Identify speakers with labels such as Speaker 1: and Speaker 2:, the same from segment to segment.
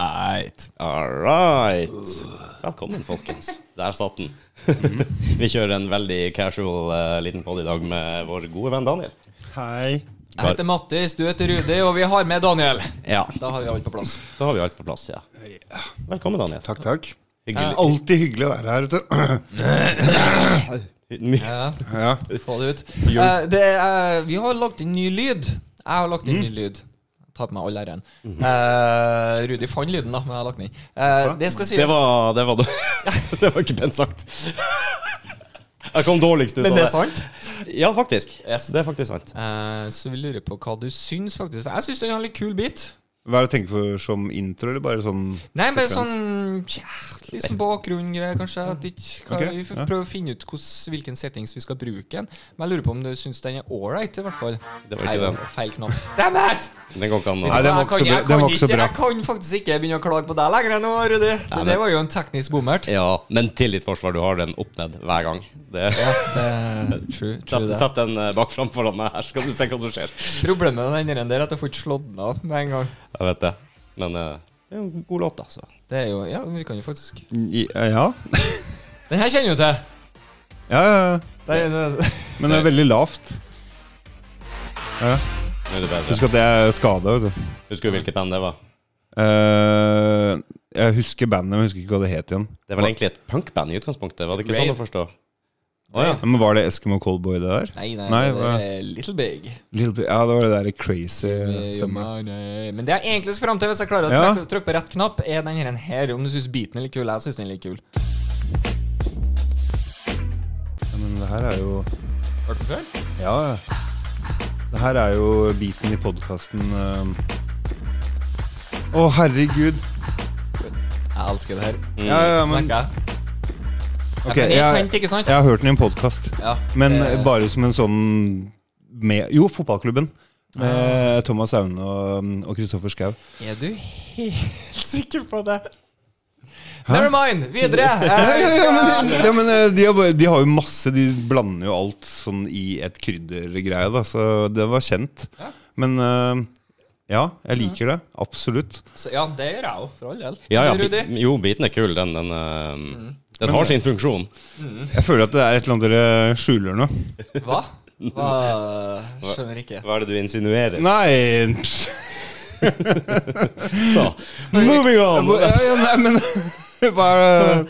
Speaker 1: right. All right. Velkommen, folkens. Der satt den.
Speaker 2: Mhm.
Speaker 1: Vi kjører en veldig casual eh, liten podd i dag med vår gode venn Daniel.
Speaker 3: Hei.
Speaker 2: Jeg heter Mattis, du heter Rudi, og vi har med Daniel.
Speaker 1: Ja,
Speaker 2: Da har vi alt på plass.
Speaker 1: da har vi alt på plass, ja. Velkommen, Daniel.
Speaker 3: Takk, takk.
Speaker 1: Hyggelig.
Speaker 3: Alltid hyggelig å være her, vet du.
Speaker 1: My-
Speaker 2: Ja,
Speaker 3: Ja.
Speaker 2: få det ut. Eh, det er, vi har lagt inn ny lyd. Jeg har lagt
Speaker 3: Mm.
Speaker 2: inn ny lyd. Ta på meg all æren. Eh, Rudi fant lyden, da, men jeg har lagt den inn. Eh, det skal sies.
Speaker 1: Det var Det var, det var ikke pent sagt. Jeg kom dårligst ut
Speaker 2: men
Speaker 1: av
Speaker 2: det er
Speaker 1: det.
Speaker 2: sant.
Speaker 1: Ja, faktisk. Det er faktisk sant.
Speaker 2: Eh, så vi lurer på hva du syns, faktisk. For Jeg syns den har en litt kul bit.
Speaker 3: Hva er det du tenker for som intro, eller bare sånn
Speaker 2: Nei, bare
Speaker 3: sekvens?
Speaker 2: sånn ja, Litt sånn bakgrunngreier, kanskje. At ikke, hva,
Speaker 3: Ok,
Speaker 2: vi får
Speaker 3: ja.
Speaker 2: prøve å finne ut hvordan- hvilken settings vi skal bruke den. Men jeg lurer på om du syns den er ålreit, i hvert fall.
Speaker 1: Det var ikke
Speaker 2: Nei,
Speaker 1: den.
Speaker 2: Feil knapp. Damn it!
Speaker 1: Den går ikke an å
Speaker 3: Nei, den var ikke
Speaker 2: Jeg
Speaker 3: så
Speaker 2: kan-
Speaker 3: bra-
Speaker 2: jeg
Speaker 3: den var
Speaker 2: kan
Speaker 3: ikke så
Speaker 2: ikke-
Speaker 3: bra.
Speaker 2: Jeg kan faktisk ikke begynne å klage på deg lenger nå, Rudi. Det,
Speaker 1: Nei, men-
Speaker 2: det var jo en teknisk bommert.
Speaker 1: Ja, men til ditt forsvar, du har den opp ned hver gang. Det.
Speaker 2: Det- True,
Speaker 1: Sett,
Speaker 2: true det.
Speaker 1: sett den eh, bak fram foran meg her, så kan du se hva som skjer.
Speaker 2: Problemet med den ene der er at jeg får ikke slått den av med en gang.
Speaker 1: Jeg vet det. Men eh, det er jo en god låt, altså.
Speaker 2: Det er jo Ja, vi kan jo faktisk
Speaker 3: I- eh, Ja.
Speaker 2: Den her kjenner du til.
Speaker 3: ja, ja, ja.
Speaker 2: Den, den,
Speaker 3: Men det er veldig lavt. Ja.
Speaker 1: Nå er det bedre.
Speaker 3: Husk at jeg er skada, vet du.
Speaker 1: Husker du hvilket band det var?
Speaker 3: Eh, jeg husker bandet, men jeg husker ikke hva det het igjen.
Speaker 1: Det var egentlig et punkband i utgangspunktet, var det ikke sånn å
Speaker 2: Rave.
Speaker 1: forstå?
Speaker 3: Ja, Men Var det Eskimo Coldboy, det der?
Speaker 2: nei, nei,
Speaker 3: Nei,
Speaker 2: det
Speaker 3: hva-
Speaker 2: er Little Big.
Speaker 3: Little bit, ja, det var det der crazy
Speaker 2: Eh,
Speaker 3: stemmen.
Speaker 2: ja, nei. Men det jeg egentlig skal fram til, hvis jeg klarer å
Speaker 3: Ja.
Speaker 2: trykke, trykke på rett knapp, er den her. her om du syns beaten er litt kul. Jeg syns den er litt kul.
Speaker 3: Ja, men det her er jo
Speaker 2: Har du hørt den før?
Speaker 3: Ja, ja. Det her er jo biten i podkasten Å, herregud.
Speaker 2: Jeg elsker det her.
Speaker 3: Ja, ja, men
Speaker 2: Merker jeg.
Speaker 3: Ok,
Speaker 2: Mm. Ja, men det er
Speaker 3: jeg,
Speaker 2: kjent, ikke sant?
Speaker 3: jeg har hørt den i en podkast.
Speaker 2: Ja, Eh.
Speaker 3: Men
Speaker 2: det-
Speaker 3: bare som en sånn med Jo, fotballklubben. Med Thomas Aune og og Kristoffer Schau.
Speaker 2: Er du helt sikker på det? Never mind! Videre! Jeg
Speaker 3: Ja,
Speaker 2: skal...
Speaker 3: men, ja, men eh, de, har bare, de har jo masse De blander jo alt sånn i et kryddergreie, da, så det var kjent. Men eh, ja, jeg liker det. Absolutt.
Speaker 2: Så, ja, det gjør jeg òg, for all del.
Speaker 1: Ja, ja.
Speaker 2: Rudi?
Speaker 1: bi- Jo, beaten er kul. Den, den, eh, den har sin funksjon.
Speaker 3: Jeg føler at det er et eller annet dere skjuler nå.
Speaker 2: Hva? Hva? Skjønner ikke.
Speaker 1: Hva er det du insinuerer?
Speaker 3: Nei pff.
Speaker 1: Så, moving on!
Speaker 3: ja, ja, Nei, men Hva er det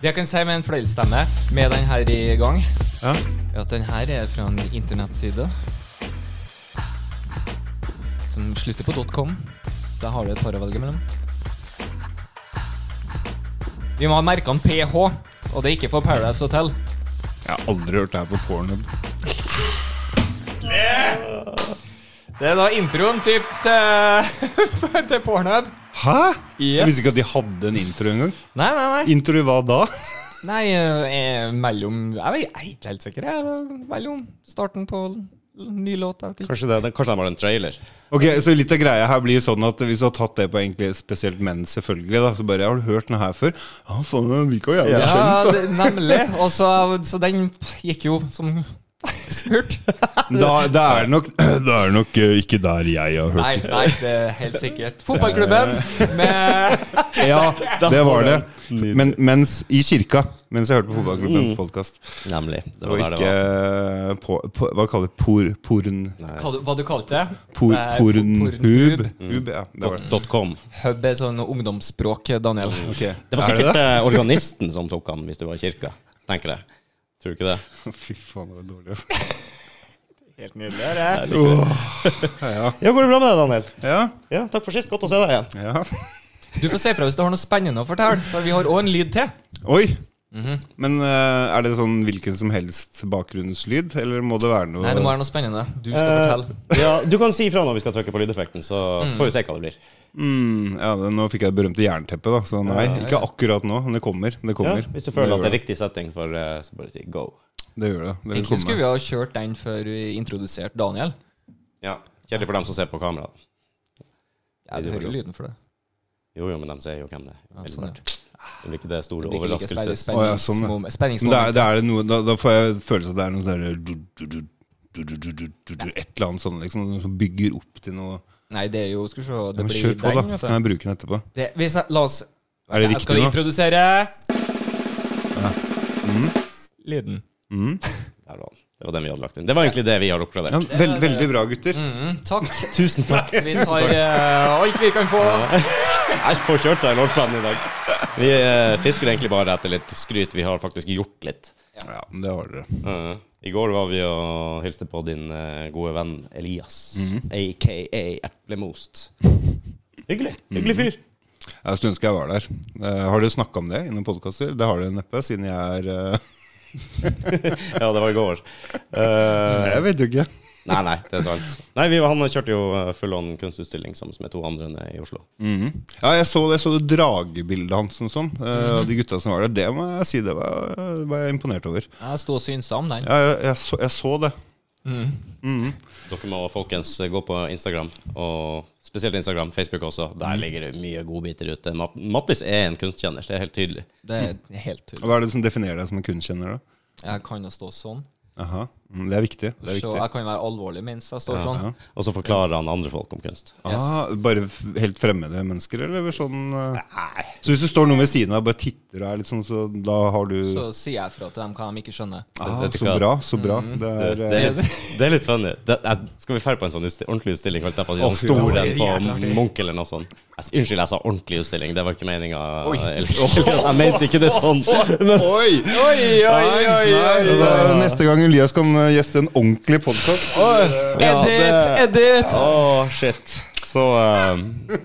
Speaker 2: Det jeg kan si med en fløyelsstemme, med den her i gang,
Speaker 3: ja.
Speaker 2: er at den her er fra en internettside som slutter på .com. Der har du et par å velge mellom. Vi må ha merkene PH, og det er ikke for Paradise Hotel.
Speaker 3: Jeg har aldri hørt det her på pornhub.
Speaker 2: Det er da introen typ til, til Pornhub.
Speaker 3: Hæ? Jeg
Speaker 2: Yes.
Speaker 3: visste ikke at de hadde en intro engang.
Speaker 2: Nei, nei, nei.
Speaker 3: Intro i hva da?
Speaker 2: Nei, eh, mellom Jeg vet- jeg er ikke helt sikker. jeg. Det er Mellom starten på l- ny låt. jeg vet ikke.
Speaker 1: Kanskje, det, den- kanskje de har en trailer?
Speaker 3: Ok, Så litt av greia her blir sånn at hvis du har tatt det på egentlig spesielt menn, selvfølgelig, da, så bare Har du hørt den her før? Ja, faen, den virka jævlig kjent.
Speaker 2: Ja, det, nemlig. Og så, så den gikk jo som smurt.
Speaker 3: Da, da er det nok, da er det nok eh, ikke der jeg har hørt
Speaker 2: Nei, nei, det er helt sikkert. Fotballklubben med
Speaker 3: den. Ja, det var det. Men mens i kirka, mens jeg hørte på Fotballklubben på podkast.
Speaker 1: Nemlig. Mm. Det
Speaker 3: Og
Speaker 1: var der det
Speaker 3: ikke
Speaker 1: var.
Speaker 3: eh, på, på, Hva kaller det? Por, porn...
Speaker 2: hva, du- hva du kalte det?
Speaker 3: Por,
Speaker 2: Det er
Speaker 3: pornhub?
Speaker 2: pornhub.
Speaker 3: Hub, ja,
Speaker 2: Mm.
Speaker 3: det var det.
Speaker 1: Dot .com.
Speaker 2: Hub er sånn ungdomsspråk, Daniel.
Speaker 1: Det var sikkert eh, organisten som tok han hvis du var i kirka, tenker jeg. Tror du ikke det?
Speaker 3: Fy faen, det var dårlig.
Speaker 2: altså.
Speaker 3: ass.
Speaker 2: Helt nydelig. det.
Speaker 1: Ja, går det bra med deg, Daniel?
Speaker 3: Ja,
Speaker 1: Ja, takk for sist. Godt å se deg igjen.
Speaker 3: ja.
Speaker 2: Du får si fra hvis du har noe spennende å fortelle, for vi har òg en lyd til.
Speaker 3: Oi!
Speaker 2: Mhm.
Speaker 3: Men eh, er det sånn hvilken som helst bakgrunnslyd, eller må det være noe
Speaker 2: Nei, det må være noe spennende. Du skal fortelle.
Speaker 1: Eh, ja, du kan si ifra når vi skal trykke på lydeffekten, så får vi se hva det blir.
Speaker 3: mm, ja, det, Nå fikk jeg det berømte jernteppet, da, så nei. Ikke akkurat nå, men det kommer. Det
Speaker 1: Ja,
Speaker 3: kommer.
Speaker 1: hvis du
Speaker 3: det
Speaker 1: føler at det er
Speaker 3: gjør
Speaker 1: riktig setting, for, eh, så bare si go.
Speaker 3: Det gjør det. det vil
Speaker 2: Egentlig
Speaker 3: komme.
Speaker 2: skulle vi ha kjørt den før vi introduserte Daniel.
Speaker 1: Ja, Kjedelig for dem som ser på kamera.
Speaker 2: Ja,
Speaker 1: Det
Speaker 2: du
Speaker 1: er
Speaker 2: hører
Speaker 1: bra.
Speaker 2: lyden for det.
Speaker 1: Jo, jo, men de ser jo hvem det er.
Speaker 2: Ja, sånn,
Speaker 1: Veldig rart. Det blir ikke det store
Speaker 2: Det blir ikke like
Speaker 1: overraskelses...
Speaker 3: Å, ja, sånn, ja.
Speaker 2: spennings-
Speaker 3: Men det er,
Speaker 2: spenningsmoment.
Speaker 3: det er noe, da, da får jeg følelse av at det er noe sånn der du- du- du- du- du- du- du- du- du- Et eller annet sånn liksom, noe som bygger opp til noe.
Speaker 2: Nei, det er jo Skal vi se
Speaker 3: Ja,
Speaker 2: Det
Speaker 3: men
Speaker 2: blir
Speaker 3: kjør på, da. Så
Speaker 2: den,
Speaker 3: kan
Speaker 2: vet du.
Speaker 3: jeg bruke den etterpå.
Speaker 2: Det, hvis jeg, la oss
Speaker 3: Er det
Speaker 2: Jeg skal
Speaker 3: riktig nå?
Speaker 2: introdusere
Speaker 3: Mm.
Speaker 2: lyden.
Speaker 1: Der var den. Det var den vi hadde lagt inn. Det var egentlig det vi har
Speaker 3: Ja,
Speaker 1: oppgradert.
Speaker 3: vel, veldig bra, gutter.
Speaker 2: Mm, takk.
Speaker 1: Tusen takk.
Speaker 2: Vi tar eh, alt vi kan få.
Speaker 1: Jeg får kjørt seg i lårplanen i dag. Vi eh, fisker egentlig bare etter litt skryt. Vi har faktisk gjort litt.
Speaker 3: Ja, det har dere.
Speaker 2: Mm.
Speaker 1: Eh, I går var vi og hilste på din eh, gode venn Elias,
Speaker 2: Mhm.
Speaker 1: aka Eplemost. Hyggelig. Hyggelig fyr.
Speaker 3: Jeg skulle ønske jeg var der. Eh, har dere snakka om det i noen podkaster? Det har dere neppe, siden jeg er eh,
Speaker 1: Ja, det var i går. Eh,
Speaker 3: Jeg vet jo ikke.
Speaker 1: nei, nei, det er sant. Nei, vi, han kjørte jo eh, full on kunstutstilling sammen med to andre nede i Oslo.
Speaker 3: Mhm. Ja, jeg så det, jeg så det dragebildet hans og sånn. eh, og de gutta som var der. Det må jeg si, det var, det var jeg imponert over.
Speaker 2: Jeg sto og synsa om den.
Speaker 3: Ja, jeg, jeg, så, jeg så det.
Speaker 1: Dere må folkens eh, gå på Instagram, og spesielt Instagram, Facebook også. Der ligger det mye godbiter ute. Mat Mattis er en kunstkjenner, det er helt tydelig.
Speaker 2: Det er helt tydelig.
Speaker 3: Hva er det som definerer deg som en kunstkjenner, da?
Speaker 2: Jeg kan jo stå sånn.
Speaker 3: Aha. Mm, Det er viktig. Det er
Speaker 2: Så
Speaker 3: viktig.
Speaker 2: jeg kan være alvorlig mens jeg står sånn.
Speaker 1: Og så forklarer han andre folk om kunst.
Speaker 3: Ah, bare f- helt fremmede mennesker, eller sånn eh?
Speaker 1: Nei,
Speaker 3: Så hvis det står noen ved siden av og bare titter og er litt sånn, så da har du
Speaker 2: Så sier jeg fra til dem hva de ikke skjønner.
Speaker 3: ah,
Speaker 1: Vet du
Speaker 3: Så
Speaker 1: hva?
Speaker 3: bra, så bra. Det
Speaker 1: Det,
Speaker 3: er,
Speaker 1: det,
Speaker 3: eh,
Speaker 1: er litt, det er litt funny. Det, jeg, skal vi dra på en sånn utsti- ordentlig utstilling? Holdt jeg på å si,
Speaker 3: Å,
Speaker 1: sånn
Speaker 3: fy,
Speaker 1: stor
Speaker 3: det
Speaker 1: en
Speaker 3: var
Speaker 1: på Munch eller noe sånt. Jeg, s- unnskyld, jeg sa ordentlig utstilling. Det var ikke meninga. Jeg mente ikke det sånn. Men,
Speaker 3: Oi!
Speaker 2: Oi, oi, oi,
Speaker 3: Nei, det
Speaker 2: oi!
Speaker 3: er jo Neste gang Elias kan eh, gjeste en ordentlig podkast.
Speaker 1: Ja,
Speaker 2: Edit,
Speaker 1: det-
Speaker 2: edit!
Speaker 1: Å, shit. Så eh,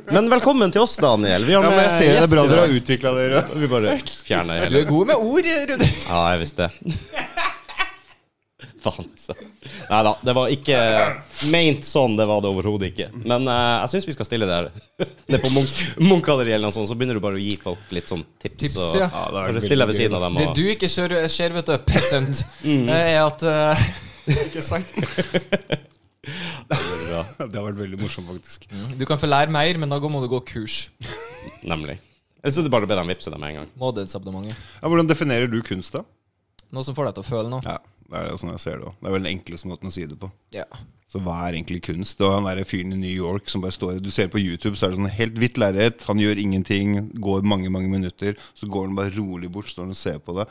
Speaker 1: Men velkommen til oss, Daniel. Vi har
Speaker 3: Ja, men jeg ser det er
Speaker 1: gjest
Speaker 3: bra
Speaker 1: i
Speaker 3: dere har
Speaker 1: dag.
Speaker 3: utvikla dere.
Speaker 1: Vi bare fjerner
Speaker 2: Du
Speaker 1: hele
Speaker 2: er god med ord, Rudi.
Speaker 1: Ja, jeg visste det. Faen, altså. Nei da, det var ikke meint sånn. Det var det overhodet ikke. Men eh, jeg syns vi skal stille der. Nede på Munch- Munch-galleriet eller noe sånt, så begynner du bare å gi folk litt sånn tips.
Speaker 2: Tips,
Speaker 1: og,
Speaker 3: Ja,
Speaker 2: ja.
Speaker 3: det er
Speaker 1: Bare
Speaker 3: veldig
Speaker 1: stille deg ved
Speaker 3: gøy.
Speaker 1: siden av dem.
Speaker 2: Det
Speaker 1: Og,
Speaker 2: du ikke ser, ser vet du, peasant, er at eh, Ikke sant?
Speaker 3: Det har vært veldig morsomt, faktisk.
Speaker 2: Du kan få lære mer, men da må du gå kurs.
Speaker 1: Nemlig. Eller så du bare be dem vippse deg med en gang.
Speaker 2: Mådighetsabonnementet.
Speaker 3: Ja, hvordan definerer du kunst, da?
Speaker 2: Noe som får deg til å føle noe.
Speaker 3: Ja, Det er jo sånn jeg ser det også. Det er vel den enkleste måten å si det på.
Speaker 2: Ja.
Speaker 3: Så hva er egentlig kunst? Det var han derre fyren i New York som bare står Du ser på YouTube, så er det sånn helt hvitt lerret. Han gjør ingenting, går mange, mange minutter. Så går han bare rolig bort, står han og ser på det.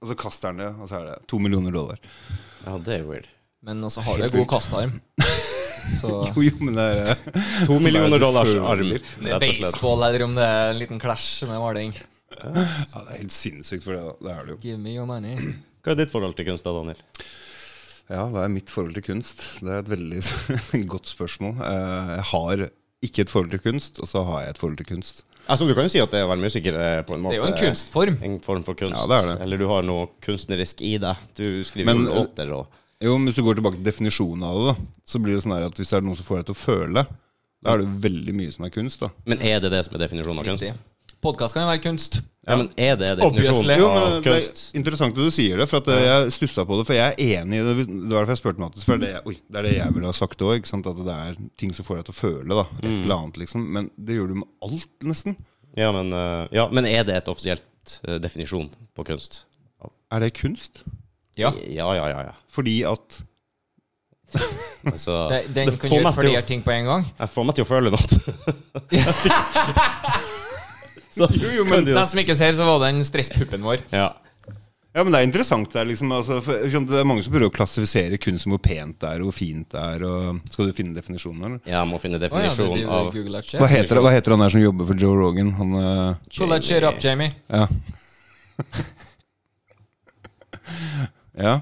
Speaker 3: Og så kaster han det, og så er det to millioner dollar.
Speaker 1: Ja, det er weird.
Speaker 2: Men altså har du en god kastarm. Så
Speaker 3: Jo, jo, men det er
Speaker 1: To millioner
Speaker 3: Hva er det du
Speaker 1: dollars
Speaker 3: føler?
Speaker 1: arm,
Speaker 2: Om det
Speaker 1: rett
Speaker 2: er
Speaker 1: og slett.
Speaker 2: baseball, eller om det er en liten clash med maling.
Speaker 3: Ja, det er helt sinnssykt for det, da. Det er det jo.
Speaker 2: Give me your money.
Speaker 1: Hva er ditt forhold til kunst, da, Daniel?
Speaker 3: Ja, hva er mitt forhold til kunst? Det er et veldig godt spørsmål. Eh, Jeg har ikke et forhold til kunst, og så har jeg et forhold til kunst.
Speaker 1: Altså, Du kan jo si at det å være musiker eh, på en måte
Speaker 2: Det er jo en kunstform.
Speaker 1: En form for kunst.
Speaker 3: Ja, det er det.
Speaker 1: Eller du har noe kunstnerisk i deg. Du skriver
Speaker 3: Men-
Speaker 1: jo låter og
Speaker 3: Jo, men Hvis du går tilbake til definisjonen av det, da, så blir det sånn her at hvis det er noen som får deg til å føle, da er det jo veldig mye som er kunst. da.
Speaker 1: Men er det det som er definisjonen av kunst?
Speaker 2: Riktig. Podkast kan jo være kunst.
Speaker 1: Ja, men er det
Speaker 2: Obviously.
Speaker 1: definisjonen
Speaker 3: Jo,
Speaker 1: av
Speaker 3: men det er
Speaker 1: kunst?
Speaker 3: Interessant at du sier det, for at eh, jeg stussa på det. For jeg er enig i det. Det var derfor jeg spurte Mattis. For det, er det jeg- oi, det er det jeg ville ha sagt òg. At det er ting som får deg til å føle da, et eller annet. liksom. Men det gjør du med alt, nesten.
Speaker 1: Ja men, eh, ja, men er det et offisielt eh, definisjon på kunst?
Speaker 3: Er det kunst?
Speaker 2: Ja.
Speaker 1: ja, ja. ja, ja.
Speaker 3: Fordi at
Speaker 1: Altså,
Speaker 2: Det- Den
Speaker 1: det
Speaker 2: kan
Speaker 1: får
Speaker 2: gjøre
Speaker 1: meg til å-
Speaker 2: flere ting på en gang.
Speaker 1: Jeg får meg til å føle noe. Så, kan du jo
Speaker 2: Den som ikke ser, så var den stresspuppen vår.
Speaker 1: Ja.
Speaker 3: Ja, men det er interessant. Det er, liksom, altså, for, ikke sant, det er mange som prøver å klassifisere kunst som hvor pent det er, og hvor fint det er. Og, skal du finne definisjonen, eller?
Speaker 1: Jeg må finne
Speaker 2: Å ja, du
Speaker 1: definisjonen
Speaker 2: driver og
Speaker 1: av
Speaker 2: googler shit.
Speaker 3: Hva heter, hva heter han der som jobber for Joe Rogan? Han eh,
Speaker 2: Pull that shit up, Jamie.
Speaker 3: Ja. ja.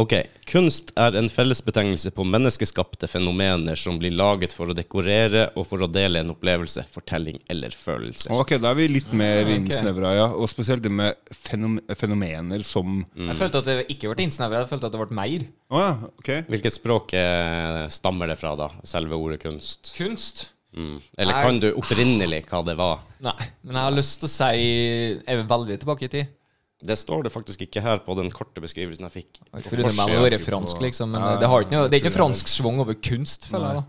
Speaker 1: Ok. Kunst er en fellesbetegnelse på menneskeskapte fenomener som blir laget for å dekorere og for å dele en opplevelse, fortelling eller følelse.
Speaker 3: Ok, da er vi litt mer
Speaker 2: ok.
Speaker 3: innsnevra, ja. Og spesielt det med fenom fenomener som Å
Speaker 2: Jeg følte at det ikke ble innsnevra, jeg følte at det ble mer.
Speaker 3: ja, ok.
Speaker 1: Hvilket språk eh, stammer det fra, da? Selve ordet kunst?
Speaker 2: Kunst?
Speaker 1: Mm. Eller kan du opprinnelig hva det var?
Speaker 2: Nei. Men jeg har lyst til å si Er vi veldig tilbake i tid?
Speaker 1: Det står det faktisk ikke her på den korte beskrivelsen jeg fikk.
Speaker 2: Jeg har
Speaker 1: på
Speaker 2: ikke forundret meg om å
Speaker 1: forsiden.
Speaker 2: være fransk, liksom. Men det, har ikke noe, det er ikke noe fransk schwung over kunst, føler jeg.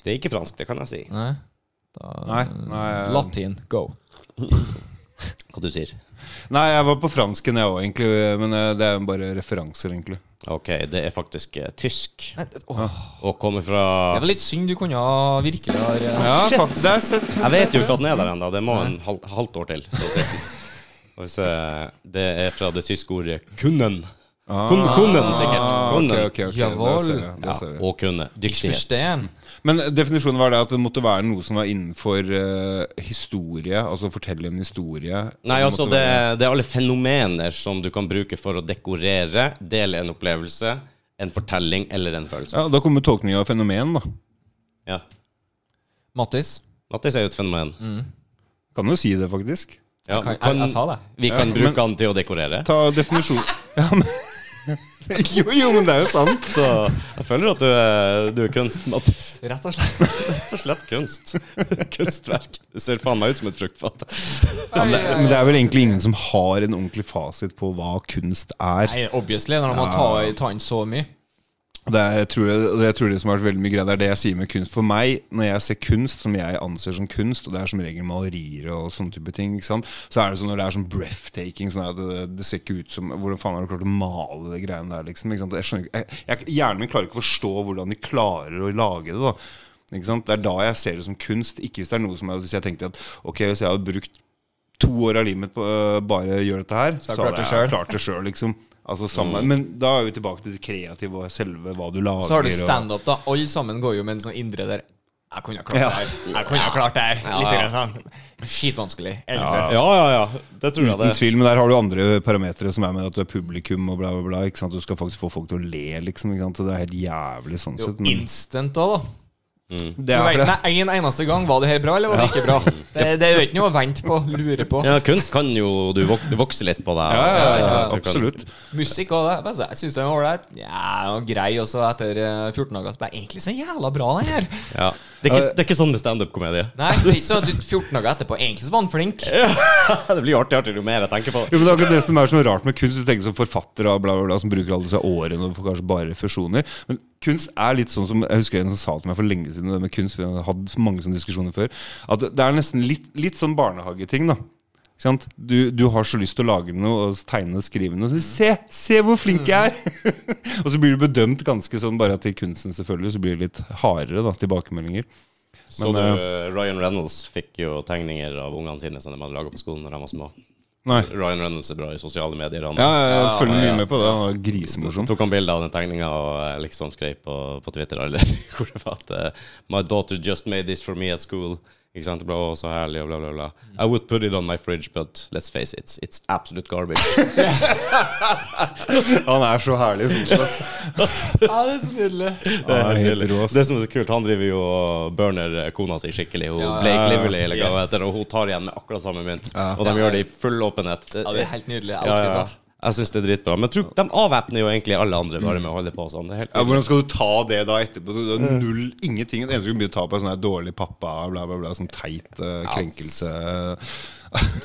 Speaker 1: Det er ikke fransk, det kan jeg si.
Speaker 2: da Nei. Da,
Speaker 3: eh, Nei, nei, jeg-
Speaker 2: Latin. Go.
Speaker 1: Hva du sier
Speaker 3: Nei, jeg var på fransken, jeg òg, egentlig. Men eh, det er bare referanser, egentlig.
Speaker 1: Ok, det er faktisk eh, tysk.
Speaker 2: Nei, åh,
Speaker 1: Og kommer fra
Speaker 2: det var litt synd. Du kunne ha virkelig ha eh,
Speaker 3: Ja, faktisk. Det er sett.
Speaker 1: Jeg vet jo ikke at den er der ennå. Det må en hal halvt år til. Så å si. Og hvis, eh, det er fra det tyske ordet 'kunnen'. Kun, kunnen, sikkert.
Speaker 3: Ah, ok,
Speaker 1: Kunnen.
Speaker 3: ok, ok,
Speaker 2: Jawohl.
Speaker 3: det ser jeg, det ser
Speaker 1: Ja,
Speaker 3: jeg.
Speaker 1: og kunne.
Speaker 2: ikke
Speaker 1: Dyktighet.
Speaker 2: forstår.
Speaker 3: Men definisjonen var det at det måtte være noe som var innenfor eh, historie, altså fortelle en historie.
Speaker 1: Nei,
Speaker 3: Det
Speaker 1: altså
Speaker 3: måtte
Speaker 1: det,
Speaker 3: være-
Speaker 1: det er alle fenomener som du kan bruke for å dekorere, dele en opplevelse, en fortelling eller en følelse.
Speaker 3: Ja, Da kommer tolkninga av fenomen, da.
Speaker 1: Ja.
Speaker 2: Mattis?
Speaker 1: Mattis er jo et fenomen.
Speaker 3: Kan jo si det, faktisk.
Speaker 1: Ja,
Speaker 2: Kan,
Speaker 1: kan-
Speaker 2: Mm. jeg, jeg sa det.
Speaker 1: Vi kan
Speaker 3: Ja,
Speaker 1: bruke den til å dekorere.
Speaker 3: Ta definisjon ja, men... jo, jo, men det er jo sant.
Speaker 1: Så jeg føler at du er, du er kunst, Mattis.
Speaker 2: Rett og slett.
Speaker 1: Rett og slett kunst. Kunstverk. Du ser faen meg ut som et fruktfat.
Speaker 3: Ja, men, det, men det er vel egentlig ingen som har en ordentlig fasit på hva kunst er.
Speaker 2: Nei, obviously, når man tar, tar inn så mye.
Speaker 3: Det er, jeg, tror det, det, jeg tror det som har vært veldig mye greit, det er det jeg sier med kunst. For meg, når jeg ser kunst som jeg anser som kunst, og det er som regel malerier og sånne type ting, ikke sant? så er det sånn når det er sånn breathtaking sånn at det, det ser ikke ut som Hvordan faen har du klart å male det greiene der, liksom? Ikke sant? Jeg skjønner ikke, jeg, jeg, hjernen min klarer ikke å forstå hvordan de klarer å lage det, da. Ikke sant? Det er da jeg ser det som kunst, ikke hvis det er noe som jeg, hvis jeg tenkte at ok, hvis jeg hadde brukt to år av livet mitt på øh, bare å gjøre dette her, så,
Speaker 2: har jeg klart
Speaker 3: hadde
Speaker 2: det
Speaker 3: jeg
Speaker 2: selv. Mm.
Speaker 3: klart det sjøl, liksom. Altså, samme. Men da er vi tilbake til det kreative og selve hva du lager.
Speaker 2: Så har du
Speaker 3: og-
Speaker 2: standup, da. Alle sammen går jo med en sånn indre der Jeg kunne ha klart det her. Jeg kunne ha klart det her. Litt
Speaker 1: Ja.
Speaker 2: grann sånn. Skitvanskelig,
Speaker 1: Ja,
Speaker 2: egentlig.
Speaker 1: ja, ja. Det tror jeg det.
Speaker 3: Uten tvil, men der har du andre parametere som er med at du er publikum og bla, bla, bla. Ikke sant? Du skal faktisk få folk til å le, liksom. Ikke sant? Så det er helt jævlig sånn
Speaker 2: Jo,
Speaker 3: sett. Men
Speaker 2: instant da, da.
Speaker 3: det
Speaker 2: Du
Speaker 3: er
Speaker 2: vet
Speaker 3: for det.
Speaker 2: med en eneste gang var det her bra, eller var det ikke bra? Det, det er jo ikke noe å vente på, lure på.
Speaker 1: Ja, kunst kan jo Du vok vokser litt på deg.
Speaker 3: Ja, ja, ja, ja,
Speaker 1: Du kan-
Speaker 3: absolutt.
Speaker 2: Musikk og det. Bare så, Jeg syns den var ålreit. Ja, den var grei. Og så etter eh, 14 dager så ble jeg egentlig så jævla bra, den her.
Speaker 1: Ja. Det, er ikke, det er ikke sånn med standup-komedie.
Speaker 2: Nei, det er ikke sånn at du 14 dager etterpå egentlig så var han flink.
Speaker 1: Det blir artig, artig jo mer jeg tenker på det.
Speaker 3: Jo, men det er akkurat det som er så rart med kunst. Du tenker som forfattere og bla, bla, bla, som bruker alle disse årene og får kanskje bare refusjoner. Men kunst er litt sånn som Jeg husker en som sa til meg for lenge siden det med kunst, for jeg hadde mange sånne diskusjoner før, at det er nesten litt, litt sånn barnehageting, da. Ikke Sant? Du, du har så lyst til å lage noe og tegne og skrive noe. Så se, se hvor flink jeg er! og så blir du bedømt ganske sånn bare til kunsten, selvfølgelig. Så blir det litt hardere da, tilbakemeldinger.
Speaker 1: Så
Speaker 3: Men,
Speaker 1: du, eh, Ryan Reynolds fikk jo tegninger av ungene sine som de hadde laga på skolen da de var små.
Speaker 3: Nei.
Speaker 1: Ryan Reynolds er bra i sosiale medier. Han
Speaker 3: Ja, jeg, jeg følger
Speaker 2: ja,
Speaker 3: mye
Speaker 2: ja.
Speaker 3: med på det. Han var grisemorsom.
Speaker 1: tok han bilde av den tegninga og eh, liksom skrev på, på Twitter eller hvor det var at eh, My daughter just made this for me at school. Ikke sant? Det ble også herlig og bla, bla, bla. I would put it on my fridge, but let's face it, it's absolute garbage.
Speaker 3: Han er så herlig. Sånn, sett.
Speaker 2: Ja, det er så nydelig.
Speaker 1: Det
Speaker 3: Ja,
Speaker 1: er
Speaker 3: helt
Speaker 1: nydelig.
Speaker 3: rå, ass.
Speaker 1: Det som er så kult, han driver jo og burner eh, kona si skikkelig. Hun
Speaker 2: Ja, ja,
Speaker 1: Blake
Speaker 3: ja.
Speaker 1: Lively eller hva hun
Speaker 2: Yes.
Speaker 1: heter, og hun tar igjen med akkurat samme mynt. Og de gjør det i full åpenhet.
Speaker 2: Ja, det er helt nydelig. Jeg
Speaker 1: Ja,
Speaker 2: elsker
Speaker 1: ja.
Speaker 2: sånt.
Speaker 1: Jeg syns det er dritbra. Men tro, de avvæpner jo egentlig alle andre bare med å holde på sånn. Det er helt
Speaker 3: Ja, hvordan skal du ta det da etterpå? Du- Det er null, ingenting. Det eneste du kan begynne å ta på, er sånn her dårlig pappa, bla, bla, bla. Sånn teit eh, krenkelse.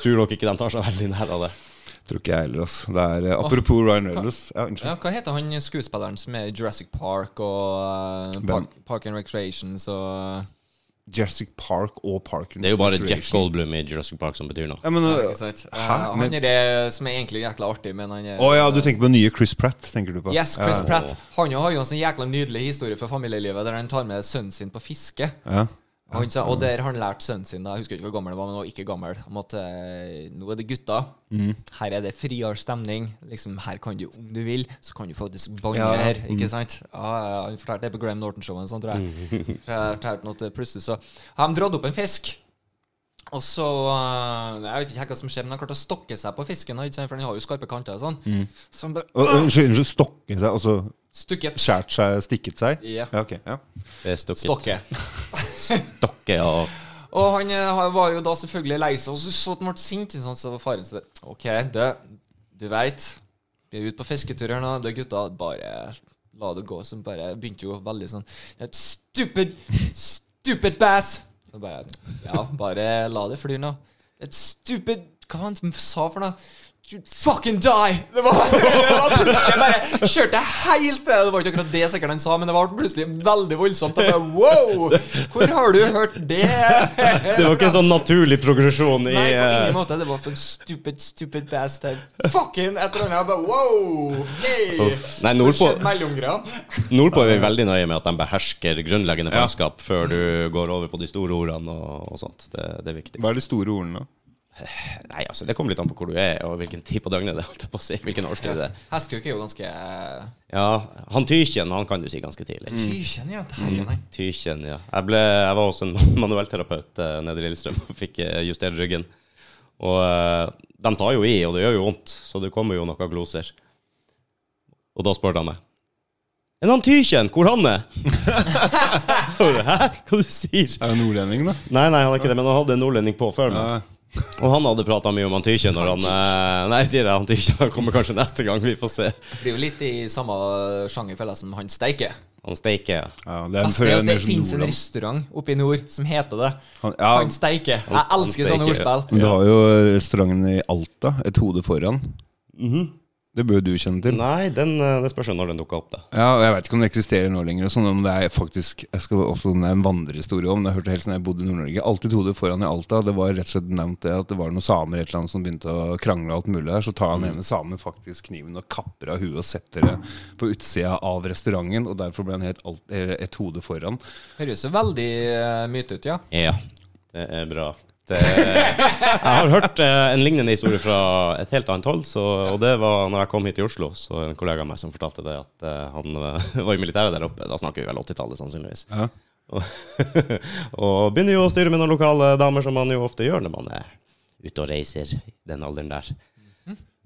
Speaker 1: Tror dere ikke de tar så veldig nær av det?
Speaker 3: Tror ikke jeg heller, ass. Det er, eh, apropos Ryan Reynolds. Ja,
Speaker 2: Ja,
Speaker 3: unnskyld.
Speaker 2: hva heter han skuespilleren som er i Jurassic Park og eh, Park, Park and Recreations og
Speaker 3: Jurassic Park og Park and
Speaker 1: Det er jo bare Jeff
Speaker 3: Recreation.
Speaker 1: Goldblum i Jurassic Park som betyr noe.
Speaker 3: Ja, men, eh,
Speaker 2: Ikke sant? Eh,
Speaker 3: hæ?
Speaker 2: Han
Speaker 3: Men,
Speaker 2: er det som er egentlig jækla artig, men han er
Speaker 3: å ja, du tenker på nye Chris Pratt, tenker du på?
Speaker 2: Yes, Chris
Speaker 3: ja.
Speaker 2: Pratt. Han har jo en sånn jækla nydelig historie fra familielivet der han tar med sønnen sin på fiske.
Speaker 3: Ja.
Speaker 2: Og, han sa, og der har han lært sønnen sin, da, jeg husker ikke hvor gammel han var, men han var ikke gammel, om at eh, nå er det gutta.
Speaker 3: Mm.
Speaker 2: Her er det friere stemning. Liksom, her kan du, om du vil, så kan du faktisk banne
Speaker 3: Ja, Mm. ja.
Speaker 2: her. Ikke sant? Ja, ja, han fortalte det på Graham Norton-showet, sånn, tror jeg. Fortalte han at det plutselig så har de dratt opp en fisk. Og så eh, Jeg vet ikke helt hva som skjer, men han klarte å stokke seg på fisken, da, ikke sant? for den har jo skarpe kanter og sånn.
Speaker 3: Mm.
Speaker 2: Så han bare
Speaker 3: Og, Unnskyld, unnskyld, stokke seg, altså
Speaker 2: Stukket.
Speaker 3: skjært seg, stikket seg?
Speaker 2: Ja.
Speaker 3: Ja, ok. Ja.
Speaker 1: Det er stokket.
Speaker 2: Stokke.
Speaker 1: Stokke og
Speaker 2: Og han eh, han var jo da selvfølgelig lei seg, og så så at han ble sint. Sånn, så var faren sin der, OK, du, du veit. Vi er ute på fisketur her nå. Du, gutta, bare la det gå. Så bare begynte jo veldig sånn «That Stupid, stupid bass! Så bare Ja, bare la det fly nå. Et stupid Hva var det han sa for noe? You fucking die! Det var, det var plutselig jeg bare kjørte helt til Det var ikke akkurat det sikkert han sa, men det var plutselig veldig voldsomt. Jeg bare, wow! Hvor har du hørt det?
Speaker 1: Det var ikke en sånn naturlig progresjon i
Speaker 2: Nei, på
Speaker 1: eh,
Speaker 2: ingen måte. Det var for en stupid, stupid bastard. Fucking et eller annet. Jeg bare wow! Hey.
Speaker 1: Uff. Nei, nordpå-
Speaker 2: Hva skjedde mellomgreiene?
Speaker 1: Nordpå er vi veldig nøye med at de behersker grunnleggende kunnskap før du går over på de store ordene og, og sånt. Det, det er viktig.
Speaker 3: Hva er de store ordene, da?
Speaker 1: Nei, altså, det kommer litt an på hvor du er, og hvilken tid på døgnet det er, holdt jeg på å si. Hvilken årstid det er.
Speaker 2: Hestkuk er jo ganske eh,
Speaker 1: Ja, han Tykjen, han kan du si ganske tidlig.
Speaker 2: Mm. Tykjenn, ja. Dæven,
Speaker 1: Mm.
Speaker 2: nei.
Speaker 1: Tykjen, ja. Jeg, ble, jeg var også en manuellterapeut eh, nede i Lillestrøm og fikk eh, justert ryggen. Og eh, de tar jo i, og det gjør jo vondt, så det kommer jo noen gloser. Og da spurte han meg. Er han Tykjen? Hvor han er? Og jeg, Hæ? Hva du sier
Speaker 3: Er det nordlending, da?
Speaker 1: Nei, nei, han er ikke det, men han hadde en nordlending på før meg.
Speaker 3: Ja.
Speaker 1: Og han hadde prata mye om han Tykjen når han eh, Nei, sier jeg, han Tykjen han kommer kanskje neste gang, vi får se.
Speaker 2: Det blir jo litt i samme sjangerfella som han Steike.
Speaker 1: Han steiker.
Speaker 3: Ja, det er en
Speaker 2: Altså, det, er jo- det
Speaker 3: forhøyner som
Speaker 2: finnes en
Speaker 3: nordland.
Speaker 2: restaurant oppe i nord som heter det.
Speaker 3: Han- ja.
Speaker 2: Han Steike. Jeg
Speaker 1: Han
Speaker 2: elsker sånne
Speaker 1: Steike, ja.
Speaker 2: ordspill.
Speaker 3: Men du har jo restauranten i Alta, Et hode foran. Det bør jo du kjenne til.
Speaker 1: Nei, den, eh, det spørs jo når den dukker opp, da.
Speaker 3: Ja, og Jeg vet ikke om det eksisterer nå lenger. og Sånn, om det er faktisk, Jeg skal også om det er en vandrehistorie om det. Jeg hørte helt siden jeg bodde i Nord-Norge. Alltid hodet foran i Alta. Det var rett og slett nevnt det at det var noen samer et eller annet som begynte å krangle og alt mulig der. Så tar han ene samen faktisk kniven og kapper av huet og setter det på utsida av restauranten. Og derfor ble han helt alt, eh, et hode foran.
Speaker 2: Høres jo veldig eh, myte ut, ja.
Speaker 1: Ja, det er bra. Det, jeg har hørt eh, en lignende historie fra et helt annet hold. Så, og det var når jeg kom hit til Oslo, så en kollega av meg som fortalte det at eh, han eh, var i militæret der oppe. Da snakker vi vel 80-tallet, sannsynligvis.
Speaker 3: Ja.
Speaker 1: Og, og begynner jo å styre med noen lokale damer, som man jo ofte gjør når man er ute og reiser i den alderen der.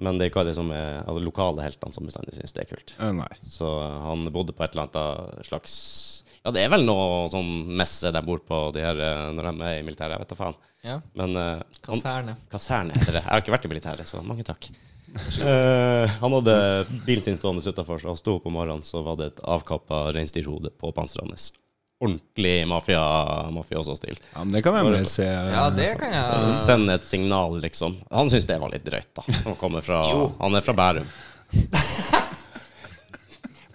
Speaker 1: Men det er ikke alle som er alle lokale heltene som bestandig syns det er kult.
Speaker 3: Eh, Nei.
Speaker 1: Så han bodde på et eller annet slags Ja, det er vel noe sånn messe de bor på de her, eh, når de er i militæret. Jeg vet da faen.
Speaker 2: ja.
Speaker 1: Men eh, han,
Speaker 2: Kaserne.
Speaker 1: kaserne heter det. Jeg har ikke vært i militæret, så mange takk. Eh, han hadde bilen sin stående utafor, så han sto opp om morgenen, så var det et avkappa reinsdyrhode på panseret hans. Ordentlig mafia- mafioso-stil.
Speaker 3: Ja, men det kan jeg vel se. eh,
Speaker 2: Ja, det kan jeg
Speaker 1: Send et signal, liksom. Han syntes det var litt drøyt, da. Han, kommer fra, han er fra Bærum.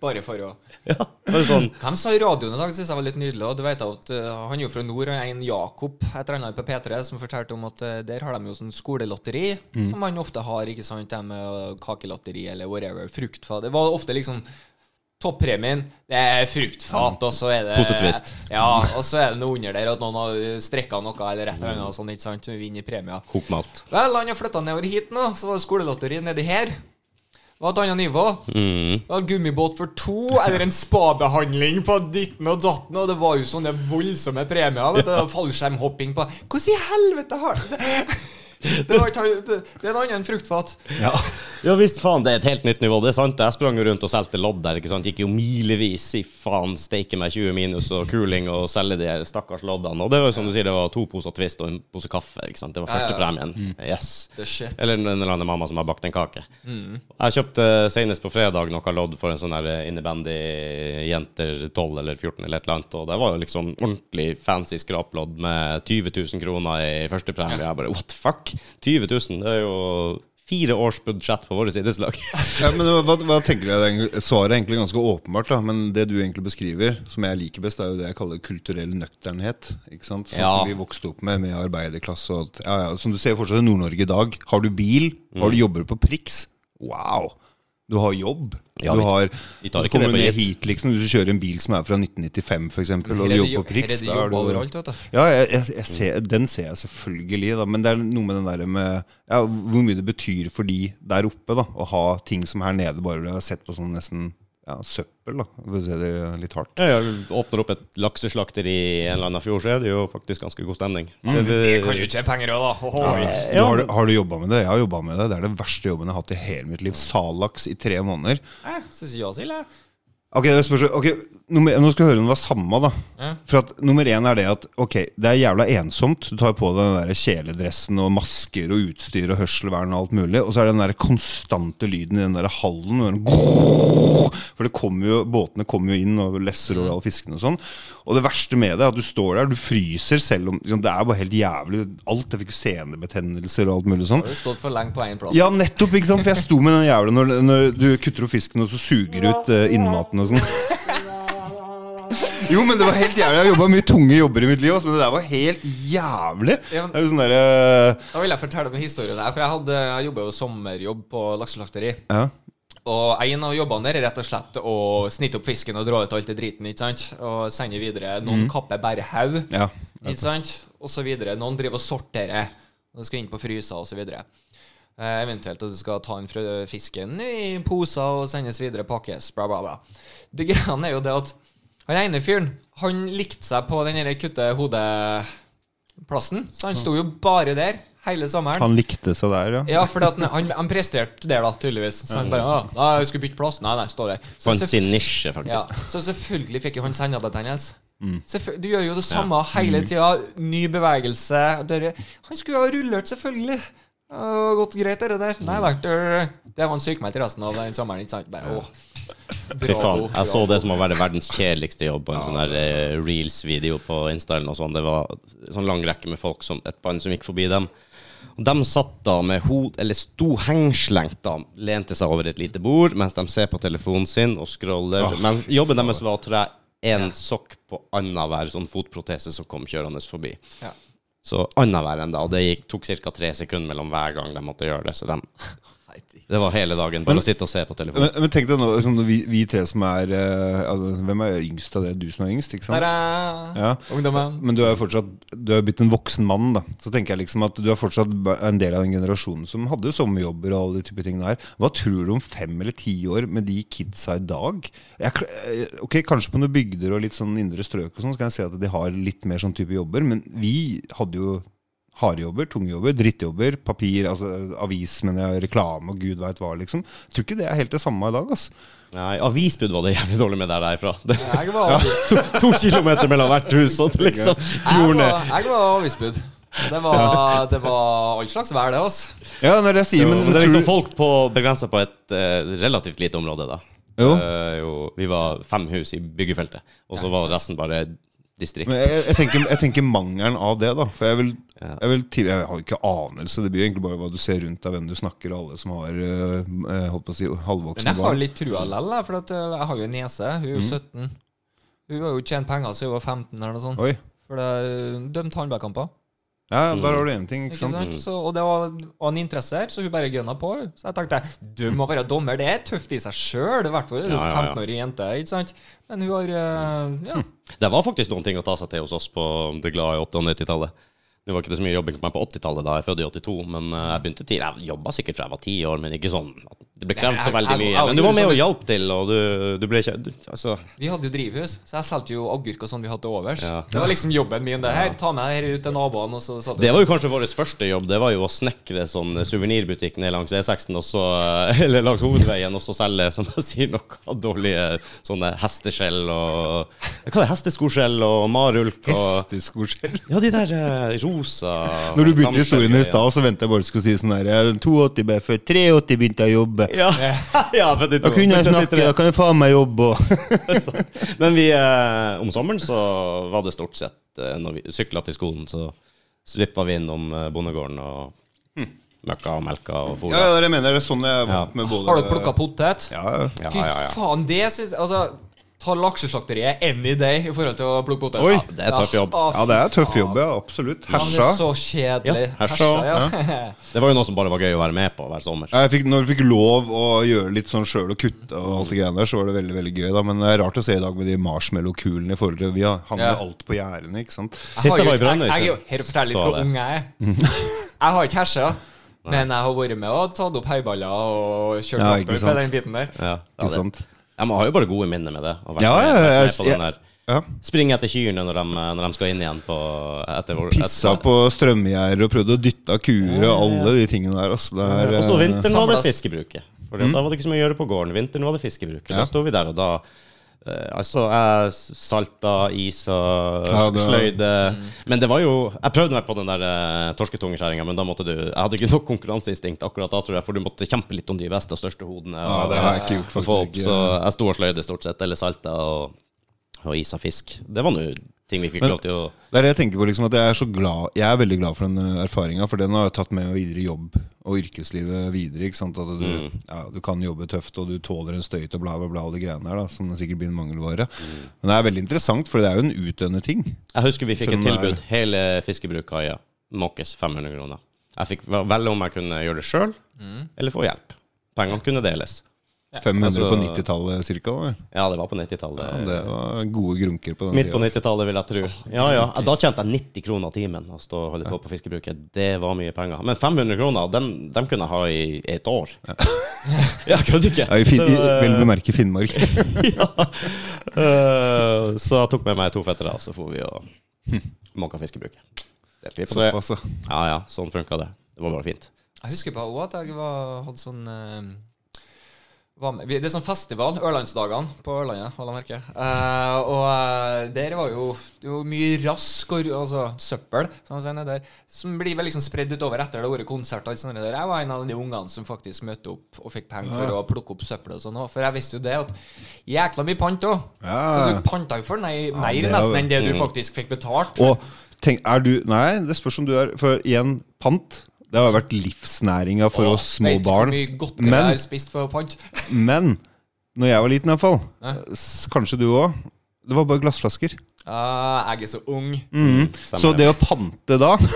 Speaker 2: bare for å
Speaker 1: Ja, bare sånn
Speaker 2: Hvem sa i radioen i dag, synes jeg var litt nydelig. Og du vet at eh, Han er jo fra nord, og en Jakob et eller annet på P3 som fortalte om at eh, der har de jo sånn skolelotteri, som man ofte har, ikke sant, det med eh, kakelotteri eller whatever, fruktfat. Det var ofte liksom Toppremien, det er fruktfat, og så er det
Speaker 1: Pose twist.
Speaker 2: Ja, og så er det noe under der at noen har strekka noe eller et eller annet, og sånn, ikke sant, som vinner premier.
Speaker 1: kokmalt.
Speaker 2: Vel, han har flytta nedover hit nå, så var det skolelotteri nedi her. Det var et annet nivå.
Speaker 1: Mm.
Speaker 2: Det var gummibåt for to, eller en spabehandling på ditten og datten, og det var jo sånne voldsomme premier. vet du, og Fallskjermhopping på Hvordan i helvete har det Det, var ikke, han- det det er en annen fruktfat.
Speaker 3: Ja.
Speaker 1: Ja visst, faen, det er et helt nytt nivå. Det er sant. Jeg sprang jo rundt og solgte lodd der. ikke sant? Gikk jo milevis i faen steike meg 20 minus og kuling og selge de stakkars loddene. Og det var jo som du sier, det var to poser Twist og en pose kaffe. ikke sant? Det var
Speaker 2: Ja, Mm. ja, ja.
Speaker 1: førstepremien. Yes.
Speaker 2: The shit.
Speaker 1: Eller en eller annen mamma som har bakt en kake. Jeg kjøpte senest på fredag noe lodd for en sånn her innebandy jenter 12 eller 14 eller et eller annet, og det var jo liksom ordentlig fancy skraplodd med 20 000 kroner i førstepremie. Jeg bare what the fuck? 20 000, det er jo fire års budsjett på vårt idrettslag.
Speaker 3: Ja, men hva, hva tenker du? egentlig- Svaret er egentlig ganske åpenbart, da. Men det du egentlig beskriver, som jeg liker best, er jo det jeg kaller kulturell nøkternhet. Ikke sant? Sånn
Speaker 1: Ja.
Speaker 3: som vi vokste opp med, med arbeiderklasse og at, ja, ja, Som du ser fortsatt i Nord-Norge i dag. Har du bil? Har du
Speaker 2: Mm.
Speaker 3: jobber på Prix? Wow! Du har jobb.
Speaker 1: Ja,
Speaker 3: du
Speaker 1: vi-
Speaker 3: har
Speaker 1: vi tar
Speaker 3: så
Speaker 1: ikke det
Speaker 3: kommer
Speaker 1: for
Speaker 3: du ned hit,
Speaker 1: gitt.
Speaker 3: liksom. Hvis du kjører en bil som er fra 1995, f.eks., og
Speaker 2: Her er
Speaker 3: du
Speaker 2: det
Speaker 3: jobber på
Speaker 2: jo- her er
Speaker 3: Prix
Speaker 2: det
Speaker 3: da
Speaker 2: jobb
Speaker 3: er du-
Speaker 2: overalt, vet du.
Speaker 3: ja, jeg, jeg, jeg ser, den ser jeg selvfølgelig, da, men det er noe med den der med ja, hvor mye det betyr for de der oppe da, å ha ting som her nede bare blir sett på som nesten ja, søppel, da, for å si det litt hardt.
Speaker 1: Ja, jeg åpner opp et lakseslakteri i en eller annen fjord, så er det jo faktisk ganske god stemning.
Speaker 2: Mm. Det kan jo ikke penger òg, da. Ohoi.
Speaker 3: Du, har, du- har du jobba med det? Jeg har jobba med det. Det er den verste jobben jeg har hatt i hele mitt liv. Salaks i tre måneder.
Speaker 2: Eh, Syns ikke jeg så ille.
Speaker 3: Ok, det spørs, ok, nummer, Nå skal jeg høre om det var samme, da.
Speaker 2: Ja.
Speaker 3: For at Nummer én er det at ok, det er jævla ensomt. Du tar på deg den der kjeledressen og masker og utstyr og hørselvern og alt mulig. Og så er det den der konstante lyden i den der hallen. og den grrrr, For det kommer jo, båtene kommer jo inn og lesser over alle fiskene og sånn. Og det verste med det er at du står der, du fryser selv om liksom, Det er bare helt jævlig. Alt, Jeg fikk jo senebetennelser og alt mulig sånn.
Speaker 2: Har du stått for lenge på én plass?
Speaker 3: Ja, nettopp, ikke sant? For jeg sto med den jævla når, når du kutter opp fisken, og så suger du ut eh, innmaten og sånn. Jo, men det var helt jævlig. Jeg har jobba mye tunge jobber i mitt liv, ass, men det der var helt jævlig. Det
Speaker 2: Ja, men-
Speaker 3: er jo sånn derre eh,
Speaker 2: Da vil jeg fortelle om en historie der, for jeg, hadde- jeg jobba jo sommerjobb på lakseslakteri.
Speaker 3: ja.
Speaker 2: Og en av jobbene der er rett og slett å snitte opp fisken og dra ut alt det driten, ikke sant? Og sende videre. Noen kapper bare haug,
Speaker 3: Ja.
Speaker 2: ikke sant? Og så videre. Noen driver og sorterer. Og det skal inn på fryser, og så videre. Eh, eventuelt at du skal ta inn frø- fisken i poser og sendes videre, pakkes, bla, bla, bla. Det greiene er jo det at han ene fyren, han likte seg på den der kutte hodeplassen, så han sto jo bare der hele sommeren.
Speaker 3: Han likte seg der, ja.
Speaker 2: Ja, for at han, han, han presterte der, da, tydeligvis. Så han bare «Å, nei, 'Jeg skulle bytte plass.' Nei, nei, står der. Så,
Speaker 1: Fant
Speaker 2: selvf-
Speaker 1: sin nisje, faktisk.
Speaker 2: ja, så selvfølgelig fikk jo han sennebetennelse. Selvfø- Du gjør jo det samme hele tida. Ny bevegelse. Dere. Han skulle jo ha rullert, selvfølgelig. Å, gått greit, det der. Nei da. dere- Det var han sykemeldt resten av den sommeren. Ikke sant? Bare, åh.
Speaker 1: Fy faen,
Speaker 2: Bravo,
Speaker 1: jeg så
Speaker 2: bravo.
Speaker 1: det som å være verdens kjedeligste jobb på en sånn der eh, reels-video på Insta eller noe sånt. Det var en sånn lang rekke med folk, som, et band som gikk forbi dem. Og de satt da med hod... Eller sto hengslengt, da. Lente seg over et lite bord mens de ser på telefonen sin og scroller. Men jobben deres var å tre én sokk på annenhver sånn fotprotese som kom kjørende forbi.
Speaker 2: Ja.
Speaker 1: Så annenhver enda, og det gikk, tok ca. tre sekunder mellom hver gang de måtte gjøre det. Så de, det var hele dagen bare å sitte og se på telefonen.
Speaker 3: Men, men tenk deg nå, sånn, vi, vi tre som er eh, altså, Hvem er yngst av det? Du som er yngst, ikke sant?
Speaker 2: Der er
Speaker 3: Ja.
Speaker 2: ungdommen.
Speaker 3: Men du er jo fortsatt Du er blitt en voksen mann, da. Så tenker jeg liksom at du er fortsatt ba- en del av den generasjonen som hadde sommerjobber og alle de type tingene her. Hva tror du om fem eller ti år med de kidsa i dag? Jeg, kl- eh, ok, Kanskje på noen bygder og litt sånn indre strøk og sånn, så kan jeg se at de har litt mer sånn type jobber, men vi hadde jo Harde jobber, tunge jobber, drittjobber, papir, altså avis, men jeg, reklame og gud veit hva, liksom. Jeg tror ikke det er helt det samme i dag, altså.
Speaker 1: Nei, avisbud var det jævlig dårlig med der derifra. Det,
Speaker 2: Jeg var,
Speaker 1: to, to kilometer mellom hvert hus, og det liksom
Speaker 2: jeg
Speaker 1: gror ned.
Speaker 2: var, jeg var avgiftsbud. Det var, det var all slags vær, det, altså.
Speaker 3: Ja, det er det jeg sier, men,
Speaker 1: Men det er
Speaker 3: tror
Speaker 1: liksom
Speaker 3: du-
Speaker 1: folk på, begrensa på et eh, relativt lite område, da.
Speaker 3: Jo.
Speaker 1: Eh, jo, vi var fem hus i byggefeltet, og så var resten bare distrikt.
Speaker 3: Men jeg, jeg, tenker, jeg tenker mangelen av det, da. For jeg vil, jeg vil til- Jeg har jo ikke anelse. Det blir jo egentlig bare hva du ser rundt deg, hvem du snakker, og alle som har øh, øh, holdt på å si
Speaker 2: Men
Speaker 3: halvvoksne
Speaker 2: jeg har
Speaker 3: barn.
Speaker 2: litt trua lell, jeg, for at eh, jeg har jo en niese. Hun
Speaker 1: Mm.
Speaker 2: er jo 17. Hun har jo tjent penger siden hun var 15, eller noe sånt.
Speaker 3: Oi.
Speaker 2: For det er dømt håndballkamper.
Speaker 3: Ja, der har du én ting, ikke
Speaker 2: Ikke
Speaker 3: sant?
Speaker 1: Mm.
Speaker 2: sant? Så, og det var, var en interesse her, så hun bare gønna på. hun. Så jeg tenkte du må være dommer, det er tøft i seg sjøl. I hvert fall er du
Speaker 1: Ja, Mm. ja, ja.
Speaker 2: 15-årig jente. ikke sant? Men hun har eh, ja.
Speaker 1: Det var faktisk noen ting å ta seg til hos oss på det glade 80- og 90-tallet. Det var ikke det så mye jobbing på meg på 80-tallet, da jeg fødte i 82, men eh, jeg begynte tidlig. Jeg jobba sikkert fra jeg var ti år, men ikke sånn at det ble krevd så
Speaker 2: Nei, jeg-
Speaker 1: veldig
Speaker 2: jeg-
Speaker 1: mye. Men du var med og
Speaker 2: jeg-
Speaker 1: hjalp til, og du, du ble ikke du, Altså.
Speaker 2: Vi hadde jo drivhus, så jeg solgte jo agurk og sånn vi hadde til overs.
Speaker 1: Ja.
Speaker 2: Det var liksom jobben min. det her, Ta med det her ut til naboen, og så satt
Speaker 1: Det var jo kanskje vår første jobb. Det var jo å snekre sånn suvenirbutikk ned langs E16, og så, eller langs hovedveien, og så selge som jeg sier, noe dårlige sånne hesteskjell og Hva er det? Hesteskoskjell og marulk og
Speaker 3: Hesteskoskjell.
Speaker 1: Ja, de der eh, rosa
Speaker 3: Når du begynte historien i
Speaker 1: gamskjell-
Speaker 3: stad, så venta jeg bare du skulle si sånn her 82 ble født, 83 begynte jeg å jobbe.
Speaker 1: Ja. ja 52.
Speaker 3: Da kunne jeg snakke, da kan jeg faen meg jobbe og
Speaker 1: Men vi, eh, om sommeren så var det stort sett eh, Når vi sykla til skolen, så slippa vi innom eh, bondegården og møkka og melka og fôra.
Speaker 3: Hm. Ja, ja, jeg mener det er sånn jeg er vant med både
Speaker 2: Har dere plukka potet?
Speaker 3: Ja, ja.
Speaker 1: Ja,
Speaker 2: Fy
Speaker 1: ja, ja.
Speaker 2: faen, det syns jeg Altså, ta lakseslakteriet any day i forhold til å plukke potet.
Speaker 3: Oi,
Speaker 1: det er tøff jobb.
Speaker 3: Ja, det er tøff jobb, ja. Absolutt.
Speaker 2: Hersa. Det er
Speaker 3: Hersa.
Speaker 2: så kjedelig.
Speaker 1: Ja, hersa,
Speaker 2: ja.
Speaker 1: Det var jo noe som bare var gøy å være med på hver sommer.
Speaker 3: Ja, Jeg fikk, når vi fikk lov å gjøre litt sånn sjøl og kutte og alt det greiene der, så var det veldig veldig gøy. da Men det er rart å se i dag med de marshmallow-kulene i forhold til Vi har- hang jo
Speaker 2: Ja.
Speaker 3: alt på gjerdene, ikke sant.
Speaker 1: Sist jeg
Speaker 2: har
Speaker 1: var
Speaker 2: jo
Speaker 1: i Brønnøy,
Speaker 2: ikke- jeg- jeg
Speaker 1: så
Speaker 2: er jo- Her forteller jeg
Speaker 1: så
Speaker 2: litt hvor
Speaker 1: jeg det.
Speaker 2: ung jeg er. Jeg har ikke hersa, men jeg har vært med og tatt opp heiballer og kjørt
Speaker 3: Ja,
Speaker 2: ja,
Speaker 3: ikke
Speaker 2: på
Speaker 3: sant.
Speaker 2: den biten der.
Speaker 1: Ja,
Speaker 3: Ikke sant?
Speaker 1: Ja, Man har jo bare gode minner med det. Å være
Speaker 3: Ja, ja,
Speaker 1: med,
Speaker 3: ja,
Speaker 1: vært med på
Speaker 3: jeg-
Speaker 1: den der.
Speaker 3: Ja.
Speaker 1: Springe etter kyrne når de, når de skal inn igjen på etter vår
Speaker 3: Pissa
Speaker 1: etter-
Speaker 3: på strømgjerder og prøvde å dytte av kuer og alle de tingene der. Mm. Altså. Det er,
Speaker 1: Og så vinteren var det
Speaker 2: Samlas.
Speaker 1: fiskebruket. For Da var det ikke så mye å gjøre på gården. Vinteren var det fiskebruket. Da sto vi der, og da eh, Altså, jeg salta, isa,
Speaker 3: Ja, det-
Speaker 1: sløyde Men det var jo Jeg prøvde meg på den der uh, torsketungeskjæringa, men da måtte du Jeg hadde ikke nok konkurranseinstinkt akkurat da, tror jeg, for du måtte kjempe litt om de beste og største hodene.
Speaker 3: eh, Ja,
Speaker 1: og-
Speaker 3: det har jeg ikke gjort, eh,
Speaker 1: for folk,
Speaker 3: faktisk.
Speaker 1: så
Speaker 3: ikke.
Speaker 1: jeg sto og sløyde stort sett, eller salta. Og og is av fisk. Det var nå ting vi fikk lov til å
Speaker 3: Det er det jeg tenker på, liksom, at jeg er så glad Jeg er veldig glad for den erfaringa, for den har jeg tatt med videre i jobb og yrkeslivet videre. ikke sant? At du, ja, du kan jobbe tøft, og du tåler en støyt og bla, bla, bla, alle de greiene her, da, som sikkert blir en mangelvare. Men det er veldig interessant, for det er jo en utdøende ting.
Speaker 1: Jeg husker vi fikk et
Speaker 3: Som er-
Speaker 1: tilbud. Hele fiskebrukaia måkes 500 kroner. Jeg fikk vel- velge om jeg kunne gjøre det sjøl,
Speaker 3: Mm.
Speaker 1: eller få hjelp. Pengene kunne deles.
Speaker 3: 500 på
Speaker 1: altså-
Speaker 3: 90-tallet cirka. Da. vel?
Speaker 1: Ja, det var på
Speaker 3: Ja,
Speaker 1: 90-tallet.
Speaker 3: det var gode grunker på den altså.
Speaker 1: Midt på
Speaker 3: tida.
Speaker 1: 90-tallet, vil jeg tro. Ja, ja. Da tjente jeg 90 kroner timen å stå og holde på på fiskebruket. Det var mye penger. Men 500 kroner, dem, dem kunne jeg ha i et år. Ja, kødder ikke.
Speaker 3: Ja, i fin,
Speaker 1: Det
Speaker 3: i,
Speaker 1: var-
Speaker 3: vel bemerke Finnmark.
Speaker 1: ja. Eh, Så jeg tok med meg to fettere, og så for vi og måka fiskebruket. Det er fint på det.
Speaker 3: Såpass, ja.
Speaker 1: Ja, ja. Sånn funka det. Det var bare fint.
Speaker 2: Jeg husker på også at jeg var, hadde sånn eh, var med, vi- Det er sånn festival, Ørlandsdagene på Ørlandet, holder jeg merke. Eh, og eh, der var jo, det var jo mye rask og altså, søppel som, jeg sier nede der, som blir vel liksom spredd utover etter det har vært konsert. og alt sånt der. Jeg var en av de ungene som faktisk møtte opp og fikk penger for å plukke opp søppel og sånn også, For jeg visste jo det at jækla mye pant òg. Så
Speaker 3: Ja.
Speaker 2: du panta jo for nei, mer
Speaker 3: det er jo-
Speaker 2: nesten enn det du faktisk fikk betalt.
Speaker 3: Og tenk, er du Nei, det spørs om du er For igjen, pant. Det har vært livsnæringa for oss små
Speaker 2: Vet ikke hvor
Speaker 3: barn.
Speaker 2: mye godteri jeg
Speaker 3: Men
Speaker 2: har spist for pant.
Speaker 3: Men når jeg var liten, i hvert fall
Speaker 2: Ja.
Speaker 3: s- Kanskje du òg. Det var bare glassflasker.
Speaker 2: Ah, jeg er så ung.
Speaker 1: Stemmer
Speaker 3: Så det å pante da, det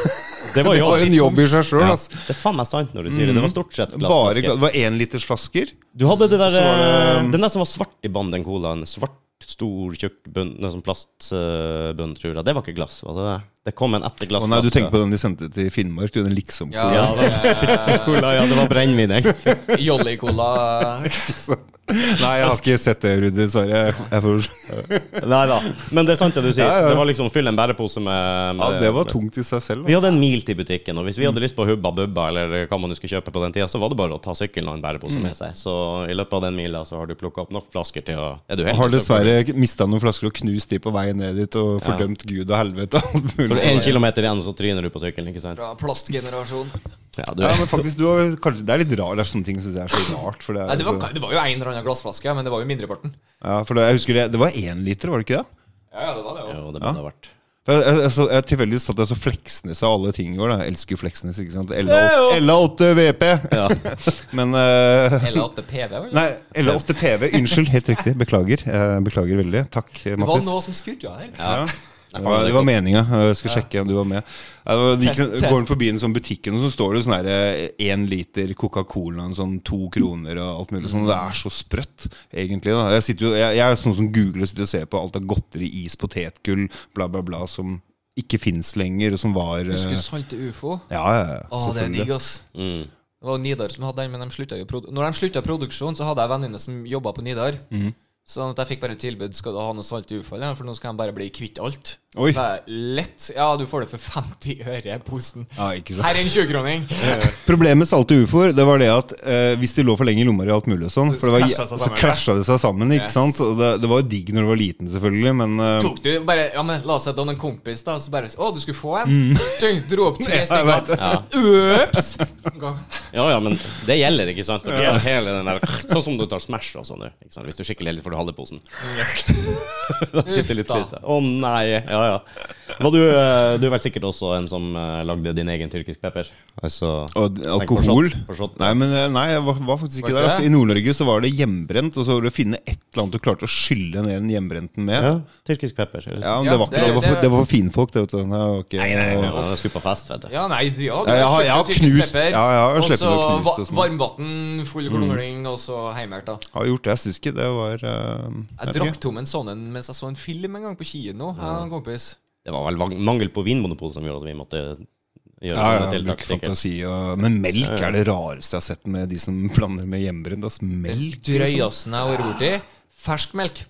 Speaker 1: Det
Speaker 3: var
Speaker 1: var jo
Speaker 3: en jobb i seg sjøl.
Speaker 1: ja.
Speaker 3: ass.
Speaker 1: Det er faen meg sant når du sier det. Det var stort sett
Speaker 3: Bare gla-
Speaker 1: glassflaske.
Speaker 3: Det var énlitersflasker.
Speaker 1: Du hadde det der,
Speaker 3: Så var det-
Speaker 1: eh, den der som var svart i bånd, den colaen. Svart, stor, tjukk bunn, noe sånn plastbunn, tror jeg. Det var ikke glass, var det det? Det kom en etter
Speaker 3: Å
Speaker 1: glassflaska.
Speaker 3: nei, du tenker på den de sendte til Finnmark? Du, den liksom
Speaker 2: Ja,
Speaker 1: Ja, det var cola, ja, det var brennevin, egentlig.
Speaker 2: Jolly-cola.
Speaker 3: Nei, jeg har ikke sett det, Rudi. Sorry. Jeg, jeg får...
Speaker 1: Nei da. Men det er sant det du sier.
Speaker 3: Ja, ja.
Speaker 1: Det var liksom fyll en bærepose med,
Speaker 3: ja,
Speaker 1: med
Speaker 3: det var tungt i seg selv.
Speaker 1: Vi
Speaker 3: ass.
Speaker 1: hadde en mil til butikken, og hvis vi hadde lyst på Hubba Bubba, eller hva man nå skulle kjøpe på den tida, så var det bare å ta sykkelen og en bærepose med seg. Så i løpet av den mila så har du plukka opp nok flasker til å Er du
Speaker 3: Har
Speaker 1: heldig? så får du-
Speaker 3: dessverre mista noen flasker og knust de på veien ned dit og fordømt Gud og helvete. og alt mulig.
Speaker 1: Får du én kilometer igjen, så tryner du på sykkelen, ikke sant?
Speaker 2: Fra plastgenerasjon.
Speaker 1: Ja, du
Speaker 3: Ja, men faktisk, du har, kanskje, Det er litt rart. Det er sånne ting syns jeg er så rart. For det, er,
Speaker 2: Nei, det,
Speaker 3: jo
Speaker 2: var,
Speaker 3: så-
Speaker 2: det var jo en eller annen glassflaske, men det var jo mindreparten.
Speaker 3: ja, for det, jeg husker det, det var én liter, var det ikke det?
Speaker 2: Ja, ja, det var det
Speaker 1: Jo, det burde ha vært.
Speaker 3: For jeg, jeg, jeg, så- jeg Tilfeldigvis satt jeg så Fleksnes av alle ting i går. da. Jeg elsker jo Fleksnes. ikke sant? LA8 LA8 VP! Men eh,
Speaker 2: Eller at det PV var
Speaker 3: Nei, LA8 PV. Unnskyld, helt riktig. Beklager. Eh, beklager veldig. Takk, eh,
Speaker 2: Det var
Speaker 3: Mattis.
Speaker 2: noe som skurra her.
Speaker 3: Ja. Det
Speaker 1: faen,
Speaker 3: var,
Speaker 1: det
Speaker 3: det var meninga. Jeg skulle sjekke om du var med. Ja, det var, de,
Speaker 2: Test, test.
Speaker 3: Går den forbi en sånn butikken, og så står det sånn her, eh, en liter Coca-Cola, en sånn to kroner og alt mulig sånn. Det er så sprøtt, egentlig. Da. Jeg, sitter jo, jeg, jeg er sånn som googler og sitter og ser på alt av godteri, is, potetgull, bla, bla, bla, som ikke fins lenger, og som var eh,
Speaker 2: Husker du Salte ufo?
Speaker 3: Ja, ja, ja.
Speaker 2: Å, det er
Speaker 3: selvfølgelig.
Speaker 2: digg, ass.
Speaker 1: Mm.
Speaker 2: Det var jo Nidar som hadde den, men de slutta jo produ Når de slutta produksjon, så hadde jeg venninne som jobba på Nidar.
Speaker 3: Mm.
Speaker 2: Sånn at jeg fikk bare tilbud Skal du ha noe salt i ufo, eller? For nå skal de bare bli kvitt alt.
Speaker 3: Oi.
Speaker 2: Det er lett. Ja, du får det for 50 øre posen.
Speaker 3: Ja, ikke sant.
Speaker 2: Her er en 20-kroning.
Speaker 3: Problemet med salte ufoer det var det at eh, hvis de lå for lenge i lomma, og alt mulig og sånn, for det var,
Speaker 2: Så
Speaker 3: så
Speaker 2: krasja det seg sammen.
Speaker 3: krasja det seg sammen. ikke
Speaker 2: Yes.
Speaker 3: sant? Og Det, det var jo digg når du var liten, selvfølgelig, men eh,
Speaker 2: Tok du bare, ja, men La oss si at du hadde en kompis, da, så bare Å, du skulle få en? Du dro opp tre
Speaker 3: Mm. Ja, jeg vet det.
Speaker 2: stykker.
Speaker 1: Ja.
Speaker 2: Ups!
Speaker 1: ja ja, men det gjelder, ikke sant? Og hele den der, sånn som du tar Smash og sånn, ikke sant? hvis du er skikkelig heldig får du halve posen. da sitter litt
Speaker 2: Uff
Speaker 1: trist. Å nei. Ja ja. Var du, eh, du er vel sikkert også en som eh, lagde din egen tyrkisk pepper? Altså
Speaker 3: Og d-
Speaker 1: på
Speaker 3: alkohol?
Speaker 1: shot, på shot.
Speaker 3: Nei, men eh, nei, jeg var, var faktisk ikke
Speaker 2: Var
Speaker 3: der.
Speaker 2: ikke
Speaker 3: Altså,
Speaker 2: det?
Speaker 3: I Nord-Norge så var det hjemmebrent, og så var det å finne et eller annet du klarte å skylle ned den hjemmebrenten med.
Speaker 1: ja,
Speaker 3: Ja.
Speaker 1: tyrkisk pepper. eller?
Speaker 3: men
Speaker 2: Ja,
Speaker 3: det, var ikke,
Speaker 2: det-
Speaker 3: det, var for,
Speaker 2: det-
Speaker 3: det var for finfolk, det. vet du. Den her var ikke-
Speaker 1: Ja, jeg skulle på fest, vet du.
Speaker 2: Ja, nei, ja, du
Speaker 3: Ja, jeg har- jeg har
Speaker 2: kjøpt en tyrkisk
Speaker 3: knust-
Speaker 2: pepper,
Speaker 3: ja, jeg har
Speaker 2: og
Speaker 3: sleppet
Speaker 2: så
Speaker 3: og knust
Speaker 2: va-
Speaker 3: og sånn.
Speaker 2: Varmvann, full glungling, og så heimert, da.
Speaker 3: Har gjort det. Jeg syns ikke det var eh,
Speaker 2: Jeg
Speaker 3: vet
Speaker 2: drakk
Speaker 3: ikke.
Speaker 2: tom en sånn en mens jeg så en film en gang på kino. Jeg og en kompis.
Speaker 1: Det var vel vang- mangel på vinmonopol som gjorde at vi måtte
Speaker 3: Ja,
Speaker 1: gjøre
Speaker 3: ja,
Speaker 1: sånne tiltak.
Speaker 3: bruk
Speaker 1: sikkert.
Speaker 3: fantasi og Men melk er det rareste jeg har sett med de som blander med hjemmebrent. Altså, melk. Liksom.
Speaker 2: Drøyasen jeg har vært borti. Ferskmelk.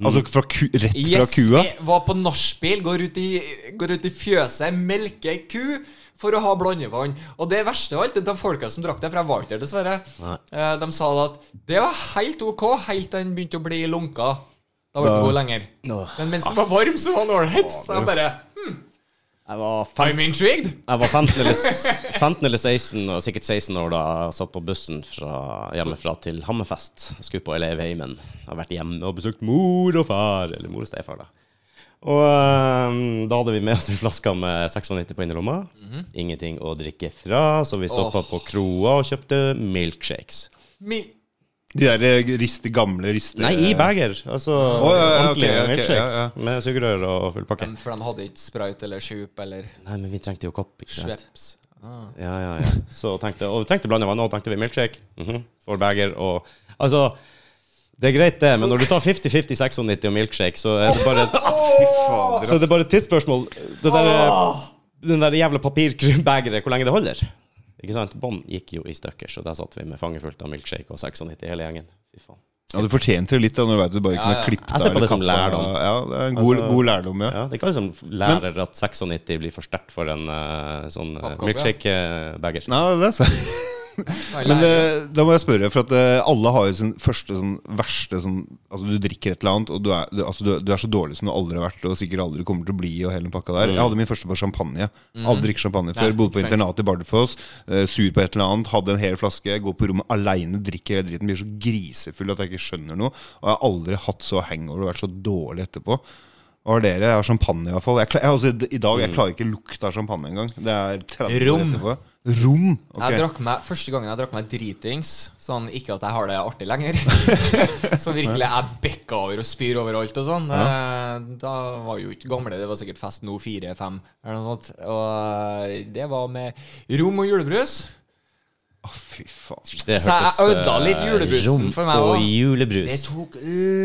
Speaker 3: Altså fra ku, rett fra
Speaker 2: Yes,
Speaker 3: kua.
Speaker 2: jeg var på nachspiel, går, ut i- går ut i fjøset, melker ei ku for å ha blandevann. Og det verste av alt, det er de folka som drakk det, for jeg var ikke der, dessverre. Eh, De sa da at det var helt OK, helt til den begynte å bli lunka. Da ble det
Speaker 3: Da- Ah.
Speaker 2: god lenger. Men mens det var varm, så var den ålreit. Så jeg bare hm,
Speaker 1: Jeg var, fem,
Speaker 2: intrigued!
Speaker 1: jeg var 15, eller, s- 15 eller 16, og sikkert 16 år da jeg satt på bussen fra, hjemmefra til Hammerfest. Jeg skulle på elevheimen. Jeg har vært hjemme og besøkt mor og far, eller mor og stefar, da. Og ehm, da hadde vi med oss en flaske med 96 på innerlomma. Ingenting å drikke fra, så vi stoppa
Speaker 2: Åh.
Speaker 1: på kroa og kjøpte milkshakes.
Speaker 2: Mi
Speaker 3: De der riste, gamle rister
Speaker 1: Nei, i bager. Altså
Speaker 3: Å, ja, ja,
Speaker 1: ordentlig
Speaker 3: ok, ok,
Speaker 1: milkshake
Speaker 3: ja, ja.
Speaker 1: med sugerør og full pakke.
Speaker 2: Men For de hadde ikke sprite eller sjup eller
Speaker 1: Nei, men vi trengte jo kopp. ikke sant?
Speaker 2: Schweppes. Ah.
Speaker 1: Ja, ja, ja. Så tenkte, og vi trengte blanda vann, og tenkte vi milkshake. mhm, Får bager og Altså, det er greit, det, men når du tar 50-50 96 og milkshake, så er det bare
Speaker 3: Fader,
Speaker 1: Så er det bare et tidsspørsmål. Det der, den der jævla papirbageret, hvor lenge det holder. Ikke sant? Bånd gikk jo i stykker, så der satt vi med fanget fullt av milkshake og 96 hele gjengen. Fy faen.
Speaker 3: Ja, Du fortjente det litt da når du vet du bare
Speaker 2: Ja,
Speaker 3: kunne
Speaker 2: ja.
Speaker 3: ha klippet
Speaker 1: Jeg ser på
Speaker 3: deg
Speaker 1: det som
Speaker 3: kappet deg.
Speaker 1: lærdom.
Speaker 3: Ja, det er en god,
Speaker 1: Altså-
Speaker 3: god lærdom, ja.
Speaker 1: Ja, det er ikke alle som lærer at 96 blir for sterkt for en eh, sånn eh,
Speaker 2: Pappkopp, ja.
Speaker 1: milkshake-bager.
Speaker 3: Nei, det er sant. Men eh, da må jeg spørre, for at eh, alle har jo sin første sånn verste sånn Altså, du drikker et eller annet, og du er, du, altså, du, du er så dårlig som du aldri har vært, og sikkert aldri kommer til å bli, og hele den pakka der. Jeg hadde min første på champagne. Aldri drikket champagne før.
Speaker 2: Nei,
Speaker 3: bodde på
Speaker 2: Mm. sant.
Speaker 3: internat i Bardufoss. eh, sur på et eller annet. Hadde en hel flaske. Går på rommet aleine, drikker hele driten. Blir så grisefull at jeg ikke skjønner noe. Og jeg har aldri hatt så hangover og vært så dårlig etterpå. Hva har dere? Jeg har champagne, i hvert fall. Jeg, kla- jeg, altså, I dag jeg klarer ikke lukta av champagne engang. Det er 30 år
Speaker 2: Mm. Rom.
Speaker 3: etterpå. Rom. ok.
Speaker 2: Jeg drakk meg, Første gangen jeg drakk meg dritings, sånn ikke at jeg har det artig lenger Sånn virkelig jeg bekka over og spyr overalt og sånn. eh, Da var jo ikke gamle, det var sikkert fest nå fire-fem eller noe sånt. Og det var med rom og julebrus.
Speaker 3: Å, fy faen.
Speaker 1: Det
Speaker 2: Så jeg ødela
Speaker 1: eh,
Speaker 2: litt julebrusen
Speaker 1: rom
Speaker 2: for meg
Speaker 1: og
Speaker 2: også. Det
Speaker 1: julebrus.
Speaker 2: tok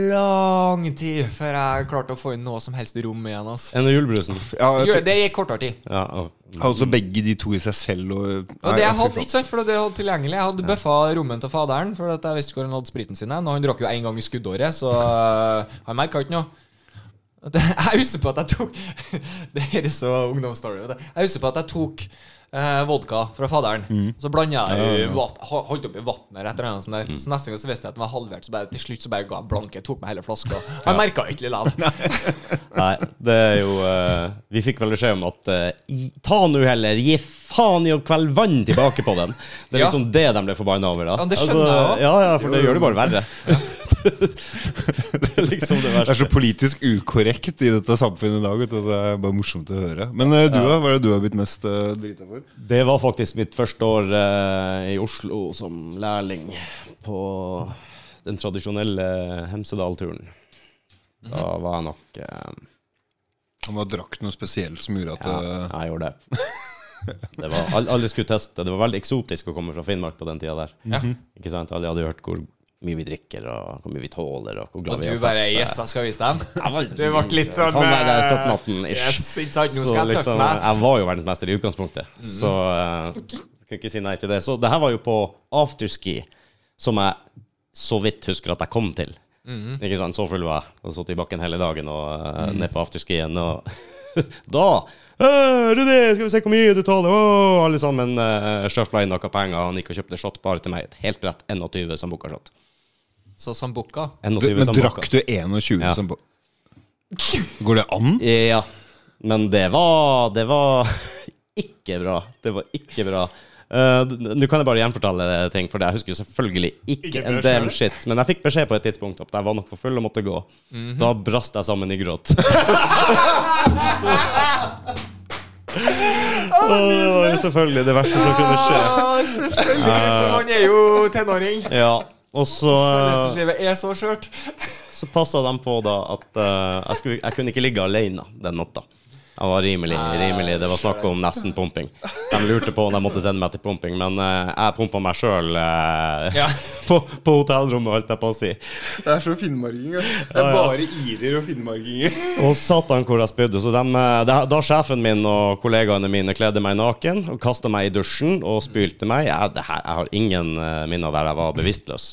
Speaker 2: lang tid før jeg klarte å få inn noe som helst rom igjen. ass.
Speaker 1: Enn julebrusen.
Speaker 3: Ja, jeg
Speaker 2: Jo,
Speaker 3: tenker-
Speaker 2: Det gikk kortere tid.
Speaker 1: Ja, og,
Speaker 3: jeg har også begge de to i seg selv. Og,
Speaker 2: Og
Speaker 3: Nei,
Speaker 2: det
Speaker 3: ja,
Speaker 2: jeg
Speaker 3: fy
Speaker 2: hadde,
Speaker 3: faen.
Speaker 2: ikke sant, for det jeg hadde tilgjengelig Jeg hadde bøffa rommet til faderen, for at jeg visste hvor han hadde spriten sin. hen, Og han drakk jo én gang i skuddåret, så øh, han merka ikke noe. At Jeg jeg husker på at jeg tok Det her er så ungdomsstory. vet du. Jeg husker på at jeg tok eh, vodka fra faderen. Så blanda jeg i vat, ho- holdt oppi vannet eller et eller annet sånt der. Så neste gang så visste jeg at den var halvert, så bare, til slutt så bare ga jeg blanke. Tok meg hele flaska. Han merket merka ikke likevel.
Speaker 1: nei, det er jo eh, Vi fikk vel beskjed om at eh, i- ta nå heller, gi faen i å kvelde vann tilbake på den. Det er
Speaker 2: Ja.
Speaker 1: liksom det de ble forbanna over. da Altså,
Speaker 2: Ja, det skjønner jeg også.
Speaker 1: Ja, ja, for det gjør det bare verre. det er liksom det
Speaker 3: Det er
Speaker 1: verste.
Speaker 3: så politisk ukorrekt i dette samfunnet i dag. vet du, så Det er bare morsomt å høre. Men eh, du, da? hva er det du har blitt mest uh, drita for?
Speaker 1: Det var faktisk mitt første år eh, i Oslo som lærling på den tradisjonelle Hemsedal-turen. Da var jeg nok eh,
Speaker 3: Han var drakk noe spesielt som gjorde at
Speaker 1: ja,
Speaker 3: eh,
Speaker 1: jeg gjorde det. det var, alle- alle skulle teste. Det var veldig eksotisk å komme fra Finnmark på den tida der.
Speaker 2: Ja.
Speaker 1: Ikke sant? Alle hadde hørt hvor mye vi drikker, og hvor mye vi tåler, og hvor glad
Speaker 2: Og
Speaker 1: vi
Speaker 2: du
Speaker 1: er å
Speaker 2: bare
Speaker 1: feste.
Speaker 2: Yes, jeg skal vise dem.
Speaker 1: Jeg var
Speaker 2: Det ble litt sånn
Speaker 1: eh». Sånn er det,
Speaker 2: eh,
Speaker 1: 17-18-ish.
Speaker 2: Yes, ikke sant, nå
Speaker 1: Så
Speaker 2: skal jeg tøffe
Speaker 1: liksom,
Speaker 2: meg.
Speaker 1: jeg var jo verdensmester i utgangspunktet, så eh, kunne ikke si nei til det. Så det her var jo på afterski, som jeg så vidt husker at jeg kom til.
Speaker 2: Mm.
Speaker 1: Ikke sant, Så full var jeg. Og satt i bakken hele dagen og eh, ned på afterskien. Og da «Øy, Rudi, skal vi se hvor mye du tåler? Åh, alle sammen uh, sjøfla inn noe penger. Han gikk og kjøpte shot bare til meg. Et helt brett 21 Sambuca-shot.
Speaker 2: Så Sambuca
Speaker 3: du,
Speaker 1: 21
Speaker 3: Men
Speaker 1: Sambuca.
Speaker 3: drakk du 21
Speaker 1: Ja.
Speaker 3: som Går det an?
Speaker 1: Ja. Men det var Det var ikke bra. Det var ikke bra. Eh, d- Nå kan jeg bare gjenfortelle ting, for jeg husker jo selvfølgelig ikke,
Speaker 2: Ikke
Speaker 1: en
Speaker 2: bra
Speaker 1: damn
Speaker 2: selv.
Speaker 1: shit. Men jeg fikk beskjed på et tidspunkt at jeg var nok for full og måtte gå. Da brast jeg sammen i gråt. Og det var jo selvfølgelig det verste som kunne skje.
Speaker 2: Ja, selvfølgelig, for man er jo tenåring.
Speaker 1: Ja, og så eh,
Speaker 2: Følelseslivet er så skjørt.
Speaker 1: så passa de på da at eh, jeg, skulle, jeg kunne ikke ligge alene den natta. Jeg var rimelig, rimelig. Det var snakk om nesten pumping. De lurte på om de måtte sende meg til pumping, men eh, jeg pumpa meg sjøl
Speaker 2: Ja.
Speaker 1: på, på hotellrommet, holdt jeg på å si.
Speaker 3: Det er så finnmarking. Det er bare irer og finnmarkinger.
Speaker 1: Og satan hvor jeg spydde. Så dem, eh, da, da sjefen min og kollegaene mine kledde meg naken og kasta meg i dusjen og spylte meg Jeg, det her, jeg har ingen eh, minner av der jeg var bevisstløs.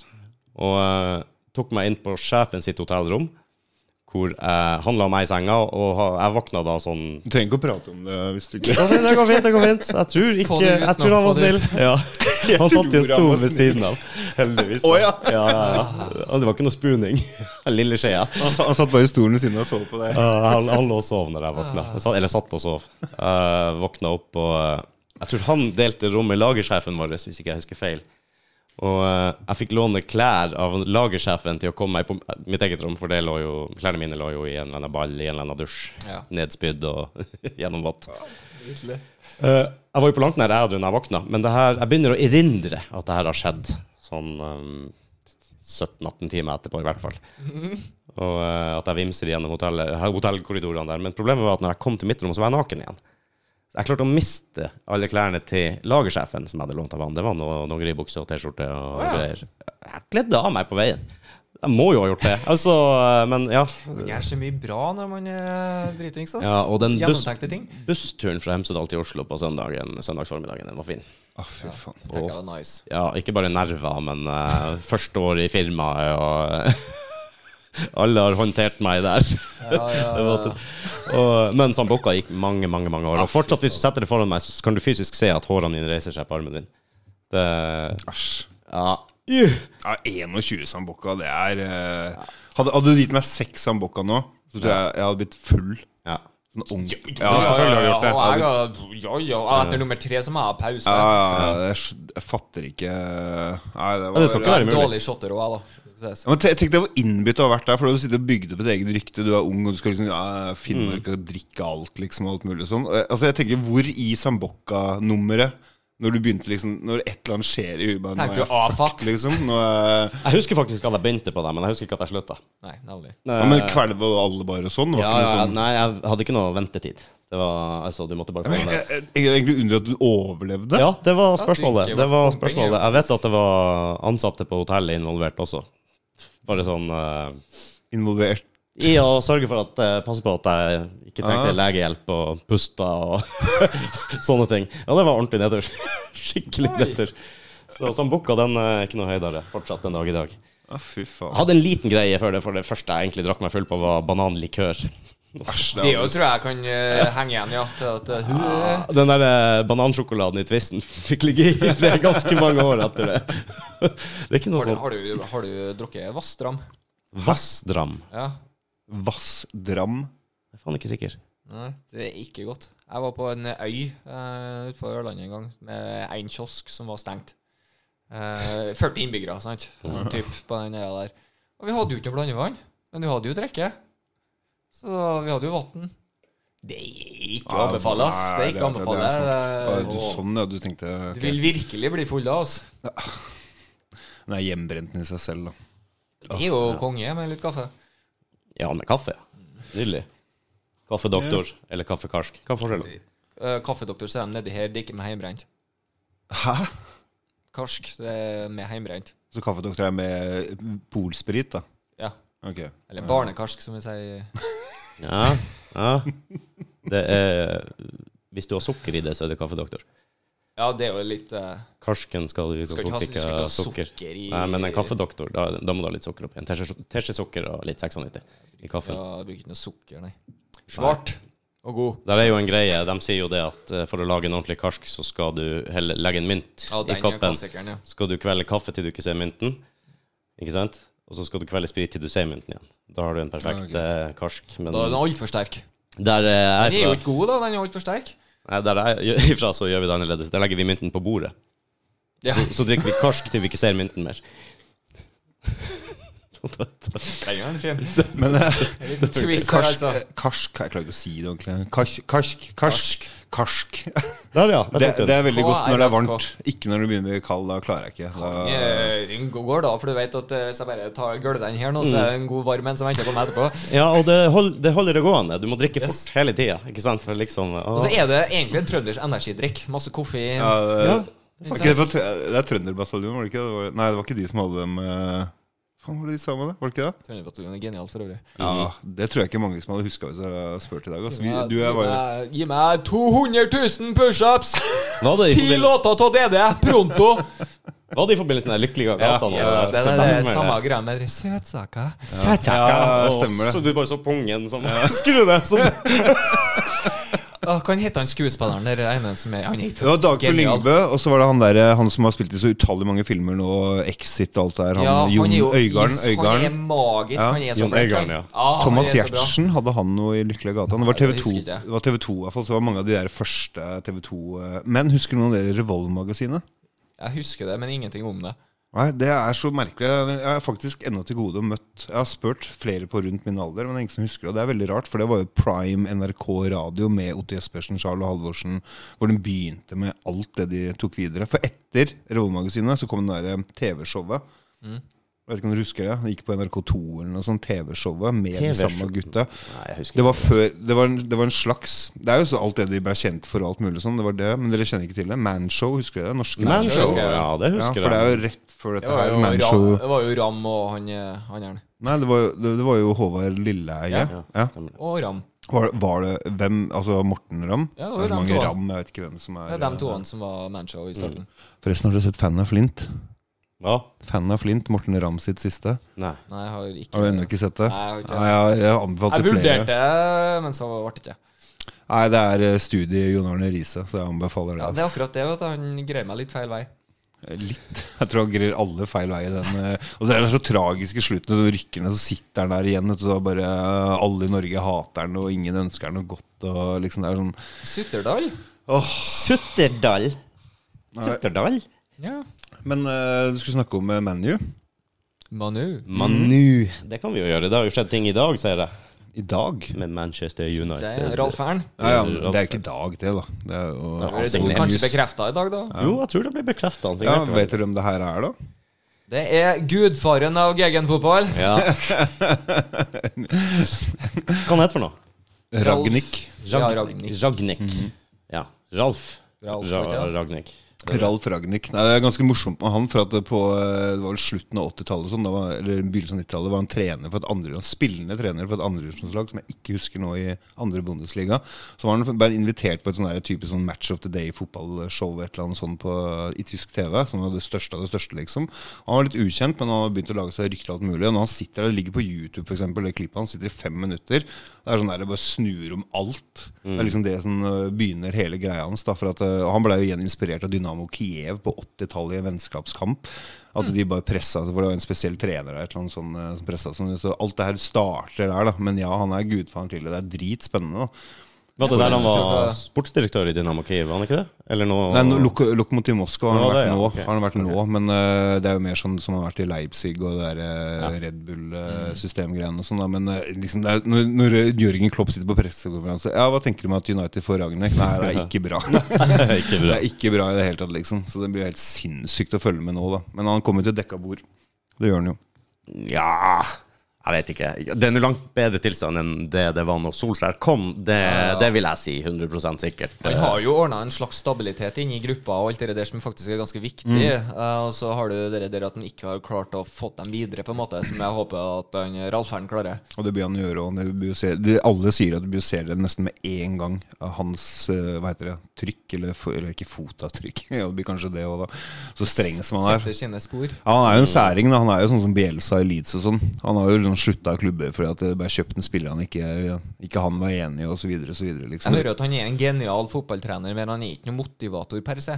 Speaker 1: Og eh, tok meg inn på sjefen sitt hotellrom, hvor eh, han la meg i senga, og ha- jeg våkna da sånn
Speaker 3: Du trenger ikke å prate om det hvis du
Speaker 1: Det
Speaker 3: ikke
Speaker 1: går fint, det går fint. det går fint Jeg tror, ikke,
Speaker 2: Få det ut
Speaker 1: jeg
Speaker 2: nå,
Speaker 1: tror han
Speaker 2: få
Speaker 1: var
Speaker 2: det
Speaker 1: snill.
Speaker 2: ut.
Speaker 1: Ja. Han satt i en
Speaker 3: tror han
Speaker 1: stol
Speaker 3: var
Speaker 1: ved
Speaker 3: snill.
Speaker 1: siden av. Heldigvis. da.
Speaker 3: Å, ja.
Speaker 1: Ja, ja, ja. Og det var ikke noe spooning. Lille skjea.
Speaker 3: Han sa- han satt bare i stolen ved siden av og så på deg.
Speaker 1: Ja, han, han lå og sov når jeg våkna. Jeg satt, eller satt og sov. Eh, våkna opp og eh, Jeg tror han delte rom med lagersjefen vår, hvis ikke jeg husker feil. Og eh, jeg fikk låne klær av lagersjefen til å komme meg på mitt eget rom, for det lå jo, klærne mine lå jo i en eller annen ball i en eller annen dusj.
Speaker 2: Ja.
Speaker 1: Nedspydd og gjennomvått. Eh, jeg var jo på langt nær ædru da jeg våkna, men det her, jeg begynner å erindre at det her har skjedd sånn um, 17-18 timer etterpå, i hvert fall. Og eh, at jeg vimser gjennom hotellet, hotellkorridorene der. Men problemet var at når jeg kom til mitt rom, så var jeg naken igjen. Så jeg klarte å miste alle klærne til lagersjefen som jeg hadde lånt av han. Det var noe, noen grisebukse og T-skjorte og greier. Jeg kledde av meg på veien. Jeg må jo ha gjort det. Altså, eh, men ja.
Speaker 2: Det er så mye bra når man er dritings, ass.
Speaker 1: ja og den buss,
Speaker 2: Gjennomtenkte ting.
Speaker 1: bussturen fra Hemsedal til Oslo på søndagen, søndagsformiddagen, den var fin.
Speaker 3: Å, fy faen.
Speaker 2: Tenker jeg var nice.
Speaker 1: Ja, ikke bare nerver, men eh, første år i firmaet og Alle har håndtert meg der.
Speaker 2: Ja, ja,
Speaker 1: Det var
Speaker 2: ja.
Speaker 1: til- og, men Sambuca gikk mange mange, mange år. Og fortsatt, hvis du setter det foran meg, så kan du fysisk se at hårene dine reiser seg på armen din. Det
Speaker 3: Æsj.
Speaker 1: Ja.
Speaker 3: Ja, 21 sambokka, det er eh, hadde, hadde du gitt meg seks sambokka nå, så tror jeg jeg hadde blitt full.
Speaker 1: ja.
Speaker 3: Sånn ordentlig.
Speaker 2: Ja,
Speaker 3: Ja, selvfølgelig har du gjort det.
Speaker 2: og
Speaker 3: Jeg hadde-
Speaker 2: jeg, ja, ja, og etter nummer tre så må jeg ha pause.
Speaker 3: Ja, ja, ja, jeg, skj- jeg fatter ikke Nei, det var
Speaker 1: det skal ikke
Speaker 2: Jeg
Speaker 1: være
Speaker 2: er
Speaker 1: mulig.
Speaker 2: dårlig shotter òg, jeg, da.
Speaker 3: Ja, men te- Tenk deg hvor innbitt du har vært der. For Du sitter og bygde opp et eget rykte. Du er ung, og du skal liksom ja, Finnmark
Speaker 1: Mm.
Speaker 3: og drikke alt, liksom. og Alt mulig sånn. Eh, Altså, jeg tenker, hvor i Sambokka-nummeret når du begynte liksom Når et eller annet skjer i huet bare, nå er
Speaker 2: Tenkte du,
Speaker 3: jeg
Speaker 2: «Ah,
Speaker 3: fucked»,
Speaker 2: fuck.
Speaker 3: liksom. Nå er, jeg-
Speaker 1: Jeg husker faktisk at jeg begynte på det, men jeg husker ikke at jeg slutta.
Speaker 2: Nei, nemlig.
Speaker 3: ja, men kvelva du alle bare og sånn? Det var
Speaker 1: ja,
Speaker 3: ikke noe
Speaker 1: ja,
Speaker 3: sånn.
Speaker 1: nei, jeg hadde ikke noe ventetid. Det var, altså, Du måtte bare få
Speaker 3: Jeg,
Speaker 1: det.
Speaker 3: jeg, jeg, jeg er egentlig under at du overlevde.
Speaker 1: Ja, det var
Speaker 2: Ja, det
Speaker 1: spørsmålet.
Speaker 2: ikke
Speaker 1: Det
Speaker 2: var
Speaker 1: var
Speaker 2: bompenger,
Speaker 1: spørsmålet. Jeg vet at det var ansatte på hotellet involvert også. Bare sånn eh,
Speaker 3: Involvert.
Speaker 1: I å sørge for at eh, Passe på at jeg ikke trengte
Speaker 3: Ah.
Speaker 1: legehjelp og pusta og sånne ting. Ja, det var ordentlig nedtur. Skikkelig
Speaker 2: Oi.
Speaker 1: nedtur. Så Sambuca den er ikke noe høydere fortsatt den dag i dag. Jeg
Speaker 3: Ja, fy faen.
Speaker 1: hadde en liten greie før det, for det første jeg egentlig drakk meg full på, var bananlikør.
Speaker 3: Æsj,
Speaker 2: Det
Speaker 3: er altså
Speaker 2: jo,
Speaker 3: alles-
Speaker 2: tror jeg kan eh, henge igjen, ja. Til at eh,
Speaker 1: Den der eh, banansjokoladen i Twisten fikk ligge i flere ganske mange år etter det. Det er ikke noe
Speaker 2: har, du,
Speaker 1: sånn
Speaker 2: har, du, har du drukket Vassdram?
Speaker 1: Vassdram.
Speaker 2: Ja.
Speaker 3: Vassdram.
Speaker 1: Jeg er faen ikke sikker.
Speaker 2: Nei, det er ikke godt. Jeg var på en øy uh, ute på Ørlandet en gang med en kiosk som var stengt. Eh, 40 innbyggere, sant? Noen Typ, på den øya der. Og vi hadde jo ikke noe blandevann, men vi hadde jo drikke. Så vi hadde jo vann. Det er ikke å
Speaker 3: Ja,
Speaker 2: anbefale, ass. Det
Speaker 3: nei, det-
Speaker 2: er ikke å
Speaker 3: det-
Speaker 2: anbefale.
Speaker 3: det er sant.
Speaker 2: Eh,
Speaker 3: Ja, du,
Speaker 2: og
Speaker 3: sånn, ja. Du tenkte
Speaker 2: Du
Speaker 3: ok.
Speaker 2: vil virkelig bli full da, ass.
Speaker 3: Den er hjemmebrenten i seg selv, da.
Speaker 2: Det er jo konge med litt kaffe.
Speaker 1: Ja, med kaffe. Nydelig. Kaffedoktor eller kaffekarsk. Hva er forskjellen?
Speaker 2: Eh, Kaffedoktor sier de nedi her, det er ikke med heimbrent.
Speaker 3: Hæ?
Speaker 2: Karsk, det er med heimbrent.
Speaker 3: Så kaffedoktor er med polsprit, da?
Speaker 2: Ja.
Speaker 3: Ok.
Speaker 2: Eller barnekarsk, som vi sier.
Speaker 1: Ja, ja. Det er Hvis du har sukker i det, så er det kaffedoktor.
Speaker 2: Ja, det er jo litt eh,
Speaker 1: Karsken skal du
Speaker 2: Skal ikke ha,
Speaker 1: utgangspunktet
Speaker 2: skal ikke
Speaker 1: ikke
Speaker 2: ha
Speaker 1: ha sukker.
Speaker 2: sukker i
Speaker 1: Nei, men en kaffedoktor, da, da må du ha litt sukker oppi. En teskje teskje sukker og litt 96 i kaffen.
Speaker 2: Ja, jeg bruker ikke noe sukker, nei. Svart og god.
Speaker 1: Der er jo en greie. De sier jo det at eh, for å lage en ordentlig karsk, så skal du helle, legge en mynt
Speaker 2: Ja,
Speaker 1: i
Speaker 2: den er
Speaker 1: koppen.
Speaker 2: klassikeren, ja.
Speaker 1: skal du kvelde kaffe til du ikke ser mynten. Ikke sant? Og så skal du kvelde sprit til du ser mynten igjen. Da har du en perfekt eh, karsk. Men
Speaker 2: Da er den altfor sterk.
Speaker 1: der eh,
Speaker 2: Den er
Speaker 1: jeg
Speaker 2: jo
Speaker 1: er fra,
Speaker 2: ikke god, da. Den er altfor sterk.
Speaker 1: nei, der jeg er ifra, så gjør vi det annerledes. Der legger vi mynten på bordet.
Speaker 2: Ja.
Speaker 1: Så, så drikker vi karsk til vi ikke ser mynten mer.
Speaker 2: Den er en fin.
Speaker 3: Men eh,
Speaker 2: En liten twist her,
Speaker 3: karsk, eh,
Speaker 2: altså.
Speaker 3: karsk Jeg klarer ikke å si det ordentlig. Karsk. Karsk. Karsk. karsk.
Speaker 1: Der, ja. Der
Speaker 3: Det,
Speaker 1: tok du
Speaker 3: det
Speaker 1: den.
Speaker 3: er veldig godt når det er
Speaker 2: K-A-R-S-K.
Speaker 3: varmt. Ikke når det begynner å bli kaldt. Da klarer jeg ikke. Da,
Speaker 2: Eh, Den går, da, for du vet at eh, hvis jeg bare tar gulver den her nå, så er det en god varm en som venter på meg etterpå.
Speaker 1: Ja, og det, hold, det holder det gående. Du må drikke fort
Speaker 2: Yes.
Speaker 1: hele tida. Ikke sant? For liksom
Speaker 2: Og så
Speaker 1: å,
Speaker 2: er det egentlig en trøndersk energidrikk. Masse koffein.
Speaker 3: ja, det,
Speaker 1: Ja.
Speaker 3: Var ikke det, fra Trø- det er Trønderbataljonen, var det ikke? Det var, nei, det var ikke de som hadde dem eh, Faen, var det de sa med det? Var det Mm. ikke det?
Speaker 2: Trønderbataljonen er genialt for øvrig.
Speaker 3: Ja, Det tror jeg ikke mange som hadde huska hvis jeg hadde spurt i dag. Altså. Vi,
Speaker 2: Gi meg-
Speaker 3: du er
Speaker 2: gi
Speaker 3: bare
Speaker 2: meg- Gi meg 200 000 pushups!
Speaker 1: Var det i
Speaker 2: Ti
Speaker 1: forbindelse-
Speaker 2: låter av DD! Pronto!
Speaker 1: Var det i forbindelse med den lykkelige gata? nå?
Speaker 3: Yes,
Speaker 1: Ja,
Speaker 2: Det er det
Speaker 1: stemmer
Speaker 2: samme greia med dere søtsaker.
Speaker 3: Ja,
Speaker 1: Og
Speaker 3: stemmer
Speaker 1: Så
Speaker 3: det.
Speaker 1: du bare så pungen sånn Skru det! Sånn.
Speaker 2: Åh, Hva heter han skuespilleren der ene som er Han er
Speaker 3: Det var
Speaker 2: faktisk
Speaker 3: Dagfjord
Speaker 2: genial.
Speaker 3: Lyngbø, og så var det han der, eh, han som har spilt i så utallig mange filmer nå, Exit og alt det her. Han,
Speaker 2: Ja,
Speaker 3: Jon
Speaker 2: han er jo
Speaker 3: Øygarden.
Speaker 2: yes, Han er
Speaker 3: Øygarden.
Speaker 2: magisk.
Speaker 3: Ja.
Speaker 2: Han er så
Speaker 1: Jon
Speaker 2: flink.
Speaker 1: Øygarden,
Speaker 2: han.
Speaker 1: ja.
Speaker 2: Ja, han
Speaker 3: Thomas
Speaker 2: er så bra.
Speaker 3: Giertsen hadde han noe i Lykkelige gata. Det var
Speaker 2: Nei, det
Speaker 3: TV2,
Speaker 2: husker jeg ikke.
Speaker 3: det var TV2 i hvert fall, så det var mange av de der første TV2 eh, Men husker noen av dere Revolve-magasinet?
Speaker 2: Jeg husker det, men ingenting om det.
Speaker 3: Nei, det er så merkelig. Jeg har faktisk ennå til gode å møtt Jeg har spurt flere på rundt min alder, men det er ingen som husker det. Det er veldig rart, for det var jo prime NRK radio med Otti Espersen, Charles og Halvorsen, hvor de begynte med alt det de tok videre. For etter Revolve-magasinet så kom det derre TV-showet. Vet ikke om du husker det? Det gikk på NRK2 eller noe sånt. TV-showet med de samme gutta.
Speaker 1: Nei, jeg husker
Speaker 3: Det var før Det var en, det var en slags Det er jo så alt det de ble kjent for, og alt mulig sånn. Det var det, men dere kjenner ikke til det? Manshow, husker dere det? Norske
Speaker 1: Man
Speaker 2: Manshow.
Speaker 3: Manshow.
Speaker 1: Show.
Speaker 2: husker jeg.
Speaker 1: Ja, det
Speaker 3: Ja,
Speaker 1: husker
Speaker 3: for det er
Speaker 1: jeg.
Speaker 3: jo rett før
Speaker 2: Det
Speaker 3: dette
Speaker 2: var
Speaker 3: her.
Speaker 2: jo, Ram,
Speaker 3: Manshow
Speaker 2: det var jo Ram og han eh, han der.
Speaker 3: Nei, det var, jo- det, det var jo Håvard Lilleheie.
Speaker 2: Ja.
Speaker 3: Ja.
Speaker 1: Stemmer det.
Speaker 2: Og Ram.
Speaker 3: Var, var det hvem Altså Morten Ramm?
Speaker 2: Ja, det var
Speaker 3: det er så
Speaker 2: dem
Speaker 3: mange
Speaker 2: to, da.
Speaker 3: Ramm, jeg vet ikke hvem som er
Speaker 2: Det er de toene som var Manshow i starten.
Speaker 3: Forresten, har du sett Fan av Flint?
Speaker 1: Ja.
Speaker 3: Fan av Flint, Morten Ramm sitt siste.
Speaker 1: Nei.
Speaker 2: Nei, jeg har ikke
Speaker 3: Har du ennå ikke sett det?
Speaker 2: Nei, jeg har ikke det.
Speaker 3: Nei, jeg, jeg anbefalte
Speaker 2: Jeg vurderte,
Speaker 3: flere.
Speaker 2: det, men så ble det ikke.
Speaker 3: Nei, det er eh, studie Jon Arne Riise, så jeg anbefaler det.
Speaker 2: Ja, det
Speaker 3: ass.
Speaker 2: er
Speaker 3: Eh,
Speaker 2: akkurat det. vet du Han greier meg litt feil vei.
Speaker 3: Litt. Jeg tror han grir alle feil vei i den. eh, Og så er det så tragisk i slutten, når du rykker ned, så sitter han der igjen. Vet du, så bare eh, Alle i Norge hater han, og ingen ønsker han noe godt. Og liksom det er sånn
Speaker 2: Sutterdal?
Speaker 3: Åh,
Speaker 1: Sutterdal. Sutterdal?
Speaker 2: Ja.
Speaker 3: Men eh, du skulle snakke om eh, ManU.
Speaker 2: Manu?
Speaker 1: Manu. Det kan vi jo gjøre. Det har jo skjedd ting i dag, ser jeg.
Speaker 3: I dag?
Speaker 1: Med Manchester United.
Speaker 2: Det er Ralf Ern.
Speaker 3: Ja, ja, men det er ikke i dag, det, da. Det er jo altså
Speaker 1: Ja,
Speaker 2: Er det
Speaker 1: Absolutt.
Speaker 2: kanskje bekrefta i dag, da?
Speaker 1: Jo, jeg tror det blir altså, bekrefta.
Speaker 3: ja, Vet dere hvem det her er, da?
Speaker 2: Det er gudfaren av Gegenfotball.
Speaker 1: Ja. Hva han heter for noe?
Speaker 3: Ragnhild.
Speaker 2: Ja, Ragnik.
Speaker 1: Ragnik.
Speaker 3: Mhm.
Speaker 1: Ja. Ralf.
Speaker 2: Ralf,
Speaker 1: Ra
Speaker 2: vet du.
Speaker 1: Ragnik.
Speaker 3: Ralf Ragnhild. Nei, Det er ganske morsomt med han. For at det på eh, det var vel slutten av 80-tallet sånn, da var- eller begynnelsen av 90-tallet var han trener for et andre, han spillende trener for et andredivisjonslag som jeg ikke husker nå i andre Bundesliga. Så var han bare invitert på et sånn der type sånn Match of the Day-fotballshow et eller annet sånn på, i tysk TV. Som var det største av det største, liksom. Han var litt ukjent, men han har begynt å lage seg rykter og alt mulig. Og når han sitter der, det ligger på YouTube f.eks., det klippet hans sitter i fem minutter. Det er sånn der det bare snur om alt. Det er liksom det som øh, begynner hele greia hans. Da, for at, øh, han ble jo igjen inspirert av Dynamo Kiev på 80-tallet i en vennskapskamp. At de bare pressa For det var en spesiell trener der, et eller annet sånn, øh, som presset sånn. Så alt det her starter der, da. Men ja, han er gudfaren til det. Det er dritspennende, da.
Speaker 1: Var det der han var
Speaker 2: Ja.
Speaker 1: sportsdirektør i Dynamo Kiev, var han ikke det? Eller nå
Speaker 3: Nei, no, Lok Lokomotiv Moskva har han
Speaker 1: Ja, det,
Speaker 3: vært,
Speaker 1: ja,
Speaker 3: nå,
Speaker 1: ok.
Speaker 3: har han vært nå. Men øh, det er jo mer sånn som han har vært i Leipzig og det der, øh, Red Bull-systemgreiene og sånn. da, Men øh, liksom
Speaker 1: Mm.
Speaker 3: det er, når, når øh, Jørgen Klopp sitter på pressekonferanse Ja, hva tenker du om at United får Ragnhild? Nei, det er ikke bra.
Speaker 1: ikke
Speaker 3: Det
Speaker 1: bra.
Speaker 3: er ikke bra i det hele tatt, liksom. Så det blir helt sinnssykt å følge med nå, da. Men han kommer til dekka bord. Det gjør han jo.
Speaker 1: Ja Jeg vet ikke. Det er nå langt bedre tilstand enn det det var når Solskjær kom. Det, det vil jeg si. 100 sikkert.
Speaker 2: Han har jo ordna en slags stabilitet inni gruppa og alt det der som faktisk er ganske viktig.
Speaker 3: Mm.
Speaker 2: Eh, og så har du det der at han ikke har klart å få dem videre, på en måte, som jeg håper at han eh, Ralf Ern klarer.
Speaker 3: Og det blir han å gjøre. Og det blir jo se- de, alle sier at du blir ser det nesten med en gang. Av hans eh, hva heter det, trykk, eller, fo- eller ikke fotavtrykk. ja, det blir kanskje det òg, da. Så streng som han er.
Speaker 2: Setter sine spor.
Speaker 3: Ja, Han er jo en særing. da Han er jo sånn som Bielsa i Leeds og sånn. Han har jo sånn slutta i klubber fordi at det ble kjøpt en spiller han ikke, ikke han var enig i, og så videre, og så videre,
Speaker 2: Jeg
Speaker 3: liksom.
Speaker 2: hører at han er en genial fotballtrener, men han er ikke noen motivator per se.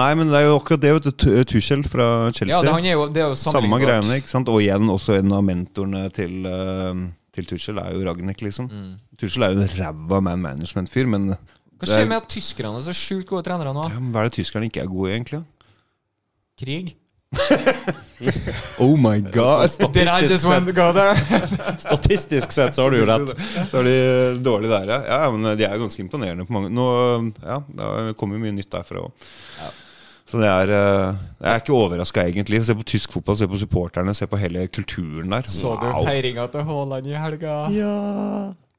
Speaker 3: Nei, men det er jo akkurat det, vet du. Tu- Tuchel fra Chelsea.
Speaker 2: Ja, det, han er jo, det er jo
Speaker 3: Samme
Speaker 2: sammenlignbart.
Speaker 3: greiene, ikke sant? Og igjen også en av mentorene til, eh, til Tuchel er jo Ragnhild, liksom. Tuchel er jo en ræva man management-fyr, men
Speaker 2: Mm. Hva
Speaker 3: det er-
Speaker 2: skjer med at tyskerne er så sjukt gode trenere nå?
Speaker 3: ja, men Hva er det tyskerne ikke er gode i, egentlig?
Speaker 2: Krig?
Speaker 3: Oh my god!
Speaker 2: Did I just want to go there?
Speaker 1: Statistisk sett så har du jo rett.
Speaker 3: Så er de eh, dårlige der, ja. ja. Men eh, de er jo ganske imponerende på mange Nå eh, ja, det kommer jo mye nytt derfra òg. Så det er eh, Jeg er ikke overraska, egentlig. Se på tysk fotball, se på supporterne, se på hele kulturen der.
Speaker 2: Så du feiringa til Haaland i helga?
Speaker 1: Ja.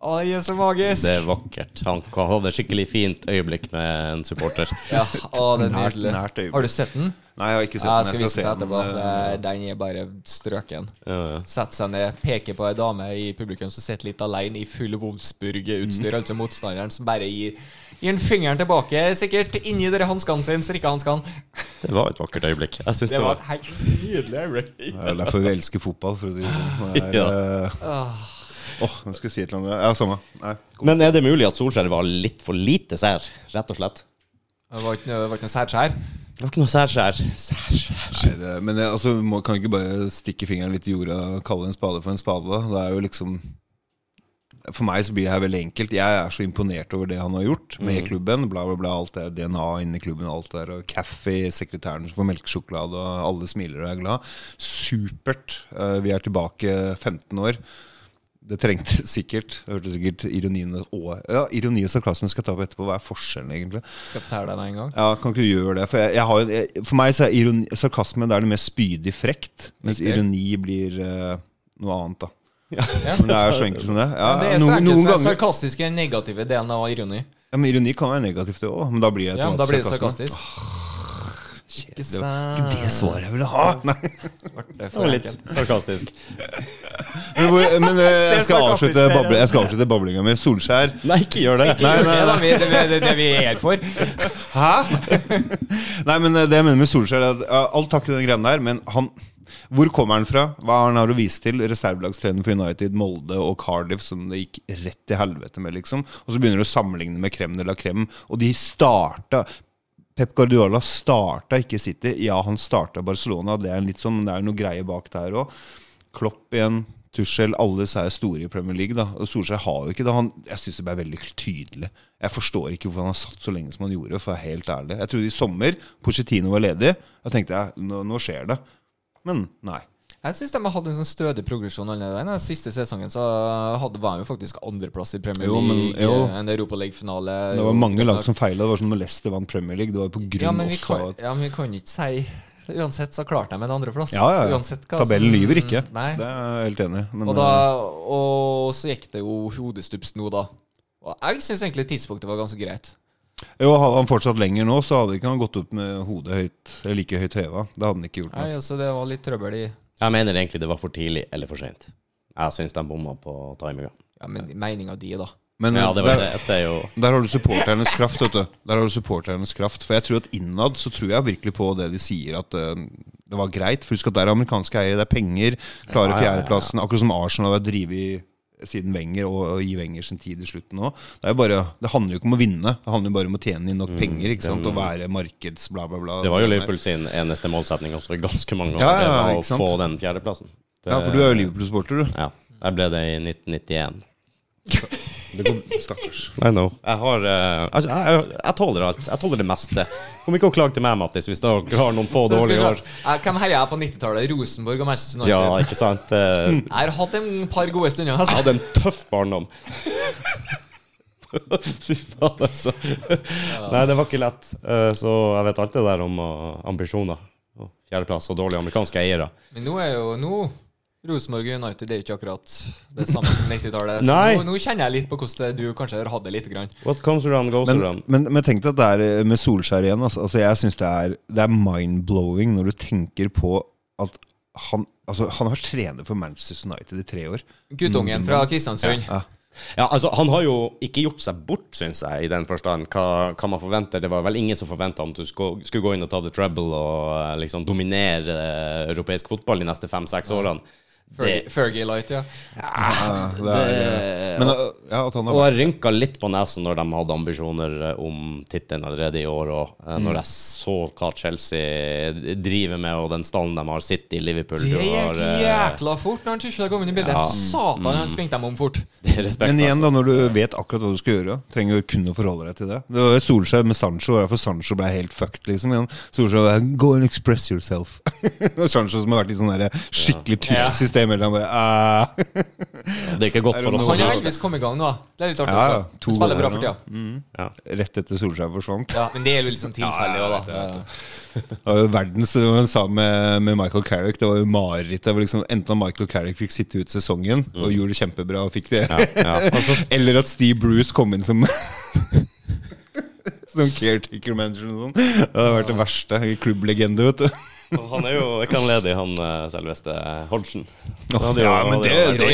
Speaker 2: Å, det er så magisk!
Speaker 1: Det er vakkert. Han kan ha det skikkelig fint øyeblikk med en supporter.
Speaker 2: Ja, å, det er
Speaker 3: Nært-
Speaker 2: nydelig.
Speaker 3: nært øyeblikk.
Speaker 2: Har du sett den?
Speaker 3: Nei, jeg har ikke sett
Speaker 2: Jeg
Speaker 3: den. eh,
Speaker 2: skal vise det etterpå.
Speaker 3: men,
Speaker 2: Det- Den er bare strøken.
Speaker 1: Ja, ja.
Speaker 2: Setter seg ned, peker på ei dame i publikum som sitter litt alene i full Wolfsburg-utstyr,
Speaker 3: Mm.
Speaker 2: altså motstanderen, som bare gir, gir en fingeren tilbake, sikkert inni dere hanskene sine, strikkehanskene.
Speaker 1: Det var et vakkert øyeblikk. Jeg synes
Speaker 2: Det
Speaker 1: det,
Speaker 2: var et
Speaker 1: var
Speaker 2: helt nydelig øyeblikk.
Speaker 3: Det er derfor vi elsker fotball, for å si det sånn. Det er,
Speaker 1: Ja.
Speaker 3: eh, Åh, nå skal jeg si et eller annet. Ja, samme. Nei.
Speaker 1: Men er det mulig at Solskjær var litt for lite sær, rett og slett?
Speaker 2: Det var ikke noe, det var ikke noe særskjær.
Speaker 1: Det var ikke noe særskjær. Særskjær.
Speaker 3: Nei, det, men jeg, altså, vi må, kan vi ikke bare stikke fingeren litt i jorda og kalle en spade for en spade? Da? Det er jo liksom For meg så blir det her veldig enkelt. Jeg er så imponert over det han har gjort med klubben. Bla, bla, bla. Alt det der DNA inni klubben og alt det der. Og Caffey, sekretæren som får melkesjokolade, og alle smiler og er glad. Supert. Eh, Vi er tilbake 15 år. Det trengte sikkert. Jeg hørte sikkert ironien og Ja, ironi og sarkasme skal jeg ta på etterpå. Hva er forskjellen, egentlig?
Speaker 2: Skal jeg fortelle deg det en gang?
Speaker 3: Ja, kan ikke du gjøre det? For, jeg, jeg har, jo- jeg, for meg så er ironi, sarkasme det er det mest spydig frekt, mens
Speaker 2: Riktig.
Speaker 3: ironi blir eh, noe annet, da.
Speaker 2: Ja.
Speaker 3: Men det er så enkelt som det. Ja,
Speaker 2: Det er
Speaker 3: noen,
Speaker 2: noen,
Speaker 3: noen ganger,
Speaker 2: sarkastiske, negative delen av ironi.
Speaker 3: ja, men ironi kan være negativt, det òg, men da blir det
Speaker 2: Ja, men da blir det
Speaker 3: automatisk
Speaker 2: sarkastisk. Ikke
Speaker 3: Det var ikke det
Speaker 2: sant.
Speaker 3: svaret jeg ville ha! Nei.
Speaker 2: Ble det
Speaker 1: Det
Speaker 2: for
Speaker 1: var litt
Speaker 2: enkelt.
Speaker 1: sarkastisk.
Speaker 3: Men, hvor, men eh, jeg skal
Speaker 1: sarkastisk,
Speaker 3: avslutte,
Speaker 1: det er-
Speaker 3: bable, jeg skal avslutte bablinga mi. Solskjær.
Speaker 1: Nei, ikke gjør det.
Speaker 3: Nei,
Speaker 2: Det
Speaker 3: nei,
Speaker 2: er
Speaker 3: nei.
Speaker 2: da vi- det er det, det vi er her for.
Speaker 3: Hæ?! Nei, men eh, det jeg mener med Solskjær, er at ja, alt takk i den greia der, men han Hvor kommer han fra? Hva har han har å vise til? Reservelagstrener for United, Molde og Cardiff, som det gikk rett til helvete med, liksom. Og så begynner du å sammenligne med Crème de la Crème, og de starta Pep Guardiola starta ikke City. Ja, han starta Barcelona, det er litt sånn, men det er noe greie bak der òg. Klopp igjen, Tuchel, alle disse er store i Premier League. da Og Solskjær har jo ikke det. Han, jeg syns det ble veldig tydelig. Jeg forstår ikke hvorfor han har satt så lenge som han gjorde, for å være helt ærlig. Jeg trodde i sommer Pochettino var ledig. Da tenkte jeg nå, nå skjer det. Men nei.
Speaker 2: Jeg syns de har hatt en sånn stødig progresjon. alle der. Den siste sesongen så hadde, var de jo faktisk andreplass i Premier
Speaker 3: Jo, men-
Speaker 2: League.
Speaker 3: jo.
Speaker 2: En Europaliga-finale.
Speaker 3: Det var mange lag som feila. Det var sånn når Leicester vant Premier League. Det var på grunn
Speaker 2: ja, men vi
Speaker 3: også
Speaker 2: kan,
Speaker 3: av at
Speaker 2: ja, men vi kan ikke si Uansett så klarte de en andreplass.
Speaker 3: Ja, ja, ja.
Speaker 2: Uansett hva
Speaker 3: Tabellen
Speaker 2: som-
Speaker 3: lyver ikke.
Speaker 2: Nei.
Speaker 3: Det er jeg helt enig i. Men,
Speaker 2: Og, da, og så gikk det jo hodestups nå, da. Og jeg syns egentlig tidspunktet var ganske greit.
Speaker 3: eh, Jo, hadde han fortsatt lenger nå, så hadde ikke han gått opp med hodet høyt, eller like høyt heva. Det hadde han ikke gjort. nå.
Speaker 2: Nei, altså Det var litt trøbbel i
Speaker 1: Jeg mener egentlig det var for tidlig eller for seint. Jeg syns de bomma på timinga.
Speaker 2: Ja, men meninga di, da.
Speaker 3: Men
Speaker 1: Ja, det var
Speaker 3: der-
Speaker 1: det. Det er jo
Speaker 3: Der har du supporternes kraft, vet du. Der har du supporternes kraft. For jeg tror at innad så tror jeg virkelig på det de sier, at eh, det var greit. For husk at det er amerikanske eiere, det er penger. Klare
Speaker 1: Ja, ja, ja, ja.
Speaker 3: fjerdeplassen. Akkurat som Arsenal har vært drevet siden Wenger og, og i Wenger sin tid i slutten òg. Det, er jo bare- det handler jo ikke om å vinne, det handler jo bare om å tjene inn nok penger. ikke sant? Og være markeds bla, bla, bla.
Speaker 1: Mm, Det var jo Liverpool sin eneste målsetning også i ganske mange år.
Speaker 3: Ja, ja,
Speaker 1: det var
Speaker 3: ikke sant.
Speaker 1: Å få den fjerdeplassen. Det-
Speaker 3: Ja, for du er jo Liverpool-supporter, du.
Speaker 1: Ja. Jeg ble det i 1991.
Speaker 3: Det går, stakkars.
Speaker 1: I know. Jeg har eh, Altså, jeg, jeg, jeg tåler alt. Jeg tåler det meste. Kom ikke og klag til meg, Mattis, hvis dere har noen få
Speaker 2: Så skal vi
Speaker 1: dårlige år.
Speaker 2: se. Eh, Hvem heia jeg på 90-tallet? Rosenborg og Manchester United?
Speaker 1: Ja, ikke sant? Eh,
Speaker 2: Jeg har hatt en par gode stunder.
Speaker 1: Jeg
Speaker 2: Altså.
Speaker 1: hadde en tøff barndom. Fy faen, altså. Nei, det var ikke lett. Eh, Så jeg vet alt det der om eh, ambisjoner. Og Fjerdeplass og dårlige amerikanske eiere.
Speaker 2: Men nå er jo nå Rosenborg og United det er jo ikke akkurat det samme som 90-tallet. Så
Speaker 1: Nei.
Speaker 2: nå, nå kjenner jeg litt på hvordan det du kanskje har hatt det lite grann.
Speaker 1: What comes around goes
Speaker 3: Men,
Speaker 1: around.
Speaker 3: men, men tenk deg at det er eh, med Solskjær igjen. Altså, altså jeg syns det er, det er mind-blowing når du tenker på at han Altså, han har vært trener for Manchester United i tre år.
Speaker 2: Guttungen
Speaker 3: Mm.
Speaker 2: fra Kristiansund.
Speaker 1: Ja, altså, han har jo ikke gjort seg bort, syns jeg, i den forstand. Hva, hva man forventer. Det var vel ingen som forventa at du sko- skulle gå inn og ta the trouble og eh, liksom dominere eh, europeisk fotball de neste fem-seks årene.
Speaker 2: Fergie, Fergie Light, ja.
Speaker 3: Ja, det er,
Speaker 1: det-
Speaker 3: men eh, ja, at han
Speaker 1: Og
Speaker 3: har
Speaker 1: jeg rynka litt på nesen når de hadde ambisjoner eh, om tittelen allerede i år. Og eh, når jeg så hva Chelsea driver med, og den stallen de har, City, Liverpool
Speaker 2: Det
Speaker 1: du har,
Speaker 2: gikk
Speaker 1: eh,
Speaker 2: jækla fort når han Tussel kom inn i bildet. Satan, han svingte dem om fort.
Speaker 1: Respekt,
Speaker 3: men igjen,
Speaker 1: altså.
Speaker 3: da, når du vet akkurat hva du skal gjøre, trenger du kun å forholde deg til det. Det var jo Solskjær med Sancho, og derfor Sancho ble helt fucked, liksom. Men Solskjær bare Go and express yourself. Og Sancho som har vært i sånn der skikkelig
Speaker 2: Ja.
Speaker 3: tysk system, eller han bare «Ah».
Speaker 1: Det er ikke godt
Speaker 3: Er
Speaker 1: for
Speaker 3: det
Speaker 1: oss.
Speaker 3: noe-
Speaker 2: Han
Speaker 1: å-
Speaker 2: har heldigvis kommet i gang nå. da. Det er litt artig.
Speaker 3: Ja, ja.
Speaker 2: også.
Speaker 3: To
Speaker 2: Han Spiller bra
Speaker 3: ganger
Speaker 2: for
Speaker 3: nå.
Speaker 2: tida.
Speaker 3: Rett etter Solskjær forsvant.
Speaker 2: Ja, men det er jo litt sånn tilfeldig òg, da.
Speaker 3: Det var jo verdens det var han sa med, med Michael Carrick. Det var jo mareritt. Det var liksom, enten at Michael Carrick fikk sitte ut sesongen og gjorde det kjempebra og fikk det,
Speaker 1: Ja, ja.
Speaker 3: eller at Steve Bruce kom inn som Som caretaker manager og sånn. Det har vært det verste. Klubblegende, vet du.
Speaker 1: Og han er jo ikke han ledig, han eh, selveste Holsen. hadde jo-
Speaker 3: Ja, men
Speaker 1: hadde
Speaker 3: det,
Speaker 1: jo-
Speaker 3: det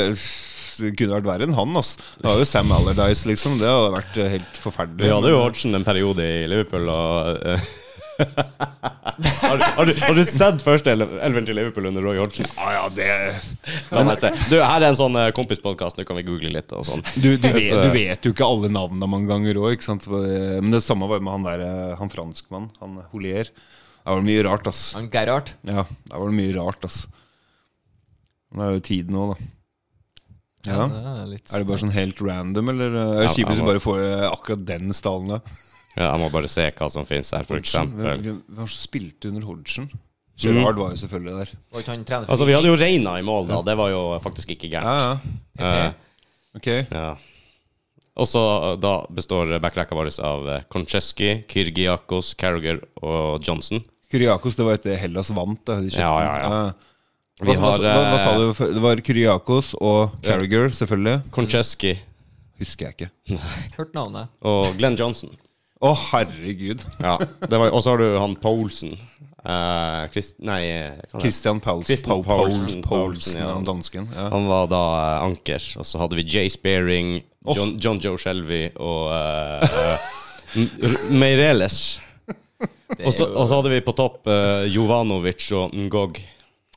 Speaker 3: kunne vært verre enn han, ass. Det var jo Sam Allardyce, liksom. Det hadde vært helt forferdelig.
Speaker 1: Vi hadde jo Hodgson en periode i Liverpool, og eh, har, har, du, har du sett første ele- elveren til Liverpool under Roy Hodgson?
Speaker 3: Ja, ja, det
Speaker 1: La meg se. Du, her er en sånn eh, kompispodcast, nå kan vi google litt og sånn.
Speaker 3: Du, du, vet,
Speaker 1: Så-
Speaker 3: du vet jo ikke alle navnene mange ganger òg. Men det samme var med han der, eh, han franskmannen, han Holier. Der var det mye rart, ass.
Speaker 2: Han Gerhard.
Speaker 3: Ja, der var det mye rart, ass. Nå er jo tiden òg, da. Ja.
Speaker 2: det er litt
Speaker 3: Er det bare sånn helt random, eller? eh, Er det
Speaker 1: Ja,
Speaker 3: kjipt hvis du
Speaker 1: jeg må-
Speaker 3: bare får eh, akkurat den stallen, da?
Speaker 1: Ja, jeg må bare se hva som finnes her, for
Speaker 3: Hvem
Speaker 1: eksempel.
Speaker 3: hvem var det som spilte under Hodgson? Gerard var jo selvfølgelig der.
Speaker 2: Var ikke han trener for
Speaker 1: Altså, vi hadde jo Reina i mål, da. Det var jo faktisk ikke
Speaker 3: Ja,
Speaker 1: gærent.
Speaker 3: ja.
Speaker 1: Eh,
Speaker 3: Ok.
Speaker 1: ja. Og så eh, da består backrekka vår av eh, Koncheski, Kyrgiakos, Carriger og Johnson.
Speaker 3: Kyriakos, det var etter Hellas vant, da. De kjøpte
Speaker 1: Ja, ja, ja.
Speaker 3: den.
Speaker 1: Vi
Speaker 3: Hva,
Speaker 1: har,
Speaker 3: hva, hva, hva sa
Speaker 1: eh,
Speaker 3: du? for- Det var Kyriakos og
Speaker 1: Ja.
Speaker 3: Carriager, selvfølgelig.
Speaker 1: Koncheski
Speaker 3: Husker jeg ikke.
Speaker 2: Hørt navnet.
Speaker 1: og Glenn Johnson.
Speaker 3: Å, herregud.
Speaker 1: Ja, det var, Og så har du han Poulsen. Eh, Christ, nei, hva heter han?
Speaker 3: Christian Pauls,
Speaker 1: Christian
Speaker 3: Paul,
Speaker 1: Paulsen,
Speaker 3: Paulsen,
Speaker 1: Paulsen, ja.
Speaker 3: han dansken. Ja.
Speaker 1: han var da eh, anker. Og så hadde vi Jay Spearing, John, John Joe Shelby og eh, eh, M- Meireles. Og så og så hadde vi på topp eh, Jovanovic og Ngog.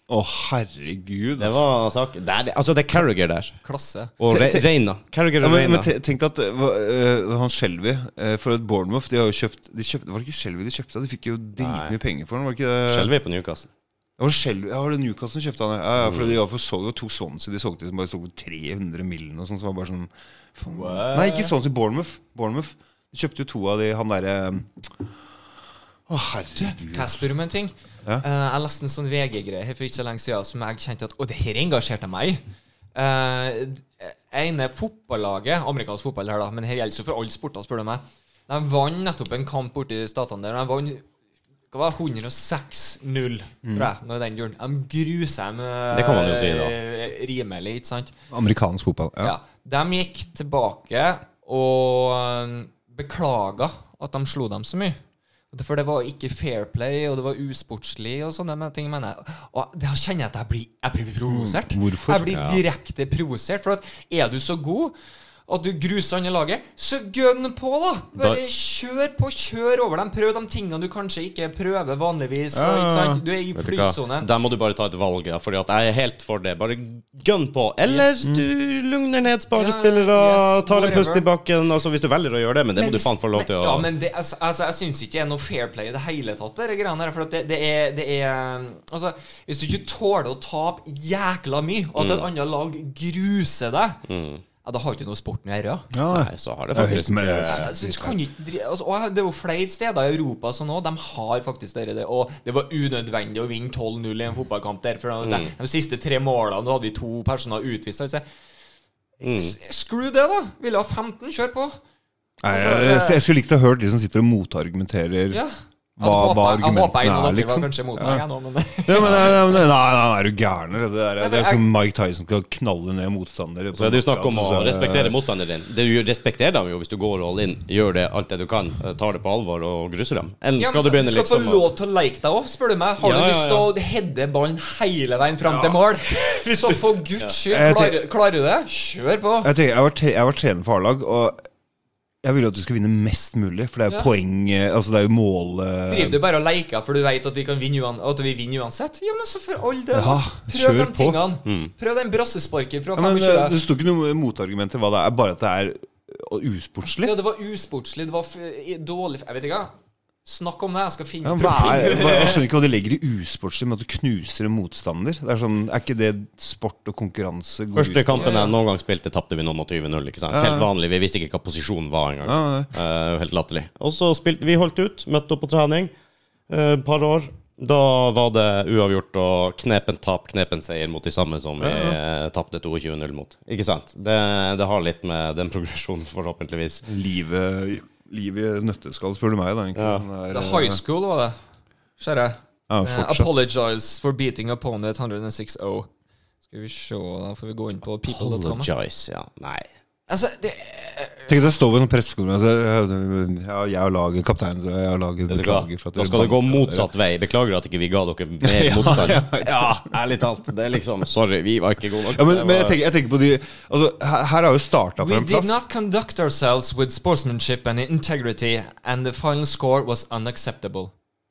Speaker 3: Å, herregud.
Speaker 1: Det
Speaker 3: altså.
Speaker 1: var sak det er, Altså, det er Carriger der.
Speaker 2: Klasse.
Speaker 1: Og Re
Speaker 3: Te- te-
Speaker 1: Reina. Carriger
Speaker 3: ja,
Speaker 1: og
Speaker 3: men, men
Speaker 1: Reina.
Speaker 3: te- tenk at eh, hva, eh, han Shelby eh, for at Bournemouth De har jo kjøpt, de kjøpte, Var det ikke Shelby de kjøpte? De fikk jo dritmye penger for den. Var det ikke det?
Speaker 1: Shelby på Newcastle.
Speaker 3: Ja, var det Shelby? Ja, var det Newcastle som kjøpte han? Ja, ja for de var for så, det var to Swansea de solgte som bare sto for 300 millen og sånn. Som var bare sånn faen. Nei, ikke Swansea. Bournemouth. Bournemouth. De kjøpte jo to av de, han derre um, Å, herregud.
Speaker 2: Kan jeg spørre om en ting?
Speaker 3: Ja.
Speaker 2: Eh, jeg leste en sånn VG-greie her for ikke så lenge siden som jeg kjente at Å, det her engasjerte meg. Uh, ene fotballaget, amerikansk fotball her, da, men her gjelder det jo for alle sporter, spør du meg. De vant nettopp en kamp borti statene der. og De vant hva var det, 106-0, tror jeg. Når den gjorde. De gruser dem eh,
Speaker 1: Mm. Det kan man jo si, da.
Speaker 2: eh, rimelig, ikke sant?
Speaker 3: Amerikansk fotball.
Speaker 2: Ja. De gikk tilbake og øhm, beklaga at de slo dem så mye. For det var ikke fair play, og det var usportslig og sånne men- ting. mener jeg. Og det her kjenner jeg at jeg blir, jeg blir provosert.
Speaker 3: hvorfor?
Speaker 2: Jeg blir direkte provosert. For at er du så god at du gruser andre laget, så gønn på, da! Bare
Speaker 1: Da-
Speaker 2: kjør på, kjør over dem. Prøv de tingene du kanskje ikke prøver vanligvis. og
Speaker 3: Ja,
Speaker 2: Ikke
Speaker 3: ja, ja.
Speaker 2: sant? Du er i
Speaker 1: Vet du hva?
Speaker 2: flytsonen.
Speaker 1: Der må du bare ta et valg, ja, Fordi at jeg er helt for det. Bare gønn på. Eller du lugner ned sparespillere,
Speaker 2: Mm. Ja, yes,
Speaker 1: tar en pust
Speaker 2: whatever.
Speaker 1: i bakken. Altså, hvis du velger å gjøre det, men det må du
Speaker 2: hvis-
Speaker 1: faen få lov til
Speaker 2: men-
Speaker 1: å
Speaker 2: Ja, men det, altså, altså, jeg syns ikke det er noe fair play i det hele tatt, bare greiene her. For at det, det, er, det er Altså, hvis du ikke tåler å tape jækla mye,
Speaker 1: Mm.
Speaker 2: og at et annet lag gruser deg, ja, da har ikke du noe sport å gjøre.
Speaker 1: Nei, så har det
Speaker 3: Det er helt
Speaker 1: faktisk
Speaker 3: med-
Speaker 2: Altså, du kan ikke dri- altså, og det er jo flere steder i Europa som nå, de har faktisk det der. Og det var unødvendig å vinne 12-0 i en fotballkamp der. For de,
Speaker 1: Mm.
Speaker 2: de siste tre målene da hadde vi to personer utvist. Altså.
Speaker 1: Mm.
Speaker 2: S- Screw det, da! Ville ha 15, kjør på.
Speaker 3: Nei,
Speaker 1: Altså,
Speaker 3: jeg, jeg, jeg skulle likt å ha hørt de som sitter og motargumenterer.
Speaker 2: Ja.
Speaker 3: Hva- hva argumentene
Speaker 2: er,
Speaker 3: er, liksom?
Speaker 2: Var kanskje mot meg, jeg nå, men
Speaker 3: Ja, men, nei, nei, nei, nei, nei, er du gæren? eller? Det, er- det
Speaker 2: men
Speaker 3: er som Mike Tyson skal knalle ned motstandere. på
Speaker 1: Så er det jo snakk om å
Speaker 3: knockout, og så-
Speaker 1: respektere motstanderen din. Du respekterer dem jo hvis du går all in, gjør det alt det du kan, eh, tar det på alvor og gruser dem. Eller
Speaker 2: Ja,
Speaker 1: skal du
Speaker 2: men
Speaker 1: begynne
Speaker 2: så- skal
Speaker 1: liksom å-
Speaker 2: få lov til å like deg òg, spør du meg. Har
Speaker 1: Ja,
Speaker 2: du
Speaker 1: ja,
Speaker 2: lyst til å heade ballen hele veien fram til mål, så for guds skyld,
Speaker 3: Jeg
Speaker 2: klarer,
Speaker 3: tenker-
Speaker 2: klarer du det, kjør på.
Speaker 3: Jeg, tenker, jeg, var tre, jeg var trener for A-lag, og jeg ville at du skulle vinne mest mulig. For det er jo
Speaker 2: Ja.
Speaker 3: poeng eh, Altså, det er jo mål eh,
Speaker 2: Driver du bare og leker for du vet at vi kan vinne uan, at vi vinner uansett? Ja, men så for all del.
Speaker 3: Ja,
Speaker 2: Prøv
Speaker 3: kjør
Speaker 2: de
Speaker 3: på. Mm.
Speaker 2: tingene. Prøv den brassesparken fra
Speaker 3: ja, men, eh,
Speaker 2: 25.
Speaker 3: Det sto ikke noe motargumenter hva det er, bare at det er eh, usportslig.
Speaker 2: Ja, det var usportslig, det var f dårlig Jeg vet ikke. hva. Snakk om det, jeg skal finne
Speaker 3: Ja, hva er, hva, jeg skjønner ikke hva de legger i usportslig med at du knuser en motstander. Det Er, sånn, er ikke det sport og konkurranse? går
Speaker 1: Første
Speaker 3: ut-
Speaker 1: kampen
Speaker 2: Ja, ja.
Speaker 1: jeg noen gang spilte, tapte vi noen og 20-0. ikke sant? Helt vanlig. Vi visste ikke hva posisjonen var engang.
Speaker 3: Ja, ja.
Speaker 1: Eh, helt latterlig. Og så spilte vi holdt ut, møtte opp på trening. Eh, Et par år. Da var det uavgjort og knepen tap, knepen seier mot de samme som vi eh, tapte 22-0 mot. Ikke sant? Det, det har litt med den progresjonen, forhåpentligvis.
Speaker 3: Livet livet i nøtteskall, spør du meg. da egentlig.
Speaker 1: Ja.
Speaker 3: Det er,
Speaker 2: Det
Speaker 3: eh,
Speaker 2: er high school, var det. Ser jeg.
Speaker 3: Ja,
Speaker 2: Eh,
Speaker 3: fortsatt.
Speaker 2: apologize for beating opponent oh. 106-0. Skal vi se, da får vi gå inn på people.com.
Speaker 1: Apologize, ja. Nei.
Speaker 2: Altså, det,
Speaker 3: Tenk deg å stå på en sånn pressekonferanse Ja, jeg og laget kapteinen så jeg og laget
Speaker 1: Vet du hva?
Speaker 3: beklager for at
Speaker 1: Da skal det gå motsatt vei. Beklager at ikke vi ga dere mer motstand.
Speaker 3: ja,
Speaker 1: ærlig talt. Det er liksom Sorry, vi var ikke gode nok.
Speaker 3: Ja, men,
Speaker 1: Det
Speaker 3: men jeg,
Speaker 1: var-
Speaker 3: tenker, jeg tenker på de altså, Her, her har jo starta for
Speaker 2: We
Speaker 3: en
Speaker 2: did
Speaker 3: plass.
Speaker 2: not conduct ourselves with sportsmanship and integrity, and the final score was unacceptable.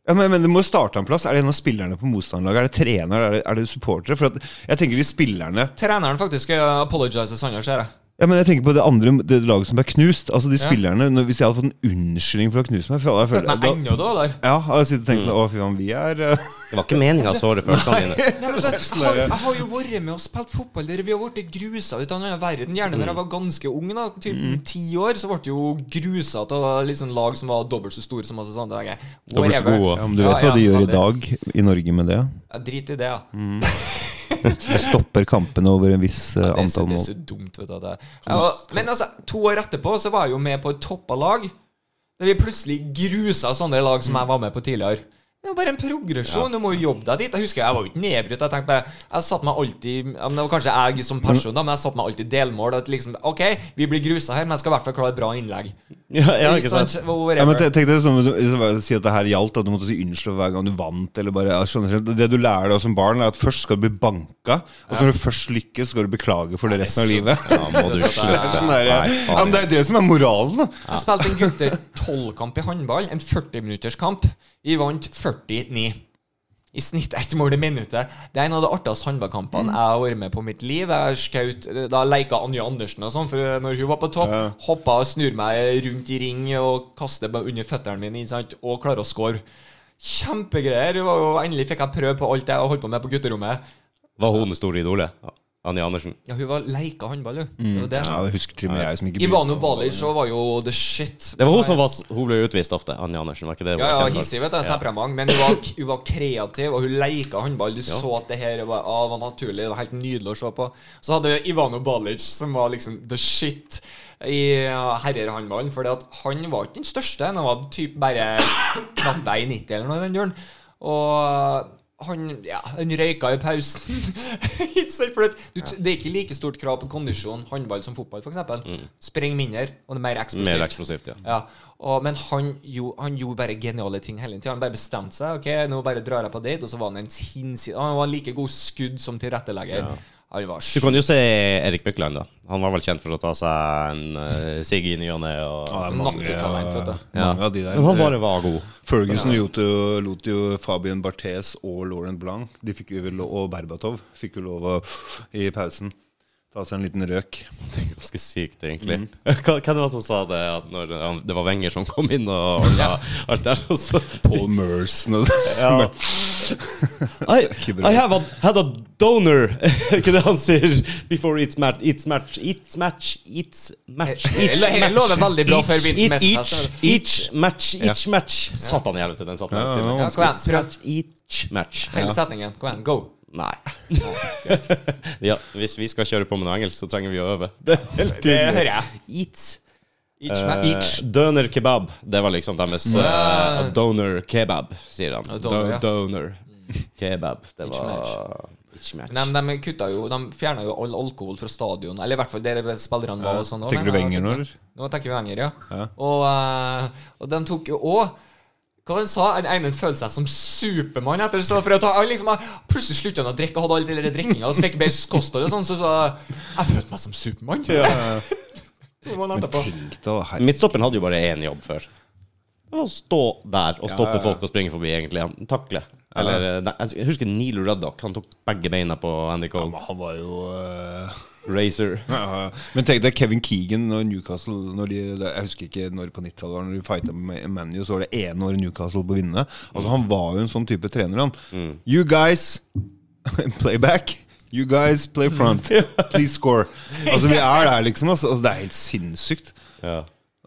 Speaker 3: Ja, men, men det må starte en plass. Er det en av spillerne på motstanderlaget? Er det trener? Er det, er det supportere? For at, jeg tenker de spillerne
Speaker 2: Treneren faktisk uh, apologizes Sander, ser jeg.
Speaker 3: Ja, men jeg tenker på det andre det laget som ble knust. Altså de spillerne når, Hvis jeg hadde fått en unnskyldning for å ha knust meg for jeg føler,
Speaker 2: Men
Speaker 3: da,
Speaker 2: ennå, da, der.
Speaker 3: Ja, jeg hadde sittet og tenkt sånn
Speaker 1: Mm.
Speaker 3: Å, fy faen, vi er eh,
Speaker 1: Det var ikke meninga å såre følelsene dine.
Speaker 2: Nei, men så, jeg, har, jeg har jo vært med og spilt fotball der vi har blitt grusa ut av den verden. Gjerne når jeg var ganske ung, da, typ
Speaker 3: Mm.
Speaker 2: ti år, så ble jeg jo grusa av liksom lag som var dobbelt så store som oss. og sånn. Det er greit.
Speaker 1: Dobbelt så
Speaker 2: Whatever.
Speaker 1: gode.
Speaker 3: Ja, men du vet hva de gjør i dag i Norge med det?
Speaker 2: Ja, drit i det, ja.
Speaker 3: Mm. De stopper kampene over en viss eh,
Speaker 2: det, er så,
Speaker 3: antall
Speaker 2: det er
Speaker 3: mål.
Speaker 2: så dumt, vet du. At jeg, jeg var, men altså, to år etterpå så var jeg jo med på et toppa lag. Der vi plutselig grusa sånne lag som jeg var med på tidligere. Det var bare en progresjon. Du må jo jobbe deg dit. Jeg husker jeg var jo ikke nedbrutt. Jeg tenkte bare Jeg satte meg alltid ja, men Det var kanskje jeg som person, da, men jeg satte meg alltid delmål. At liksom, OK, vi blir grusa her, men jeg skal i hvert fall klare et bra innlegg.
Speaker 1: Ja, ja, ikke sant?
Speaker 3: Ja, men
Speaker 2: Whatever.
Speaker 3: te- tenk deg sånn, så- så bare Si at det her gjaldt, at du måtte si unnskyld hver gang du vant. Eller bare, ja, skjønner ikke. det du lærer deg som barn, er at først skal du bli banka, og så når du først lykkes, skal du beklage for det resten av livet.
Speaker 1: Ja, må du
Speaker 2: Det
Speaker 1: slutte.
Speaker 3: Sånn er,
Speaker 1: Nei,
Speaker 3: det. ja, men det er jo det som er moralen, da.
Speaker 2: Jeg spilte en gutter 12-kamp i håndball, en 40-minutterskamp. Vi vant 49. I snitt ett mål i minuttet. Det er en av de artigste
Speaker 3: Mm.
Speaker 2: håndballkampene jeg har vært med på i mitt liv. Jeg skjøt, da leika Anja Andersen og sånn, for når hun var på topp,
Speaker 3: Ja.
Speaker 2: hoppa og snur meg rundt i ring og kaster meg under føttene mine ikke sant? og klarer å score. Kjempegreier. Det var jo- Endelig fikk jeg prøve på alt det jeg holdt på med på gutterommet.
Speaker 1: Var hun det store idolet? Anja Andersen.
Speaker 2: Ja, hun var leika håndball, hun. Det var det.
Speaker 3: Mm. Ja, det husker til og med jeg som ikke
Speaker 2: Ivano Balic så var jo the shit.
Speaker 1: Det var hun som var, hun ble utvist ofte. Anja Andersen, var ikke det? hun
Speaker 2: Ja,
Speaker 1: var
Speaker 2: ja,
Speaker 1: kjent for?
Speaker 2: hissig, vet du.
Speaker 1: Ja.
Speaker 2: Temperament. Men hun var, hun var kreativ, og hun leika håndball. Du så at det her var, ah, var naturlig. Det var helt nydelig å se på. Så hadde vi Ivano Balic, som var liksom the shit i ja, herrehåndballen. For han var ikke den største. Han var typ bare knapt vei 90 eller noe i den duren. Og han, ja, han røyka i pausen. Ikke sant? For det, du, det er ikke like stort krav på kondisjon håndball som fotball, f.eks. Spring mindre, og det er mer eksplosivt.
Speaker 1: Mm. Mer eksplosivt, ja.
Speaker 2: Ja, og, Men han, jo, han gjorde bare geniale ting hele tida. Han bare bestemte seg. Ok, nå bare drar jeg på date, og så var han en sinnssyk Han var like god skudd som tilrettelegger. Han var
Speaker 1: Du
Speaker 2: sj...
Speaker 1: kan jo se Erik Bøkland, da. Han var vel kjent for å ta seg en uh, sigg i ny og ne. og-
Speaker 3: Ja, det er
Speaker 2: Nattetalent, altså, vet du.
Speaker 1: Ja.
Speaker 3: Mange av de der.
Speaker 1: Men han bare var god.
Speaker 3: Ferguson lot jo, lot jo Fabian Barthes og Laurent Blanc de fikk jo vel, og Berbatov fikk jo lov å i pausen ta seg en liten røk.
Speaker 1: Det er ganske sykt, egentlig. Hva, hvem var det som sa det? At når han- det var Wenger som kom inn og ordna alt der? Og så
Speaker 3: Paul Merson og sånn.
Speaker 1: ja. I, I have a, had a donor. Er ikke det han sier? Before each match, each match, each match, each match, each match.
Speaker 2: Eller, det lover Eh, veldig bra før altså. vi
Speaker 1: Each,
Speaker 2: mesterskap.
Speaker 1: each, each match, each match. Satan i helvete, den satt
Speaker 3: Ja,
Speaker 1: langt
Speaker 3: ja,
Speaker 1: inne.
Speaker 3: ja.
Speaker 2: Ja, kom igjen, prøv
Speaker 1: Each match.
Speaker 2: hele setningen. Kom igjen, go.
Speaker 1: Nei. ja, hvis vi skal kjøre på med noe engelsk, så trenger vi å øve. Det er helt
Speaker 2: Det
Speaker 1: tydelig.
Speaker 2: hører jeg.
Speaker 1: Eats. Eh,
Speaker 2: Each match. Each.
Speaker 1: Døner kebab. Det var liksom deres eh, Donor kebab, sier han.
Speaker 2: Ja, donor,
Speaker 1: Do-
Speaker 2: ja.
Speaker 1: Donor kebab. Det
Speaker 2: Each
Speaker 1: var Each match.
Speaker 2: Men de, de kutta jo De fjerna jo all alkohol fra stadion. Eller i hvert fall der spillerne var. og sånn også,
Speaker 3: Tenker du
Speaker 2: men,
Speaker 3: Wenger nå, eller?
Speaker 2: Nå tenker vi Wenger, ja. Og, eh, og de tok jo òg hva han sa, Den ene følte seg som Supermann etter så for at han han liksom, han- Plutselig sluttet han å drikke, hadde all den der drikkinga og så fikk bedre kosthold og sånn, så, så Jeg følte meg som Supermann. To måneder
Speaker 3: Men
Speaker 2: etterpå.
Speaker 3: tenk deg, herregud.
Speaker 1: Midtstoppen hadde jo bare én jobb før. Det var å stå der og
Speaker 3: ja,
Speaker 1: stoppe
Speaker 3: ja.
Speaker 1: folk og springe forbi, egentlig. Han takle. Eller, eh, nei, jeg husker Neil Ruddock. Han tok begge beina på Andy Cole.
Speaker 3: Han var jo eh,
Speaker 1: Racer.
Speaker 3: ja, Men tenk deg Kevin Keegan og Newcastle når de, Jeg husker ikke når på 90-tallet var, Når de fighta med ManU, så var det ene året Newcastle på å vinne. Altså Han var jo en sånn type trener, han. You guys play back. You guys play front. Please score. Altså Vi er der, liksom. Altså, altså Det er helt sinnssykt.
Speaker 1: Ja.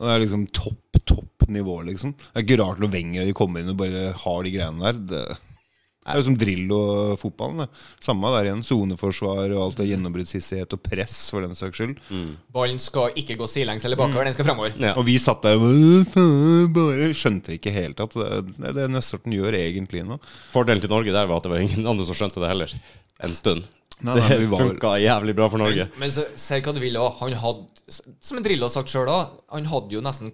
Speaker 3: Og Det er liksom topp, topp nivå, liksom. Det er ikke rart når Wenger og de kommer inn og bare har de greiene der. Det, det er jo som drill og fotballen. Det. Samme der igjen. Soneforsvar og alt det gjennombruddshissighet og press, for den saks skyld.
Speaker 2: Mm. Ballen skal ikke gå sidelengs eller
Speaker 3: Mm.
Speaker 2: bakover, den skal fremover.
Speaker 1: Ja.
Speaker 3: Og vi satt der og bare, faen, bare skjønte ikke helt at det, det er det Nøssorten gjør egentlig nå.
Speaker 1: Fordelen til Norge der var at det var ingen andre som skjønte det heller. En stund.
Speaker 3: Nei, nei,
Speaker 1: Det
Speaker 3: vi var,
Speaker 1: funka jævlig bra for Norge.
Speaker 2: Men så, si hva du vil også. Han hadde, som en Drillo har sagt sjøl òg, han hadde jo nesten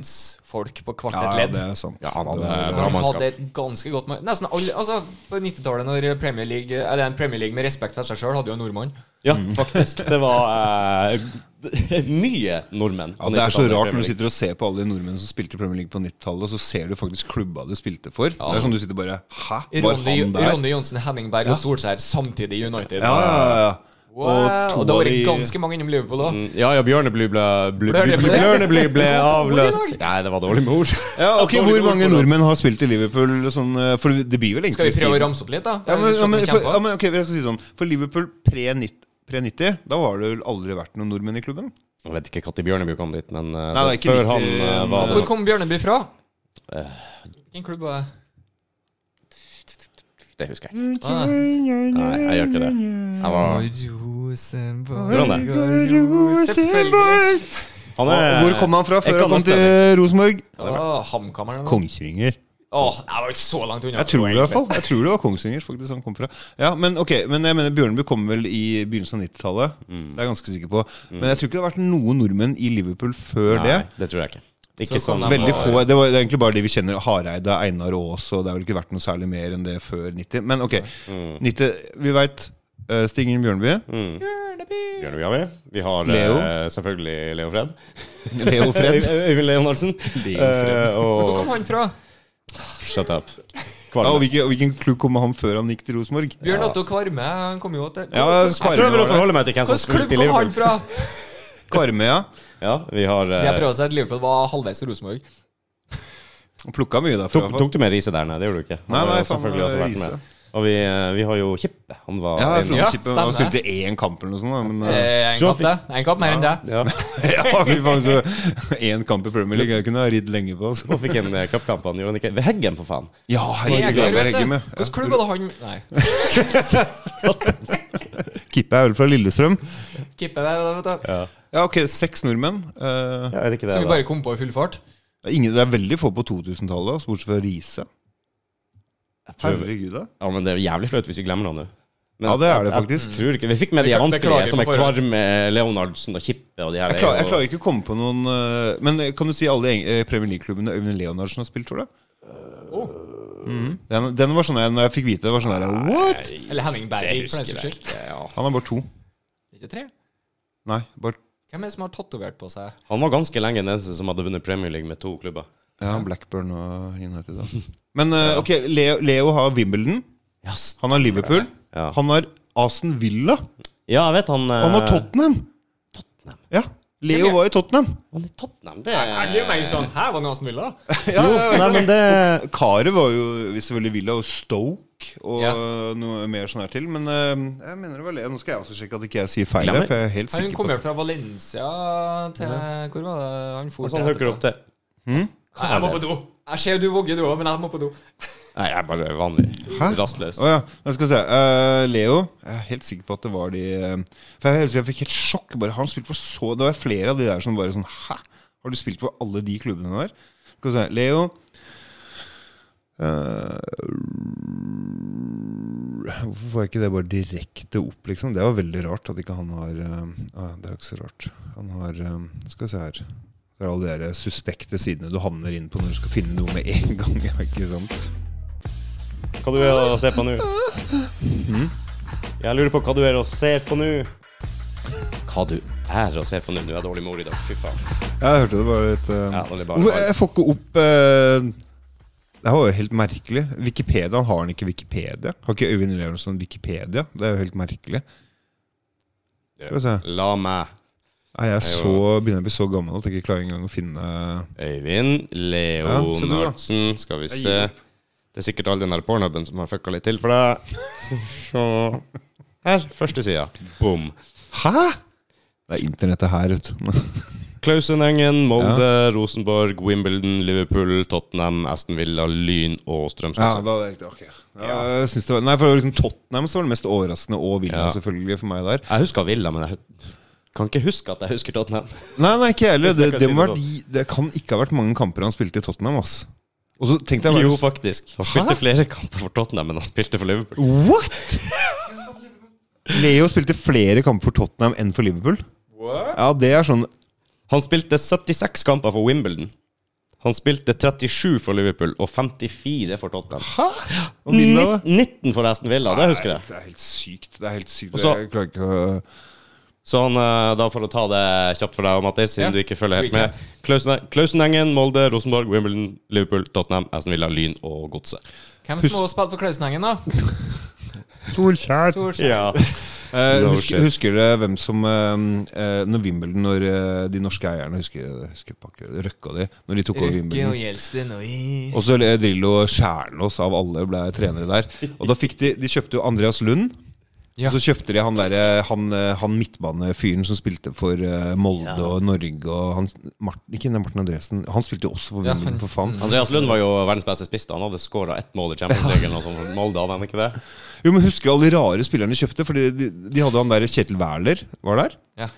Speaker 2: kapteinsfolk på hvert
Speaker 3: ja,
Speaker 2: et
Speaker 3: ja,
Speaker 2: ledd.
Speaker 3: det er sant.
Speaker 1: Ja, han hadde
Speaker 3: Det var-
Speaker 1: bra
Speaker 2: han
Speaker 1: mannskap.
Speaker 2: hadde et ganske godt mar- Nesten alle Altså, på 90-tallet, når Premier League Eller en Premier League med respekt for seg sjøl, hadde jo en nordmann.
Speaker 1: Ja,
Speaker 3: Mm.
Speaker 1: faktisk. Det var eh, mye nordmenn.
Speaker 3: Ja, Det er så rart når du sitter og ser på alle de nordmennene som spilte i Premier League på 90-tallet, og så ser du faktisk klubba du spilte for. Det er sånn du sitter bare Hæ, var
Speaker 2: Ronny,
Speaker 3: han der?
Speaker 2: Ronny Johnsen, Henningberg og Solskjær samtidig i United.
Speaker 3: Ja, ja, ja.
Speaker 2: Wow. Og,
Speaker 3: to
Speaker 2: da
Speaker 3: av
Speaker 2: var det
Speaker 3: de-
Speaker 2: ganske mange innom Liverpool òg.
Speaker 1: Ja, ja, Bjørnebly ble, ble, ble, ble,
Speaker 2: Bjørnebly.
Speaker 1: Bjørnebly ble
Speaker 2: Hvor er det i
Speaker 1: avløst. Nei, det var dårlig med ord.
Speaker 3: Ja, ok, Hvor mange nordmenn har spilt i Liverpool? Sånn, eh, for det blir vel
Speaker 2: Skal
Speaker 3: egentlig
Speaker 2: vi prøve å
Speaker 3: siden-
Speaker 2: ramse opp litt, da?
Speaker 3: ja, men, ja, men,
Speaker 2: Kjempe.
Speaker 3: for, ja, men ok, jeg skal si sånn For Liverpool pre-90, pre-90, da var det vel aldri vært noen nordmenn i klubben?
Speaker 1: Jeg vet ikke når Bjørnebye kom dit, men eh,
Speaker 3: Nei, det er ikke
Speaker 1: før han
Speaker 3: riktig,
Speaker 1: eh,
Speaker 3: men-
Speaker 1: var
Speaker 2: Hvor
Speaker 1: det.
Speaker 2: kom Bjørneby fra? Hvilken klubb var det?
Speaker 1: Det husker jeg ikke.
Speaker 2: Ah.
Speaker 1: Nei, jeg gjør ikke det. Jeg var, Hvordan det?
Speaker 2: Selvfølgelig.
Speaker 1: han er,
Speaker 3: Hvor kom han fra
Speaker 1: Jeg
Speaker 3: før han kom
Speaker 1: kan norsk, jeg.
Speaker 3: til Rosenborg?
Speaker 2: Ah, HamKam eller noe?
Speaker 3: Kongsvinger.
Speaker 2: Åh, jeg var ikke så langt unna.
Speaker 3: Jeg tror det i hvert fall. Jeg tror det var Kongsvinger faktisk han kom fra. Ja, Men ok, men jeg mener Bjørneby kom vel i begynnelsen av 90-tallet.
Speaker 1: Mm.
Speaker 3: Det er jeg ganske sikker på. Men jeg tror ikke det har vært noen nordmenn i Liverpool før
Speaker 1: Nei,
Speaker 3: det.
Speaker 1: det tror jeg ikke. Ikke
Speaker 2: Så kom
Speaker 1: sånn
Speaker 2: de
Speaker 3: Veldig
Speaker 2: var-
Speaker 3: få. Det, var, det er egentlig bare de vi kjenner. Hareide, Einar Aas, og det har vel ikke vært noe særlig mer enn det før 90. Men ok, 90, vi veit Stig Ingen Bjørneby,
Speaker 1: Bjørnebye har vi. Vi har eh,
Speaker 3: Leo.
Speaker 1: selvfølgelig Leo Fred.
Speaker 3: Leo Fred.
Speaker 1: Øyvind Leonardsen.
Speaker 3: Leo Fred.
Speaker 1: Eh,
Speaker 2: Hvor kom
Speaker 1: og
Speaker 2: han fra?
Speaker 1: Shut up.
Speaker 3: Ja, og
Speaker 1: Kvalme.
Speaker 3: hvilken, og hvilken klubb kom han før han gikk til Rosenborg?
Speaker 2: Bjørn Otto Kvarme. Han kom jo til
Speaker 3: Ja,
Speaker 1: Jeg prøver å
Speaker 3: Kvarme,
Speaker 1: forholde meg til hvem som
Speaker 2: Hvilken klubb
Speaker 1: spilte i
Speaker 2: kom han
Speaker 1: Liverpool.
Speaker 2: fra?
Speaker 3: Kvarme ja.
Speaker 1: Ja, vi har eh,
Speaker 2: Jeg prøver å si at Liverpool var halvveis til Rosenborg.
Speaker 3: Han plukka mye derfra. i
Speaker 1: Tok,
Speaker 3: hvert fall.
Speaker 1: tok du med Riise der? Nei, det gjorde du ikke. Han
Speaker 3: Nei,
Speaker 1: har
Speaker 3: nei,
Speaker 1: jo
Speaker 3: faen,
Speaker 1: selvfølgelig også vært
Speaker 3: Riise.
Speaker 1: med. Og vi, eh, vi har jo Kippe. Han var
Speaker 3: Ja,
Speaker 1: inne.
Speaker 3: Frode
Speaker 2: Ja,
Speaker 3: Kippe han
Speaker 2: stemmer.
Speaker 3: spilte én kamp eller noe sånt. da, Men, eh,
Speaker 2: Eh, En
Speaker 1: Så
Speaker 2: kapp, det. En kapp mer enn det.
Speaker 1: ja.
Speaker 3: Ja, fy faen, så én kamp i Premier League. Jeg kunne ha ridd lenge på. Altså.
Speaker 1: Og fikk en eh, kappkamp. Han gjorde han ikke Ved Heggen, for faen.
Speaker 3: Ja,
Speaker 2: Eger,
Speaker 3: Hegge
Speaker 2: vet du.
Speaker 3: med.
Speaker 2: Hvilken klubb var det han Nei.
Speaker 3: Kippe er vel fra Lillestrøm.
Speaker 2: Kippe det, vet du.
Speaker 3: Ja, ok, seks nordmenn. Eh,
Speaker 1: Jeg vet ikke det.
Speaker 2: Som vi
Speaker 1: da.
Speaker 2: bare kom på i full fart.
Speaker 3: ingen, det er veldig få på 2000-tallet, altså, bortsett fra Riise.
Speaker 1: prøver.
Speaker 3: Herregud, da.
Speaker 1: Ja, men det er jævlig flaut hvis vi glemmer han nå. Men
Speaker 3: Ja, det er det
Speaker 1: jeg-
Speaker 3: faktisk.
Speaker 1: Jeg tror ikke Vi fikk med de
Speaker 2: Beklager-
Speaker 1: vanskelige,
Speaker 2: beklager
Speaker 1: som
Speaker 2: på
Speaker 1: er
Speaker 2: forhånd.
Speaker 1: Kvarme, Leonardsen og Kippe og de her.
Speaker 3: Jeg klarer, jeg klarer ikke å komme på noen eh, Men kan du si alle eh, Premier League-klubbene Øyvind Leonardsen har spilt for, da? Mhm. den, den var sånn jeg, når jeg fikk vite det, var sånn der What?!
Speaker 2: Eller Henning Berg,
Speaker 1: Det
Speaker 2: for
Speaker 1: husker
Speaker 2: den saks
Speaker 1: jeg
Speaker 2: skyld.
Speaker 1: ikke. Ja.
Speaker 3: Han har bare to.
Speaker 2: Ikke tre?
Speaker 3: Nei, bare
Speaker 2: Hvem er det som har tatovert på seg?
Speaker 1: Han var ganske lenge den eneste som hadde vunnet Premier League med to klubber.
Speaker 3: ja, Blackburn og United. Da. Men eh, ok, Leo, Leo har Wimbledon.
Speaker 1: Yes.
Speaker 3: Han har Liverpool.
Speaker 1: Ja.
Speaker 3: Han har Aston Villa.
Speaker 1: Ja, jeg vet han eh,
Speaker 3: Han har Tottenham.
Speaker 1: Tottenham.
Speaker 3: Ja. Leo
Speaker 2: Hvem er-
Speaker 3: var i Tottenham.
Speaker 1: Han er Tottenham, det
Speaker 2: Er det mer sånn Her var Nelson Villa?
Speaker 1: Jo, nei, men det
Speaker 3: eh, Karet var jo selvfølgelig Villa og Stoke og
Speaker 2: Ja.
Speaker 3: noe mer sånn her til. Men eh, jeg mener det var Leo. Nå skal jeg også sjekke at ikke jeg sier feil.
Speaker 1: Glemmer.
Speaker 3: her, For jeg er helt
Speaker 2: Han
Speaker 3: sikker
Speaker 2: kom
Speaker 3: på
Speaker 2: jo fra Valencia til Hvor var det han for
Speaker 1: Altså, han hooker opp til
Speaker 2: Nei, Jeg må på do. Jeg ser du våger du òg, men jeg må på do.
Speaker 1: Nei, jeg er bare vanlig.
Speaker 3: Hæ?
Speaker 1: Rastløs.
Speaker 3: Å ja. Jeg skal vi se. Eh, Leo. Jeg er helt sikker på at det var de eh, For jeg, husker jeg fikk helt sjokk. Bare han spilte for så Det var flere av de der som bare sånn Hæ? Har du spilt for alle de klubbene der? Skal vi se. Leo. Eh, hvorfor får jeg ikke det bare direkte opp, liksom? Det var veldig rart at ikke han har eh, ah, Det er jo ikke så rart. Han har eh, Skal vi se her. Det er alle de der suspekte sidene du havner inn på når du skal finne noe med en gang. Ja, ikke sant?
Speaker 1: Hva du er og ser på nå? Mm. Jeg lurer på hva du er og ser på nå. Hva du er og ser på nå? Du er dårlig mor i dag. Fy faen.
Speaker 3: Jeg hørte det var et eh,
Speaker 1: Ja, det er bare-
Speaker 3: Hvorfor- Jeg får ikke opp eh, Det her var jo helt merkelig. Wikipedia, Har han ikke Wikipedia? Har ikke Øyvind Leonardsen Wikipedia? Det er jo helt merkelig. Skal vi se.
Speaker 1: La meg.
Speaker 3: Nei, jeg er
Speaker 1: er
Speaker 3: så,
Speaker 1: jo-
Speaker 3: begynner jeg å bli så gammel at jeg ikke klarer engang å finne
Speaker 1: Øyvind
Speaker 3: Ja, se du da.
Speaker 1: Leonardsen. Skal vi
Speaker 3: Jeg
Speaker 1: se.
Speaker 3: gir
Speaker 1: Det er sikkert all den der pornhuben som har fucka litt til for deg. Skal vi se Her. Første sida. Bom.
Speaker 3: Hæ?! Det er internettet her, vet du.
Speaker 1: Klausenengen, Molde, Rosenborg, Wimbledon, Liverpool, Tottenham, Aston Villa, Lyn og Strømsgodset.
Speaker 3: da er det riktig. Ok. Ja, jeg synes det var, nei, for det var liksom Tottenham som var det mest overraskende, og Villa
Speaker 1: Ja.
Speaker 3: selvfølgelig for meg der.
Speaker 1: Jeg husker Villa, men jeg hu- kan ikke huske at jeg husker Tottenham.
Speaker 3: Nei, nei, ikke jeg heller.
Speaker 1: Hvis
Speaker 3: Det,
Speaker 1: jeg kan
Speaker 3: det,
Speaker 1: si
Speaker 3: må
Speaker 1: det
Speaker 3: vært, det kan ikke ha vært mange kamper han spilte i Tottenham, ass. Og så tenkte jeg
Speaker 1: Jo,
Speaker 3: bare
Speaker 1: faktisk. Han spilte flere kamper for Tottenham, men han spilte for Liverpool.
Speaker 3: What?! Leo spilte flere kamper for Tottenham enn for Liverpool.
Speaker 2: What?
Speaker 3: Ja, det er sånn
Speaker 1: Han spilte 76 kamper for Wimbledon. Han spilte 37 for Liverpool og 54 for Tottenham.
Speaker 3: Hæ? Og Villa, da?
Speaker 1: 19 for Aston Villa, det husker jeg.
Speaker 3: Nei, Det er helt sykt. Det er helt sykt.
Speaker 1: Og så-
Speaker 3: jeg klarer ikke å
Speaker 1: Så han, eh, da for å ta det kjapt for deg, Mattis, siden
Speaker 2: Ja.
Speaker 1: du ikke følger helt
Speaker 2: Recap.
Speaker 1: med. Klausen- Klausenengen, Molde, Rosenborg, Wimbledon, Liverpool, Tottenham, Aston Villa, Lyn og Godset.
Speaker 2: Hvem som har spilt for Klausenhengen, da?
Speaker 3: Solskjær.
Speaker 2: Solskjær.
Speaker 1: Ja.
Speaker 3: Eh,
Speaker 1: No
Speaker 3: husker,
Speaker 1: shit.
Speaker 3: husker dere hvem som eh, eh, Når Wimbledon, når eh, de norske eierne Husker, husker pakke, Røkke og de, når de tok over
Speaker 2: Røkke og
Speaker 3: Wimbledon.
Speaker 2: Gjelsten og
Speaker 3: Og så Drillo og Skjærnås av alle ble trenere der. Og da fikk de De kjøpte jo Andreas Lund.
Speaker 2: Ja.
Speaker 3: Og så kjøpte de han, der, han, eh, han midtbanefyren som spilte for eh, Molde og Norge og han, Martin, Ikke den Martin Andresen. Han spilte jo også for
Speaker 2: Ja, mm.
Speaker 3: Wimbledon,
Speaker 2: han-
Speaker 3: for faen.
Speaker 1: Andreas Lund var jo verdens beste spiss. da. Han hadde skåra ett mål i Champions League eller noe sånt for Molde, hadde han ikke det?
Speaker 3: Jo, men Husker du alle de rare spillerne de kjøpte? Fordi de, de hadde han der Kjetil Wæler. Var der?
Speaker 2: Ja.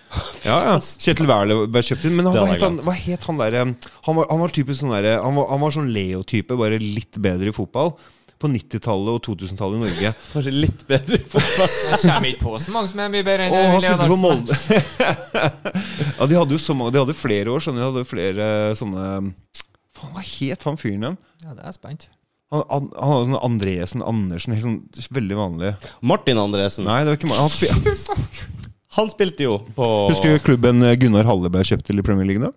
Speaker 3: Ja, ja. Kjetil Wæler ble kjøpt inn. Men han,
Speaker 1: Det
Speaker 3: hva,
Speaker 1: hadde jeg
Speaker 3: het han, hva het han der um, Han var, han var typisk sånn der, han, var, han var sånn Leo-type, bare litt bedre i fotball. På 90-tallet og 2000-tallet i Norge.
Speaker 1: Kanskje litt bedre i fotball.
Speaker 2: Jeg kommer ikke på så mange som er mye bedre enn
Speaker 3: Og han
Speaker 2: Leo
Speaker 3: spilte for
Speaker 2: Larsen.
Speaker 3: Molde! ja, de hadde jo så mange De hadde flere år, skjønner du. De hadde flere eh, sånne Faen, hva het han fyren igjen?
Speaker 2: Ja, det er jeg spent.
Speaker 3: Han, han, han hadde sånn Andresen Andersen, helt sånn veldig vanlig.
Speaker 1: Martin Andresen.
Speaker 3: Nei, det var ikke meg. Han spi-
Speaker 1: Han spilte jo på
Speaker 3: Husker du klubben eh, Gunnar Halle ble kjøpt til i Premier League, da?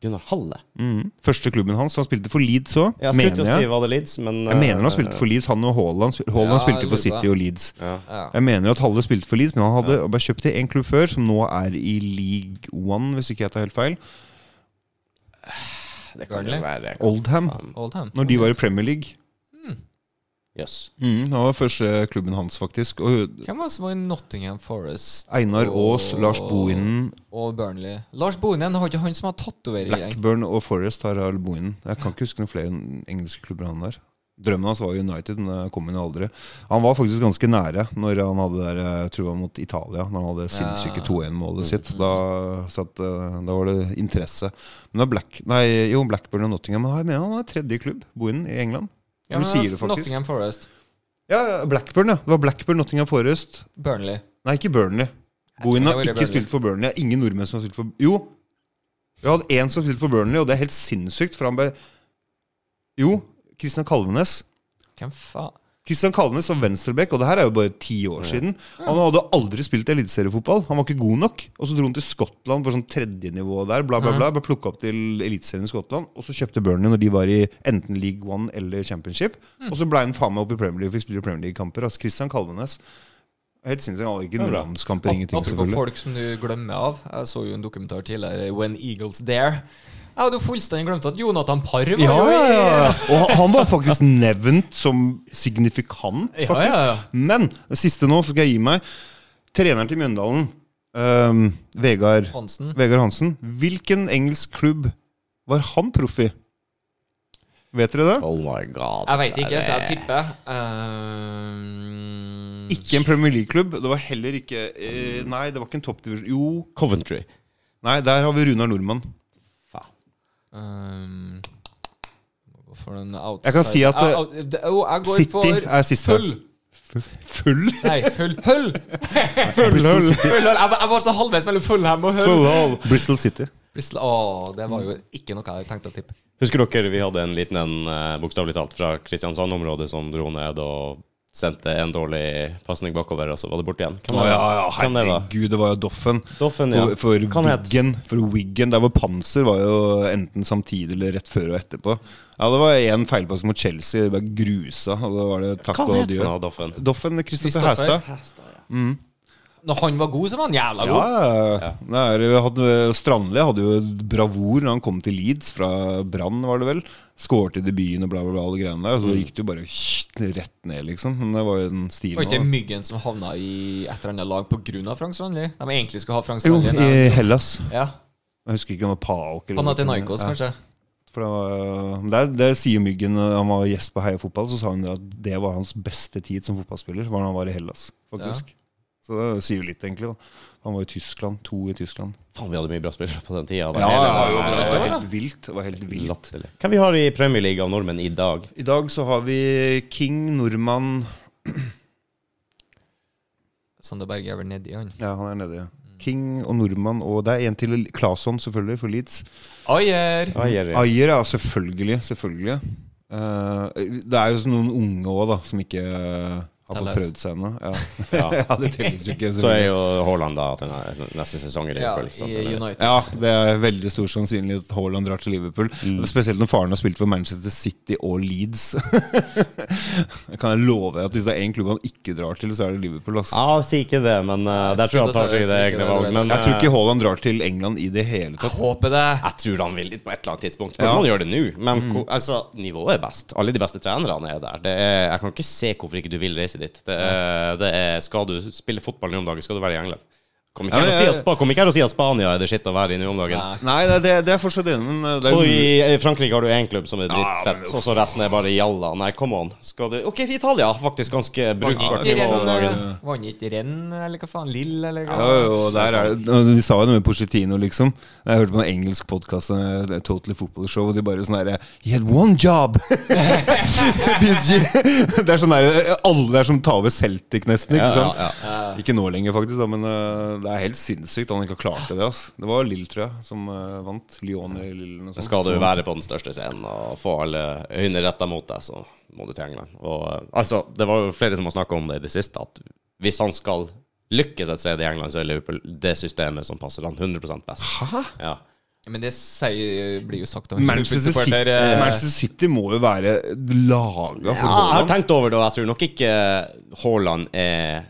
Speaker 1: Gunnar Halle.
Speaker 3: Mhm. Første klubben hans. Han spilte for Leeds òg,
Speaker 1: Jeg skulle
Speaker 3: mener
Speaker 1: til å si
Speaker 3: jeg.
Speaker 1: hva det lids, men eh,
Speaker 3: Jeg mener han spilte for Leeds, han og Haaland. spil- Haaland
Speaker 2: Ja,
Speaker 3: spilte for
Speaker 2: jeg lurer på
Speaker 3: City
Speaker 2: det.
Speaker 3: og Leeds.
Speaker 1: ja.
Speaker 2: Ja.
Speaker 3: Jeg mener at Halle spilte for Leeds, men han hadde ble kjøpt til en klubb før, som nå er i League One, hvis ikke jeg tar helt feil.
Speaker 1: Det kan jo
Speaker 2: Burnley?
Speaker 1: være
Speaker 3: Oldham,
Speaker 1: Faen.
Speaker 2: Oldham.
Speaker 3: når de var i Premier League.
Speaker 1: Jøss.
Speaker 3: Mhm, han var første klubben hans, faktisk. Og
Speaker 2: Hvem var det som var i Nottingham Forest
Speaker 3: Einar Aas, Lars Bohinen,
Speaker 2: og Burnley? Lars Bohinen har ikke han som har tatoveringer?
Speaker 3: Blackburn og Forest har Al Bohinen. Jeg kan ikke huske noen flere engelske klubber han der. Drømmen hans var United, men det kom han jo aldri. Han var faktisk ganske nære når han hadde der, jeg tror det var mot Italia, når han hadde sinnssyke 2-1-målet
Speaker 2: Mm.
Speaker 3: sitt. Da, satt, eh, da var det interesse. Men da Black, nei, jo, Blackburn og Nottingham Men jeg mener han er tredje klubb, Bohinen, i England.
Speaker 2: Ja,
Speaker 3: du
Speaker 2: men
Speaker 3: sier det faktisk.
Speaker 2: Nottingham Forest.
Speaker 3: Ja, ja, Blackburn, ja. Det var Blackburn, Nottingham Forest.
Speaker 2: Burnley.
Speaker 3: Nei, ikke Burnley.
Speaker 2: tror
Speaker 3: Bohin
Speaker 2: det
Speaker 3: har
Speaker 2: var
Speaker 3: ikke
Speaker 2: det Burnley.
Speaker 3: spilt for Burnley. Det er Ingen nordmenn som har spilt for Jo! Vi hadde én som spilte for Burnley, og det er helt sinnssykt, for han ble Jo, Christian Kalvenes.
Speaker 2: Hvem faen?
Speaker 3: Christian Kalvenes var venstreback, og det her er jo bare ti år siden. Han hadde aldri spilt eliteseriefotball. Han var ikke god nok. Og så dro han til Skottland på sånn tredjenivå der, bla, bla, bla. Ble plukka opp til eliteserien i Skottland. Og så kjøpte Burnley når de var i enten League One eller Championship.
Speaker 2: Mm.
Speaker 3: Og så ble han faen meg opp i Premier League og fikk spille Premier League-kamper. Altså Christian Kalvenes. Helt sinnssykt. Han hadde ikke
Speaker 1: er bra.
Speaker 3: nordlandskamper, ingenting,
Speaker 2: Apropos
Speaker 3: selvfølgelig.
Speaker 2: folk som du glemmer av. Jeg så jo en dokumentar tidligere, When Eagles Dare. Jeg hadde jo fullstendig glemt at Jonathan Parr
Speaker 3: Ja,
Speaker 2: var jo i-
Speaker 3: ja, ja. Og han var faktisk nevnt som signifikant,
Speaker 2: Ja,
Speaker 3: faktisk.
Speaker 2: ja, ja.
Speaker 3: Men det siste nå, så skal jeg gi meg. Treneren til Mjøndalen, øhm, Vegard,
Speaker 2: Hansen.
Speaker 3: Vegard Hansen. Hvilken engelsk klubb var han proff i? Vet dere det?
Speaker 1: Oh my god.
Speaker 2: Jeg veit ikke,
Speaker 1: det
Speaker 2: så jeg
Speaker 1: er-
Speaker 2: tipper. Ehm,
Speaker 3: Ikke en Premier League-klubb. Det var heller ikke eh, Nei, det var ikke en toppdivisjon. Jo
Speaker 1: Coventry.
Speaker 3: Nei, der har vi Runar Nordmann.
Speaker 1: Faen.
Speaker 2: ehm, må gå for den
Speaker 3: Jeg kan si
Speaker 2: outside-
Speaker 3: at,
Speaker 2: Au-
Speaker 3: eh,
Speaker 2: au- det- jo, jeg går
Speaker 3: City
Speaker 2: for
Speaker 3: er siste.
Speaker 2: Full.
Speaker 3: Full?
Speaker 2: Nei, full Hull!
Speaker 3: Full hull.
Speaker 2: Full Hull. Jeg, var- jeg var så halvveis mellom Fullham og Hull.
Speaker 3: Bristol City.
Speaker 2: Bristol- Åh, det var jo ikke noe jeg tenkte å tippe.
Speaker 1: Husker dere vi hadde en liten en, eh, bokstavelig talt, fra Kristiansand-området som dro ned og sendte en dårlig pasning bakover, og så var det borte igjen? Hvem
Speaker 3: Å
Speaker 1: det
Speaker 3: ja,
Speaker 1: var?
Speaker 3: ja,
Speaker 1: Hvem det var?
Speaker 3: herregud, det var jo Doffen.
Speaker 1: Doffen, ja.
Speaker 3: For, for,
Speaker 1: Kan het-
Speaker 3: Wiggen, for Wiggen, der hvor Panser var jo enten samtidig eller rett før og etterpå. Ja, Det var én feilpass mot Chelsea, det ble grusa. Og da var det takk
Speaker 1: Hva
Speaker 3: og
Speaker 1: het
Speaker 3: adjø.
Speaker 1: han, Doffen?
Speaker 3: Doffen Kristoffer
Speaker 2: Kristoffer.
Speaker 3: Hæstad.
Speaker 2: Når han var god, så var han jævla
Speaker 3: Mm. Ja,
Speaker 2: god.
Speaker 3: ja. Det er jo- hadde- Strandli hadde jo bravur når han kom til Leeds fra Brann, var det vel. Skårte i debuten og bla, bla, bla, alle greiene der. Så det gikk det jo bare rett ned, liksom. Men det var jo den
Speaker 2: Var
Speaker 3: stilen.
Speaker 2: ikke det
Speaker 3: også, da.
Speaker 2: Myggen som havna i et eller annet lag pga. Frank Strandli? De egentlig skulle ha Frank
Speaker 3: Jo, eh. i
Speaker 2: Strandli. men-
Speaker 3: Hellas.
Speaker 2: Ja.
Speaker 3: Jeg husker ikke om det var Paok eller
Speaker 2: Panathinaikos,
Speaker 3: Ja.
Speaker 2: kanskje.
Speaker 3: For det, var, men det, er- det sier Myggen når han var gjest på Heia Fotball, så sa han det at det var hans beste tid som fotballspiller, var når han var i Hellas, faktisk. Så det sier jo litt, egentlig. da Han var i Tyskland, to i Tyskland.
Speaker 1: Faen, vi hadde mye bra spillere på den tida. Det
Speaker 3: Ja,
Speaker 1: hele-
Speaker 3: det var helt vilt. Det var helt vilt.
Speaker 1: Latterlig. Hvem vi har i Premier League av nordmenn i dag?
Speaker 3: I dag så har vi King, nordmann
Speaker 2: Sander Berge er vel nedi, han.
Speaker 3: Ja, han er nede. ja. King og nordmann, og det er en til. Claesson, selvfølgelig, for Leeds.
Speaker 2: Ayer!
Speaker 1: Oi, Jerry.
Speaker 3: Ayer, ja, selvfølgelig. Selvfølgelig. Eh, det er jo så noen unge òg, da, som ikke eh, har fått
Speaker 2: Telles.
Speaker 3: prøvd seg ennå. Ja. Ja.
Speaker 1: Ja.
Speaker 3: det telles jo ikke.
Speaker 1: Så er
Speaker 3: selvfølgelig.
Speaker 1: jo Haaland da til ne- neste sesong i
Speaker 2: Ja,
Speaker 1: Liverpool. sånn
Speaker 2: i
Speaker 1: sannsynligvis.
Speaker 2: United.
Speaker 3: Ja, det er veldig stor sannsynlighet at Haaland drar til Liverpool. Spesielt når faren har spilt for Manchester City og Leeds. kan jeg love deg at hvis det er én klubb han ikke drar til, så er det Liverpool. ass.
Speaker 1: Ja, si ikke det, men eh, der tror jeg han tar seg
Speaker 2: Si
Speaker 1: det
Speaker 2: ikke
Speaker 1: egne
Speaker 2: det,
Speaker 1: valg.
Speaker 2: du vet.
Speaker 1: Men
Speaker 3: Jeg tror
Speaker 1: eh,
Speaker 3: ikke Haaland drar til England i det hele tatt.
Speaker 2: Jeg håper det.
Speaker 1: jeg tror han vil dit på et eller annet tidspunkt. Men han gjør det nå. Men ko- altså, nivået er best. Alle de beste trenerne er der. Det er, jeg kan ikke se hvorfor ikke du vil reise dit. Det er, det er, skal du spille fotball nå om dagen, skal du være i England. Kom ikke
Speaker 3: Ja,
Speaker 1: her og
Speaker 3: men
Speaker 1: si
Speaker 3: jeg-
Speaker 1: at, Spa- kom ikke her og si at Spania er det skitt å være i nå om dagen.
Speaker 2: Nei.
Speaker 3: Nei, det, det, det er jeg fortsatt enig, men eh, det er
Speaker 1: Og
Speaker 3: jo
Speaker 1: i Frankrike har du én klubb som er
Speaker 3: Ja,
Speaker 1: drittfett,
Speaker 3: men-
Speaker 1: og så resten er bare jalla. Nei, come on. Skal du OK, Italia har faktisk ganske brukbart
Speaker 3: ikke
Speaker 1: nivå om
Speaker 3: Rennes-
Speaker 2: eh,
Speaker 1: dagen.
Speaker 2: Vant ikke Renn, eller hva faen? Lill, eller hva?
Speaker 3: Ja, jo, og der er det og De sa jo noe med Pochettino, liksom. Jeg hørte på en engelsk podkast, Totally Football Show, og de bare sånn herre He had one job! PSG Det er sånn herre Alle der som tar over Celtic, nesten. Ikke
Speaker 1: Ja,
Speaker 3: sant?
Speaker 1: ja,
Speaker 3: Ikke nå lenger, faktisk, da, men eh, det er helt sinnssykt han ikke har klart det. ass. Det var Lill, tror jeg, som eh, vant. Lyon eller Lill eller noe sånt.
Speaker 1: Skal du
Speaker 3: Så-
Speaker 1: være på den største scenen og få alle øyne retta mot deg, så må du til England. Og, eh, altså, det var jo flere som har snakka om det i det siste, at hvis han skal lykkes et sted i England, så er Liverpool det systemet som passer han 100 best. Hæ? Ja.
Speaker 2: Men det sier, blir jo sagt av
Speaker 3: Manchester City,
Speaker 2: Supporter, eh,
Speaker 3: Manchester City må jo være laga for
Speaker 1: Ja, jeg har
Speaker 3: Haaland.
Speaker 1: tenkt over det, og jeg tror nok ikke Haaland er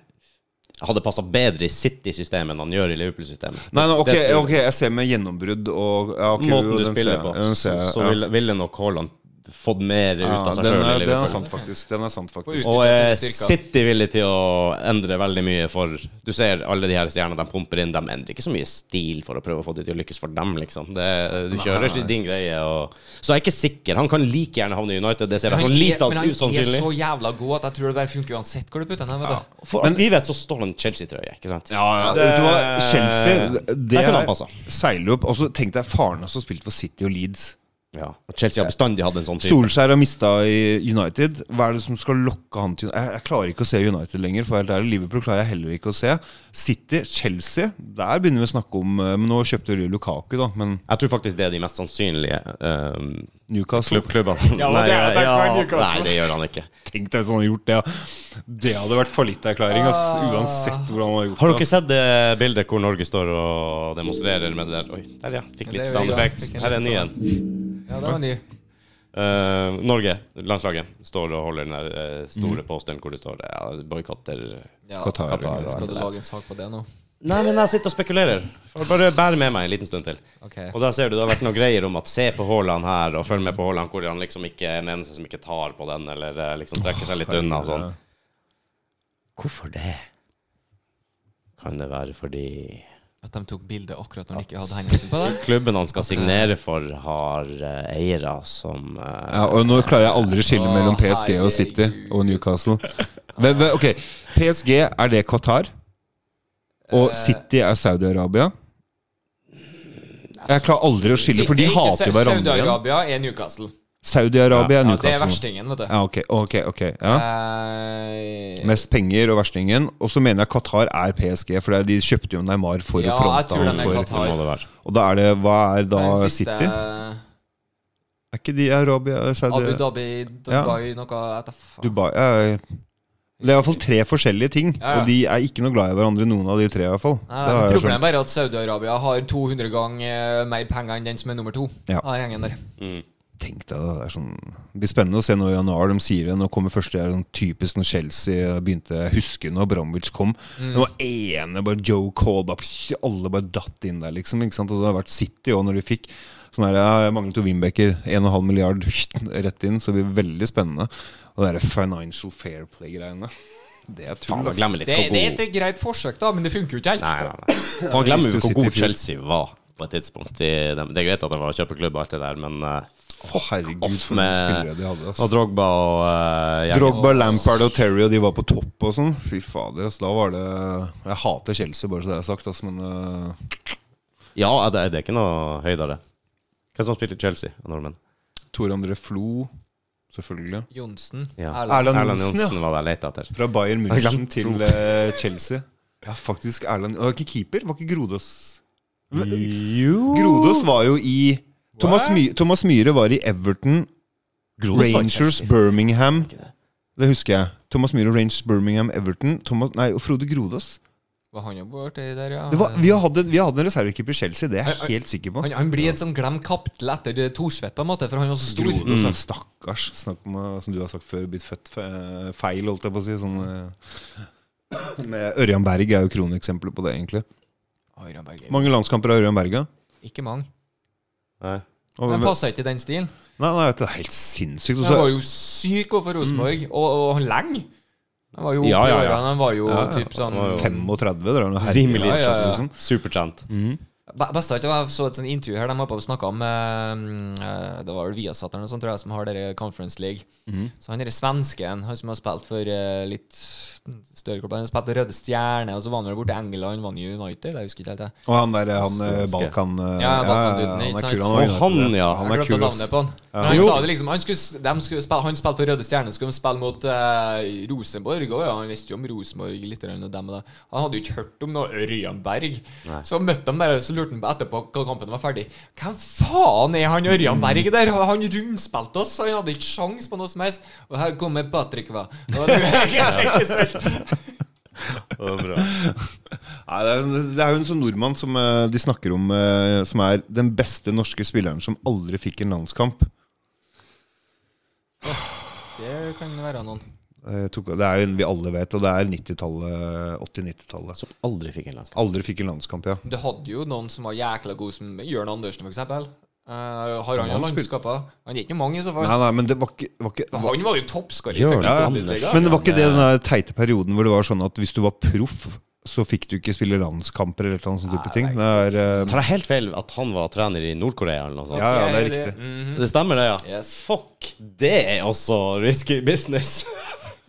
Speaker 1: hadde passa bedre i City-systemet enn han gjør i Liverpool-systemet.
Speaker 3: Nei, nei, ok,
Speaker 1: Det tror jeg.
Speaker 3: ok, jeg ser med gjennombrudd og ja, ok, jo,
Speaker 1: Måten du
Speaker 3: den ser
Speaker 1: spiller
Speaker 3: jeg,
Speaker 1: på,
Speaker 3: den ser jeg,
Speaker 1: så,
Speaker 3: ja.
Speaker 1: så ville, ville nok Haaland fått mer ut av seg
Speaker 3: den,
Speaker 1: sjøl i
Speaker 3: er, den er
Speaker 1: Liverpool.
Speaker 3: sant, faktisk. Den er sant,
Speaker 2: På
Speaker 3: faktisk.
Speaker 2: ut-
Speaker 1: Og
Speaker 2: Utnytte
Speaker 1: eh,
Speaker 2: sine styrker.
Speaker 1: City villig til å endre veldig mye for Du ser alle de her stjernene de pumper inn, de endrer ikke så mye stil for å prøve å få det til å lykkes for dem, liksom. Det, du kjører din greie og Så jeg er ikke sikker. Han kan like gjerne havne i United, det ser jeg
Speaker 2: han
Speaker 1: så
Speaker 2: er,
Speaker 1: lite
Speaker 2: men
Speaker 1: av
Speaker 2: han er
Speaker 1: usannsynlig.
Speaker 2: så jævla god at jeg tror det bare funker uansett hvor du putter den. vet du.
Speaker 1: For alt vi vet, så står han i Chelsea-trøye, ikke sant?
Speaker 3: Ja, vet du hva, Chelsea det
Speaker 1: Der kunne han
Speaker 3: er,
Speaker 1: passa.
Speaker 3: seiler opp. Og så tenk deg faren hans som spilte for City og Leeds.
Speaker 1: Ja. Og Chelsea har bestandig hatt en sånn type.
Speaker 3: Solskjær har mista i United. Hva er det som skal lokke han til Jeg, jeg klarer ikke å se United lenger. For helt ærlig, Liverpool klarer jeg heller ikke å se. City, Chelsea, der begynner vi å snakke om eh, Men Nå kjøpte de Lukaku, da. Men
Speaker 1: Jeg tror faktisk det er de mest sannsynlige ehm,
Speaker 3: Newcastle
Speaker 1: klubb klubbene.
Speaker 2: Ja, men det er- det er ikke Newcastle.
Speaker 1: nei, det gjør han ikke.
Speaker 3: Tenk deg hvis han sånn hadde gjort det. ja. Det hadde vært fallitterklæring, ass.
Speaker 2: Ah.
Speaker 3: Uansett hvordan han har gjort
Speaker 1: Har dere
Speaker 3: det.
Speaker 1: sett det bildet hvor Norge står og demonstrerer med det der? Oi, der ja. Fikk
Speaker 2: Ja, det
Speaker 1: litt
Speaker 2: er
Speaker 1: sound
Speaker 2: jo-
Speaker 1: effects.
Speaker 2: fikk en
Speaker 1: Her er en
Speaker 2: litt
Speaker 1: ny en.
Speaker 2: sånn. Ja, det var ny.
Speaker 1: Eh, Norge, landslaget, står og holder den der eh,
Speaker 2: Mhm.
Speaker 1: store posteren hvor det står ja, boikotter
Speaker 2: Ja,
Speaker 3: Qatar.
Speaker 1: Qatar. og alt
Speaker 2: Skal du
Speaker 1: det der.
Speaker 2: lage en sak på det nå?
Speaker 1: Nei, men jeg sitter og spekulerer. Får Bare bær med meg en liten stund til.
Speaker 2: Ok.
Speaker 1: Og der ser du det har vært noen greier om at se på Haaland her, og følg med på Haaland hvor han liksom ikke er den eneste som ikke tar på den, eller eh, liksom trekker seg litt unna og sånn. Hvorfor det? Kan det være fordi
Speaker 2: At de tok bilde akkurat når de ikke hadde hendene på det?
Speaker 1: klubben han
Speaker 2: eh,
Speaker 1: skal signere for, har eh, eiere som eh,
Speaker 3: Ja, og nå klarer jeg aldri å skille
Speaker 2: Å,
Speaker 3: mellom PSG og City
Speaker 2: herregud.
Speaker 3: og Newcastle. Hvem- hvem- ok, PSG, er det Qatar?
Speaker 2: Eh,
Speaker 3: Og City er Saudi-Arabia? Jeg klarer aldri å skille, for de
Speaker 2: City er ikke
Speaker 3: hater jo hverandre. igjen.
Speaker 2: Saudi-Arabia er Newcastle.
Speaker 3: Saudi-Arabia er
Speaker 2: Ja, det er
Speaker 3: Newcastle.
Speaker 2: verstingen, vet du.
Speaker 3: Ja, ok, ok, ok ja.
Speaker 2: Eh,
Speaker 3: Mest penger og verstingen. Og så mener jeg Qatar er PSG, for det er- de kjøpte jo Neymar for å
Speaker 2: Ja, jeg
Speaker 3: fronte
Speaker 2: tror
Speaker 3: han
Speaker 2: de er
Speaker 3: for
Speaker 1: Det må det være.
Speaker 3: Og da er det Hva er da
Speaker 2: den siste, eh,
Speaker 3: City? Er ikke de Arabia
Speaker 2: Abu
Speaker 3: Saudi
Speaker 2: Dhabi, Dubai, noe jeg vet da faen.
Speaker 3: Dubai ja, ja. Det er i hvert fall tre forskjellige ting,
Speaker 2: Ja, ja.
Speaker 3: og de er ikke noe glad i hverandre, noen av de tre. i hvert fall
Speaker 2: Nei,
Speaker 3: Det har jeg sånn,
Speaker 2: problemet er bare at Saudi-Arabia har 200 ganger eh, mer penger enn den som er nummer to.
Speaker 3: Ja.
Speaker 2: Av gjengen der.
Speaker 3: skjønt. Tenk deg det, det er sånn Det blir spennende å se nå i januar. De sier det. Nå kommer første det er sånn typisk når Chelsea eh, begynte Jeg husker når Bromwich kom.
Speaker 2: Mm.
Speaker 3: Det var ene bare Joe Cole bare, psh, Alle bare datt inn der, liksom. Ikke sant? Og det har vært City òg, når de fikk sånn her ja, Jeg mangler to Wimbecker. 1,5 milliard psh, rett inn. Så det blir veldig spennende. Og det derre Financial Fair Play-greiene. Det er tull.
Speaker 1: Faen, man
Speaker 3: ass.
Speaker 1: glemmer litt
Speaker 2: Det,
Speaker 1: hvor
Speaker 2: det er
Speaker 1: god
Speaker 2: et greit forsøk, da, men det funker jo ikke helt.
Speaker 1: Nei, nei, nei. Faen, glemmer vi
Speaker 3: Hvis du
Speaker 1: hvor god
Speaker 3: sitter i fjor.
Speaker 1: Chelsea var på et tidspunkt. I dem. Det er greit at det var kjøpeklubb og alt det der, men eh,
Speaker 3: Å, herregud,
Speaker 1: off
Speaker 3: for noen
Speaker 1: med
Speaker 3: spillere de hadde. ass.
Speaker 1: Og Drogba og eh, gjengen.
Speaker 3: Drogba, Lampard og Terry og de var på topp og sånn. Fy fader, ass. Da var det Jeg hater Chelsea, bare så det er sagt, ass, men eh,
Speaker 1: Ja, eh, det er, det er ikke noe høydere. Hvem som spilte i Chelsea av nordmenn?
Speaker 3: Tor André Flo, selvfølgelig.
Speaker 2: Johnsen.
Speaker 1: Ja.
Speaker 2: Erlend.
Speaker 3: Erland
Speaker 1: Erland
Speaker 3: Johnsen, ja.
Speaker 1: Johnsen var det jeg lette etter.
Speaker 3: Fra Bayern München
Speaker 1: Erland Flo.
Speaker 3: til eh, Chelsea. Ja, faktisk Erland Var ikke keeper? Var ikke Grodås
Speaker 1: Jo
Speaker 3: Grodås var jo i Thomas, My Thomas Myhre var i Everton,
Speaker 1: Grodås var i
Speaker 3: Rangers,
Speaker 1: Chelsea.
Speaker 3: Birmingham. Det husker jeg. Thomas Myhre, Rangers, Birmingham, Everton. Thomas, nei, og Frode Grodås.
Speaker 2: Var han jo borti der, ja?
Speaker 3: Det var, vi, har hatt en, vi har hatt en reservekeeper i Chelsea, det er
Speaker 2: Ai, ai.
Speaker 3: jeg helt sikker på.
Speaker 2: han, han blir et sånn glemt kapittel etter det Thorsvedt, på en måte, for han var så stor.
Speaker 3: Grodås er Altså, stakkars. Snakk om, eh, som du har sagt før, blitt født fe- eh, feil, holdt jeg på å si. Sånn, eh, med Ørjan Berg er jo kroneksempelet på det, egentlig.
Speaker 2: Oi, Ramberg,
Speaker 3: Mange landskamper har Ørjan Berg, ja.
Speaker 2: Ikke mange.
Speaker 1: Nei.
Speaker 3: Og-
Speaker 2: Men passa ikke i den stilen.
Speaker 3: Nei, nei, det er helt sinnssykt. Og
Speaker 2: Han var
Speaker 3: så, Mm.
Speaker 2: jo syk overfor Rosenborg, og, og han lenge. Han var jo oppe
Speaker 1: Ja, ja,
Speaker 2: i
Speaker 1: ja.
Speaker 2: årene, han var jo
Speaker 3: Ja, ja.
Speaker 2: typ
Speaker 1: Han
Speaker 2: sånn
Speaker 1: var jo-
Speaker 3: 35, det er noe herre-
Speaker 1: Rimelig
Speaker 2: Ja, ja, ja.
Speaker 1: sånn. supertrent.
Speaker 3: Mm.
Speaker 2: Be- Best av alt, jeg så et sånt intervju her de var på og snakka om eh, eh, Det var vel Viasat eller noe sånt, tror jeg, som har dere Conference League. Så han derre svensken, han som har spilt for eh, litt større klubber, han har spilt for Røde Stjerne, og så var han vel borte i England, var han i United? Jeg husker ikke helt det.
Speaker 3: Og han der han eh,
Speaker 1: Svenske.
Speaker 3: Balkan eh,
Speaker 2: Ja, Balkan-duden,
Speaker 3: han
Speaker 2: ikke
Speaker 3: er
Speaker 2: sant?
Speaker 3: kul.
Speaker 1: Og
Speaker 3: Han,
Speaker 1: han, ja.
Speaker 3: Han
Speaker 2: Jeg
Speaker 3: er
Speaker 2: glemte
Speaker 3: kul, ass.
Speaker 2: navnet på han. Men han
Speaker 1: Jo.
Speaker 2: sa det liksom Han skulle, s- dem skulle spille, han spilte for Røde Stjerne, skulle de spille mot eh, Rosenborg. Og ja, han visste jo om Rosenborg litt. grann Og dem og det. Han hadde jo ikke hørt om noe Ørjan Berg. Så møtte han bare Så lurte han på etterpå hva kampen var ferdig. Hvem faen er han Ørjan Berg der? Han rundspilte oss! Han hadde ikke sjans på noe som helst. Og her kommer Patrick, hva. Og det- Ikke sant?
Speaker 1: Det var bra.
Speaker 3: Nei, det, er, en- det er jo en sånn nordmann som eh, de snakker om, eh, som er den beste norske spilleren som aldri fikk en landskamp.
Speaker 2: det kan være noen.
Speaker 3: Eh, tok, det er jo en vi alle vet, og det er 90-tallet. 80-90-tallet.
Speaker 1: Som aldri fikk en landskamp.
Speaker 3: Aldri fikk en landskamp, ja.
Speaker 2: Du hadde jo noen som var jækla gode, som Jørn Andersen, for eksempel. Eh, har han jo
Speaker 3: Han spilte-
Speaker 2: landskaper? Han er ikke mange, i så fall.
Speaker 3: Nei, nei, men det var ikke, var ikke
Speaker 2: Men Han var jo toppskårer i
Speaker 1: Gjør
Speaker 2: fuckings
Speaker 1: det, ja.
Speaker 2: Bundesliga.
Speaker 3: Men eh, det var ikke det den der teite perioden hvor det var sånn at hvis du var proff, så fikk du ikke spille landskamper eller et eller annet sånn type ting. Det er, eh,
Speaker 1: Tar jeg helt feil at han var trener i Nord-Korea eller noe sånt?
Speaker 3: ja, ja, det er riktig.
Speaker 2: Mhm.
Speaker 1: Det stemmer, det, ja.
Speaker 2: Yes.
Speaker 1: Fuck, det er også risky business.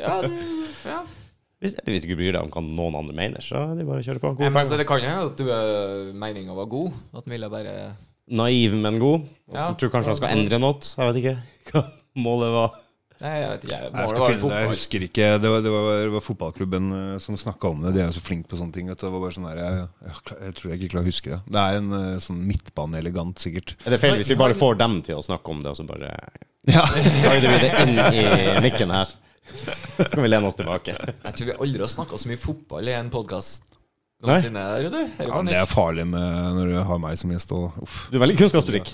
Speaker 2: Ja, det, ja.
Speaker 1: Hvis, eller hvis du ikke bryr deg om hva noen andre mener, så er det bare å kjøre på.
Speaker 2: Nei,
Speaker 1: Gode
Speaker 2: men så
Speaker 1: penger.
Speaker 2: det kan jo hende at du, eh, meninga var god. At han ville bare
Speaker 1: Naiv, men god.
Speaker 2: Ja.
Speaker 1: Jeg tror kanskje han skal endre noe. Jeg vet ikke hva målet var.
Speaker 2: Nei, jeg vet ikke.
Speaker 3: Nei,
Speaker 2: jeg-
Speaker 3: Jeg
Speaker 2: Målet
Speaker 3: skal
Speaker 2: var jo
Speaker 3: finne det, jeg
Speaker 2: fotball.
Speaker 3: husker ikke Det var, det var, det var fotballklubben eh, som snakka om det. De er jo så flinke på sånne ting. Vet du. Det var bare sånn der, jeg, jeg, kla- jeg tror jeg ikke klarer å huske det. Det er en eh, sånn midtbaneelegant, sikkert.
Speaker 1: Er det feil hvis vi bare får dem til å snakke om det, og så bare
Speaker 3: Ja.
Speaker 1: guider vi det inn i mikken her? Så kan vi lene oss tilbake.
Speaker 2: Jeg tror vi aldri har snakka så mye fotball i en podkast noensinne. Rudi. Dette var
Speaker 3: men det
Speaker 2: nytt.
Speaker 3: er farlig med når du har meg som gjest. Og, uff.
Speaker 1: Du er veldig kunnskapsrik.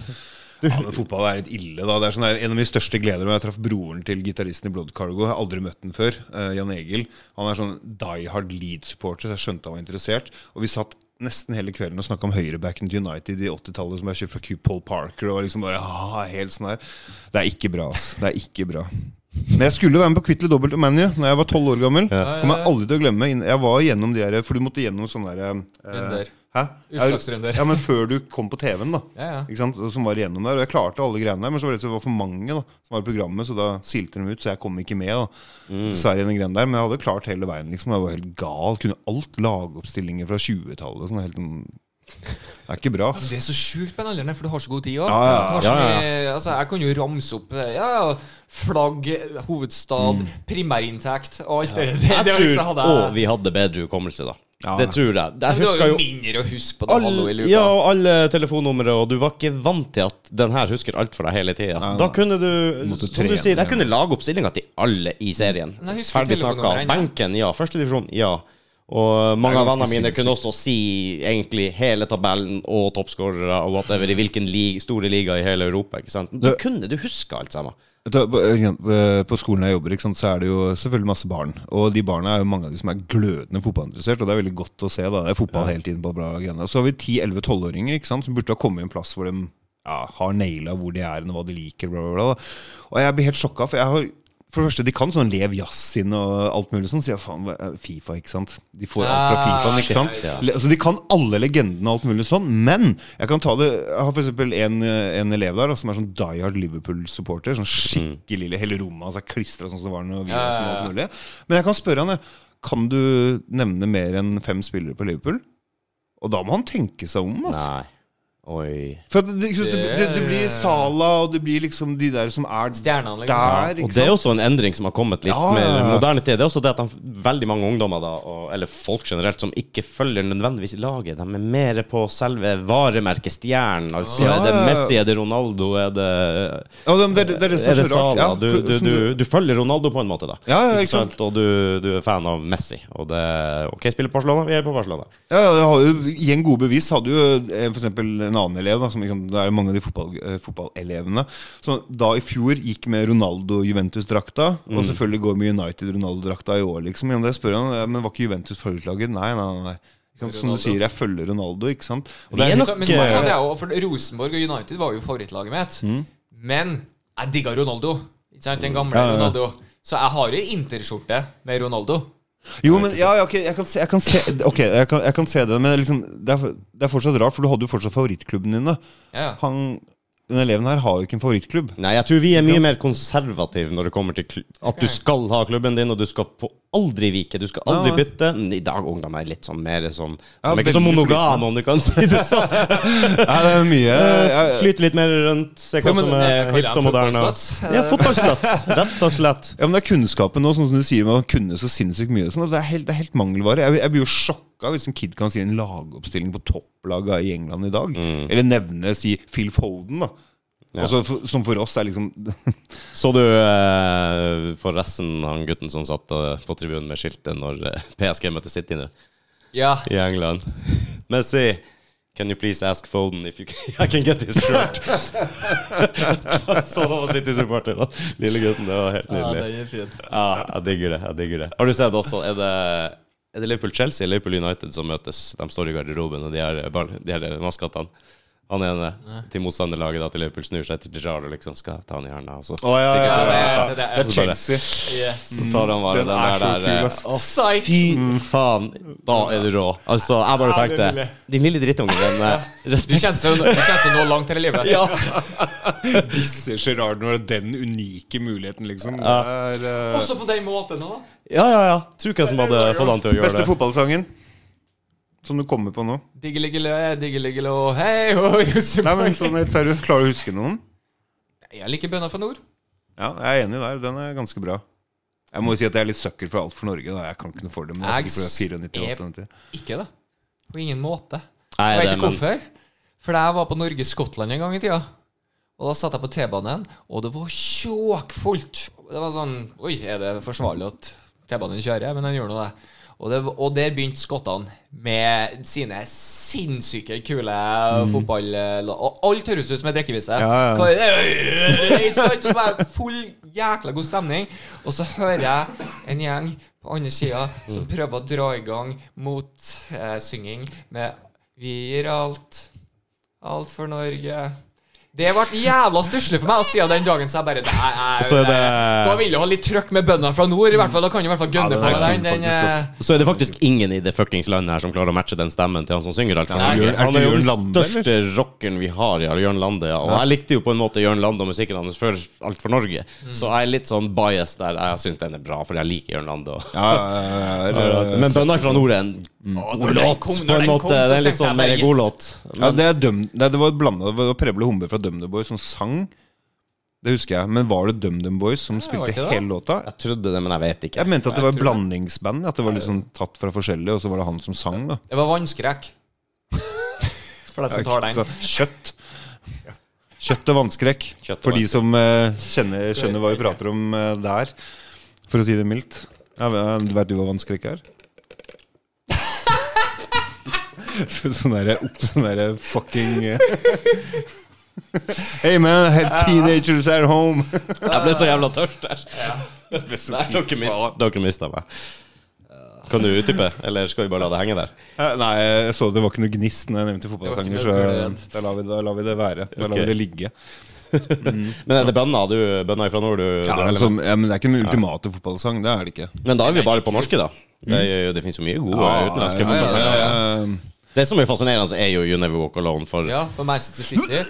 Speaker 3: Ja, men fotball er litt ille, da. Det er sånn, der- en av mine største gleder var jeg traff broren til gitaristen i Blood Cargo. Jeg har aldri møtt den før. eh, Jan Egil. Han er sånn die hard Leeds-supporter, så jeg skjønte han var interessert. Og vi satt nesten hele kvelden og snakka om høyrebacken til United i 80-tallet, som jeg kjøpte fra Q. Paul Parker. Og liksom bare ah, helt sånn der. Det er ikke bra, ass. Det er ikke bra. Men jeg skulle være med på Kvitt eller dobbelt og ManU Når jeg var tolv år gammel. Kommer jeg aldri til å glemme. inn- Jeg var gjennom de der For du måtte gjennom sånne der eh,
Speaker 2: Runder.
Speaker 3: Hæ?
Speaker 2: Utslagsrunder.
Speaker 3: Ja, men før du kom på TV-en, da
Speaker 2: Ja, ja.
Speaker 3: ikke sant? som var igjennom der. Og jeg klarte alle greiene der, men så var det, så det var for mange da, som var i programmet, så da silte de ut, så jeg kom ikke med. da. Dessverre i den greien der, Men jeg hadde klart hele veien. liksom, Jeg var helt gal. Kunne alt lagoppstillinger fra 20-tallet. sånn helt... en- Det er ikke bra. ass.
Speaker 2: Det er så sjukt på den alderen, der, for du har så god tid
Speaker 3: Ja,
Speaker 2: òg.
Speaker 3: ja, ja.
Speaker 1: Ja,
Speaker 2: altså, jeg kan jo ramse opp eh, ja, ja, flagg, hovedstad,
Speaker 3: Mm.
Speaker 2: primærinntekt og alt det der. Det, det
Speaker 1: Jeg
Speaker 2: liksom
Speaker 1: tror
Speaker 2: hadde
Speaker 1: Å,
Speaker 2: jeg-
Speaker 1: vi hadde bedre hukommelse da.
Speaker 3: Ja.
Speaker 1: Det tror jeg.
Speaker 2: Men
Speaker 1: Jeg
Speaker 2: Det var
Speaker 1: husker
Speaker 2: jo
Speaker 1: jo
Speaker 2: mindre å huske på det hallo i
Speaker 1: Alle,
Speaker 2: luka.
Speaker 1: ja, og alle telefonnumre, og du var ikke vant til at den her husker alt for deg hele tida. Da kunne du,
Speaker 3: Måtte
Speaker 1: som du
Speaker 3: trene.
Speaker 1: sier, jeg kunne lage opp stillinga til alle i serien.
Speaker 2: Men jeg husker
Speaker 1: Ferdig snakka.
Speaker 2: telefonnummeret ennå.
Speaker 1: Benken, ja. Førstedivisjon, ja. Og mange av
Speaker 3: ganske
Speaker 1: vennene mine
Speaker 3: sinnssykt.
Speaker 1: kunne også si egentlig hele tabellen og toppskårere og whatever i hvilken lig, store liga i hele Europa. Ikke sant? Du
Speaker 3: Det-
Speaker 1: kunne, du huska alt sammen.
Speaker 3: Vet du, På eh, på skolen jeg jobber, ikke sant, så er det jo selvfølgelig masse barn. Og de barna er jo mange av de som er glødende fotballinteressert, og det er veldig godt å se. da, Det er fotball hele tiden på bla, bla, greiene. Så har vi 10-11-12-åringer ikke sant, som burde ha kommet i en plass hvor de ja, har naila hvor de er, og hva de liker. bla, bla, bla. da. Og jeg blir helt sjokka, for jeg har for det første, De kan sånn Lev Yasin og alt mulig sånn. Så jeg, faen, hva- Fifa, ikke sant. De får alt fra
Speaker 2: Ah,
Speaker 3: Fifaen, ikke sant.
Speaker 2: shit, ja.
Speaker 3: Le- Altså, de kan alle legendene og alt mulig sånn, men jeg kan ta det Jeg har f.eks. En, eh, en elev der da, som er sånn Die Hard Liverpool-supporter. Sånn skikkelig Hele rommet hans er klistra sånn som det var når vi
Speaker 2: Ja, ja,
Speaker 3: var små.
Speaker 2: ja.
Speaker 3: alt mulig. Men jeg kan spørre han, jeg, kan du nevne mer enn fem spillere på Liverpool? Og da må han tenke seg om. Altså.
Speaker 1: Nei. Oi.
Speaker 3: For at det, ikke sant, det, det, det blir Sala, og det blir liksom de der som er
Speaker 2: Stjernene, liksom.
Speaker 3: der. Ikke
Speaker 1: Og det er
Speaker 3: sant?
Speaker 1: også en endring som har kommet litt
Speaker 3: Ja, ja, ja.
Speaker 1: mer moderne tid. Det er også det at han, veldig mange ungdommer, da, og, eller folk generelt, som ikke følger nødvendigvis laget, de er mer på selve varemerket stjernen. Altså,
Speaker 3: Ja,
Speaker 1: er det
Speaker 3: ja, ja.
Speaker 1: Messi, er det Ronaldo, er det
Speaker 3: Ja, det, det, det er det som
Speaker 1: er
Speaker 3: er så
Speaker 1: det
Speaker 3: rart.
Speaker 1: Sala?
Speaker 3: Ja,
Speaker 1: Du,
Speaker 3: for-
Speaker 1: du,
Speaker 3: som
Speaker 1: du, du følger Ronaldo på en måte, da.
Speaker 3: Ja, ja, ikke sant?
Speaker 1: Og du, du er fan av Messi. Og det OK, spiller Barcelona, vi er på Barcelona.
Speaker 3: Ja, jeg har jo, I en god bevis hadde jo eh, for eksempel en annen elev da, som, ikke sant, Det er jo mange av de fotball, eh, fotballelevene som da i fjor gikk med Ronaldo-Juventus-drakta. Og
Speaker 1: Mm.
Speaker 3: selvfølgelig går med United-Ronaldo-drakta i år. liksom Men jeg spør han, eh, men var ikke Juventus forutlaget? Nei, nei, nei. nei. Ikke sant? Som
Speaker 2: Ronaldo.
Speaker 3: du sier, jeg følger Ronaldo, ikke sant? Og
Speaker 1: Vi
Speaker 3: det
Speaker 1: er
Speaker 3: er
Speaker 1: nok- eh,
Speaker 3: nok
Speaker 2: Så, men
Speaker 1: Ok.
Speaker 2: så hadde jeg også, for Rosenborg og United var jo favorittlaget mitt.
Speaker 1: Mm.
Speaker 2: Men jeg digga Ronaldo. Ikke sant? Den gamle
Speaker 3: Ja, ja, ja.
Speaker 2: Ronaldo. Så jeg har jo Interskjorte med Ronaldo.
Speaker 3: Jo, men ja, ja, ok, jeg kan se, jeg kan se, ok, jeg kan, jeg kan se det, men liksom, det, er, for- det er fortsatt rart, for du hadde jo fortsatt favorittklubben din. da.
Speaker 2: Ja, ja.
Speaker 3: Han, denne eleven her har jo ikke en favorittklubb.
Speaker 1: Nei, jeg tror vi er mye mer konservative når det kommer til kl- at du skal ha klubben din, og du skal på aldri vike. Du skal aldri
Speaker 3: Nei, nei.
Speaker 1: bytte. Men I dag ungdom er litt sånn mer sånn De
Speaker 3: Ja,
Speaker 1: er ikke så
Speaker 3: veldig
Speaker 1: monogame, om du kan si det sånn.
Speaker 3: Nei, det er mye jeg- jeg-
Speaker 1: Flyte litt mer rundt, se hva
Speaker 3: Ja, men,
Speaker 1: som
Speaker 2: eh,
Speaker 1: er
Speaker 2: kaller
Speaker 1: hipt
Speaker 2: jeg
Speaker 1: og
Speaker 2: han
Speaker 1: moderne.
Speaker 2: fotballsluts?
Speaker 1: Ja, fotballsluts. Rett og slett.
Speaker 3: Ja, men det er kunnskapen nå, sånn som du sier, man kunne så sinnssykt mye. og Sånn, at det, er helt, det er helt mangelvare. Jeg, jeg blir jo sjokka hvis en kid kan si en lagoppstilling på topplaga i England i dag. Eller nevne, si Phil Foden, da.
Speaker 1: Ja.
Speaker 3: Altså, for, som for oss er liksom
Speaker 1: Så du eh, forresten han gutten som satt eh, på tribunen med skiltet når eh, PSG møtte City nå?
Speaker 2: ja.
Speaker 1: i England. Messi, can you please ask Foden if you can, I can get his shirt? sånn var City-supporter, da. Lille gutten, det var
Speaker 2: Ah,
Speaker 1: helt nydelig.
Speaker 2: er fin.
Speaker 1: Ja, jeg digger det. jeg digger det. Har du sett også, er det, er det Liverpool-Chelsea eller Liverpool United som møtes? De står i garderoben, og de har, ball- de har maskattene. Han ene til motstanderlaget da, til Liverpool snur seg til Gerrard og liksom skal ta han i hjernen. Altså.
Speaker 3: ja,
Speaker 1: ja, ja,
Speaker 2: ja. Det er
Speaker 3: Det er Chelsea.
Speaker 2: Yes.
Speaker 1: Så tar han bare
Speaker 3: Den
Speaker 1: den,
Speaker 3: er så
Speaker 1: der, der
Speaker 3: kul,
Speaker 1: eh,
Speaker 3: ass.
Speaker 1: å,
Speaker 2: Psych.
Speaker 1: Mm. Fy faen, da er du rå. Altså, jeg bare
Speaker 4: Ja, den
Speaker 1: tenkte
Speaker 4: lille.
Speaker 1: Din lille drittungen, den eh,
Speaker 2: Du
Speaker 1: respekt.
Speaker 2: kjennes jo du kjennes jo nå langt her i livet.
Speaker 1: Ja.
Speaker 3: Disse Gerard når det er den unike muligheten, liksom. Det er, eh,
Speaker 2: Også på den måten nå, da.
Speaker 1: ja, ja, ja. Tror ikke jeg som hadde fått han til å gjøre
Speaker 3: beste
Speaker 1: det.
Speaker 3: fotballsangen som du kommer på nå?
Speaker 2: Diggeliggelø, diggeliggelø, hei ho,
Speaker 3: Nei, men
Speaker 2: Rosenborg.
Speaker 3: sånn helt seriøst, Klarer du å huske noen?
Speaker 2: Jeg liker bønner fra nord.
Speaker 3: Ja, jeg er enig der. Den er ganske bra. Jeg må jo si at jeg er litt sucker for alt for Norge. Da. Jeg kan ikke noe for det. Men jeg er sikkert
Speaker 2: Jeg
Speaker 3: for 94,
Speaker 2: er-
Speaker 3: 98.
Speaker 2: Ikke det. På ingen måte.
Speaker 1: Nei,
Speaker 2: Jeg
Speaker 1: det,
Speaker 2: vet ikke
Speaker 1: men,
Speaker 2: hvorfor. For jeg var på Norge-Skottland en gang i tida. Og da satt jeg på T-banen, og det var tjåkfullt. Det var sånn Oi, er det forsvarlig at T-banen kjører? Men den gjør nå det. Og, det. og der begynte skottene med sine sinnssyke kule fotball... Og alt høres ut som ei drikkevise.
Speaker 3: Ja, ja.
Speaker 2: Hva er det? Ikke sant? Så bare full jækla god stemning. Og så hører jeg en gjeng på andre sida som prøver å dra i gang motsynging med Vi gir alt. Alt for Norge. Det ble jævla stusslig for meg å si av den dagen, så jeg bare nei, nei,
Speaker 1: Så er det-
Speaker 2: nei. Da vil jeg ha litt trøkk med bøndene fra nord, i hvert fall. Da kan jeg i hvert fall
Speaker 3: Ja,
Speaker 2: gønne
Speaker 3: den
Speaker 2: på
Speaker 3: er
Speaker 2: meg den.
Speaker 3: kul,
Speaker 2: den
Speaker 3: faktisk,
Speaker 2: eh,
Speaker 3: ass.
Speaker 1: så er det faktisk ingen i det fuckings landet her som klarer å matche den stemmen til han som synger alt. for
Speaker 3: Nei,
Speaker 1: Han,
Speaker 3: er
Speaker 1: er
Speaker 3: det
Speaker 1: han er jo
Speaker 3: Jørn
Speaker 1: den
Speaker 3: Lande,
Speaker 1: største rockeren vi har, ja. Jørn Lande. Ja. Og jeg likte jo på en måte Jørn Lande og musikken hans før Alt for Norge.
Speaker 2: Mm.
Speaker 1: Så jeg er litt sånn bias der. Jeg syns den er bra, for jeg liker Jørn Lande. Og
Speaker 3: Ja, ja, ja, ja, Mm. ja.
Speaker 1: Men Bønner fra nord er en god
Speaker 2: når den
Speaker 1: låt,
Speaker 2: kom- når
Speaker 1: på en
Speaker 2: den
Speaker 1: måte. Det er
Speaker 2: kom, så
Speaker 1: litt
Speaker 2: tenkte jeg
Speaker 1: sånn mer
Speaker 2: bare, yes.
Speaker 1: god låt.
Speaker 3: ja, det, er døm, nei, det var blanda. Det var Preble Humbe fra DumDum Boys som sang. Det husker jeg. Men var det DumDum Boys som
Speaker 2: var
Speaker 3: spilte
Speaker 2: ikke det.
Speaker 3: hele låta?
Speaker 1: Jeg trodde det, men jeg vet ikke.
Speaker 3: Jeg mente at det
Speaker 2: Jeg
Speaker 3: var
Speaker 2: tror det.
Speaker 3: blandingsband. At det var liksom tatt fra forskjellige, og så var det han som sang, da.
Speaker 2: Det var vannskrekk. For deg som tar
Speaker 3: Så,
Speaker 2: den.
Speaker 3: kjøtt. Kjøtt og vannskrekk.
Speaker 1: Kjøtt og
Speaker 3: For de som eh, kjenner, skjønner hva vi prater om eh, der, for å si det mildt. Ja, men, eh, vet du hva vannskrekk er? Så, sånn derre Sånn derre fucking eh. Hey man, I have teenagers at home.
Speaker 1: Jeg ble så jævla tørst der. Nei, dere, mist, dere mista meg. Kan du utdype, eller skal vi bare la det henge der?
Speaker 3: Eh, Nei, jeg så det var ikke noe gnist når jeg nevnte fotballsanger,
Speaker 2: Det
Speaker 3: så
Speaker 2: var ikke noe
Speaker 3: da lar vi, da lar vi det være. Da lar
Speaker 1: Ok.
Speaker 3: vi det ligge.
Speaker 1: Men er det bønna du bønna ifra nord? Du, du
Speaker 3: Ja,
Speaker 1: holder med?
Speaker 3: altså, ja, men det er ikke den ultimate fotballsang, det er det ikke.
Speaker 1: Men da er vi bare på norske, da. Det, er jo- det finnes jo mye gode utenlandske fotballsanger.
Speaker 3: ja.
Speaker 1: Det som er fascinerende, er jo You Never Walk Alone for
Speaker 2: Ja, for Manchester City.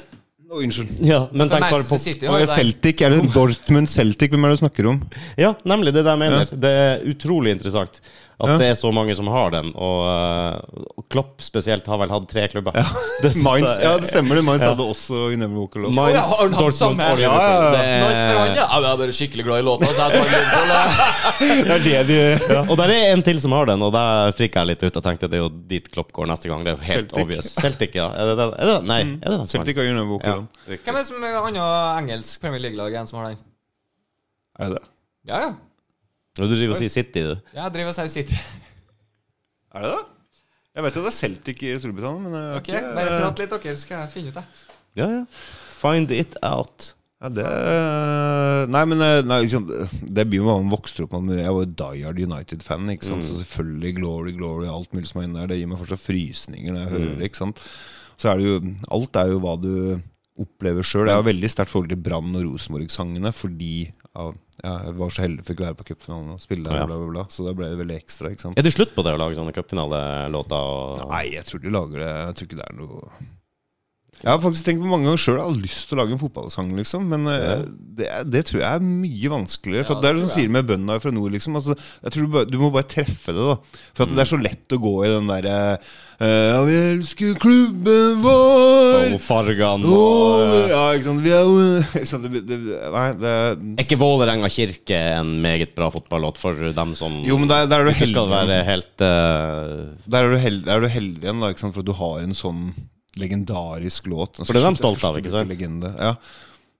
Speaker 3: Å, unnskyld.
Speaker 1: Ja, men
Speaker 2: For
Speaker 1: tenk bare
Speaker 2: Manchester
Speaker 1: på
Speaker 2: City
Speaker 3: Og
Speaker 2: har
Speaker 3: det
Speaker 2: jo
Speaker 3: er
Speaker 2: den.
Speaker 3: Celtic, er det Dortmund Celtic? Hvem er det du snakker om?
Speaker 1: Ja, nemlig. Det er det jeg mener. Det er utrolig interessant. At det er så mange som har den. Og, eh, og Klopp spesielt har vel hatt tre klubber. Det synes
Speaker 3: Mainz,
Speaker 1: jeg-
Speaker 3: ja, det stemmer det. Mainz hadde også You Never Walk Alone.
Speaker 1: Mainz,
Speaker 2: Å, ja, har han hatt
Speaker 1: Dortmund
Speaker 2: samme?
Speaker 1: og Liverpool.
Speaker 3: Ja, ja, ja.
Speaker 1: Det er-
Speaker 2: Nice for han, ja. Jeg er bare skikkelig glad i låta, så jeg tar Liverpool.
Speaker 3: Det er det de
Speaker 1: Ja. Og der er en til som har den, og der frika jeg litt ut. Jeg tenkte det er jo dit Klopp går neste gang. Det er jo helt
Speaker 3: Celtic. Mm.
Speaker 1: obvious. Celtic, ja. Er det den? Er det den? Nei, er det den som har
Speaker 3: Celtic har You Never Walk
Speaker 1: den?
Speaker 3: Alone.
Speaker 1: Ja, riktig.
Speaker 2: Hvem er det som er annet engelsk Premier League-lag enn som har den?
Speaker 3: Er det det?
Speaker 2: Ja, ja.
Speaker 1: Du driver og sier City, du.
Speaker 2: Jeg driver og sier City.
Speaker 3: Er det det? Jeg vet at det er Celtic i Storbritannia, men jeg har
Speaker 2: Ok,
Speaker 3: ikke-
Speaker 2: Bare prat litt, dere, så skal jeg finne ut det.
Speaker 1: Ja, ja. Find it out.
Speaker 3: Ja, det Nei, men eh, nei, ikke sant, det blir jo hva man vokser opp med. men Jeg var jo Die Hard United-fan. ikke sant? Så selvfølgelig Glory, Glory, alt mulig som er inne der. Det gir meg fortsatt frysninger når jeg hører det. ikke sant? Så er det jo Alt er jo hva du opplever sjøl. Jeg har veldig sterkt forhold til Brann og Rosenborg-sangene fordi ja, jeg var så heldig fikk være på cupfinalen og spille der,
Speaker 1: Ja.
Speaker 3: bla, bla, bla. Så da ble det veldig ekstra. ikke sant?
Speaker 1: Er det slutt på det å lage sånne cupfinalelåter? Og...
Speaker 3: Nei, jeg tror de lager det Jeg tror ikke det er noe Jeg har faktisk tenkt på mange ganger sjøl. Jeg har lyst til å lage en fotballsang, liksom. Men eh, det, er- det tror jeg er mye vanskeligere. For
Speaker 2: Ja,
Speaker 3: at det er
Speaker 2: det
Speaker 3: det som
Speaker 2: tror jeg.
Speaker 3: sier med bøndene fra nord, liksom. Altså, jeg tror du, bare, du må bare treffe det, da. For at det
Speaker 2: Mm.
Speaker 3: er så lett å gå i den derre eh, Ja, vi elsker klubben vår!
Speaker 1: Og fargene og
Speaker 3: Åh, ja, ikke sant. Vi er jo ikke sant? Det, det, Nei, det er
Speaker 1: Er ikke Vålerenga kirke en meget bra fotballåt for dem som
Speaker 3: Jo, men der, der er du
Speaker 1: ikke
Speaker 3: heldig.
Speaker 1: skal være helt eh,
Speaker 3: Der er du heldig, der er du heldig igjen, da, ikke sant? for at du har en sånn legendarisk låt.
Speaker 1: For det er de stolte av, ikke sant?
Speaker 3: Legende. Ja.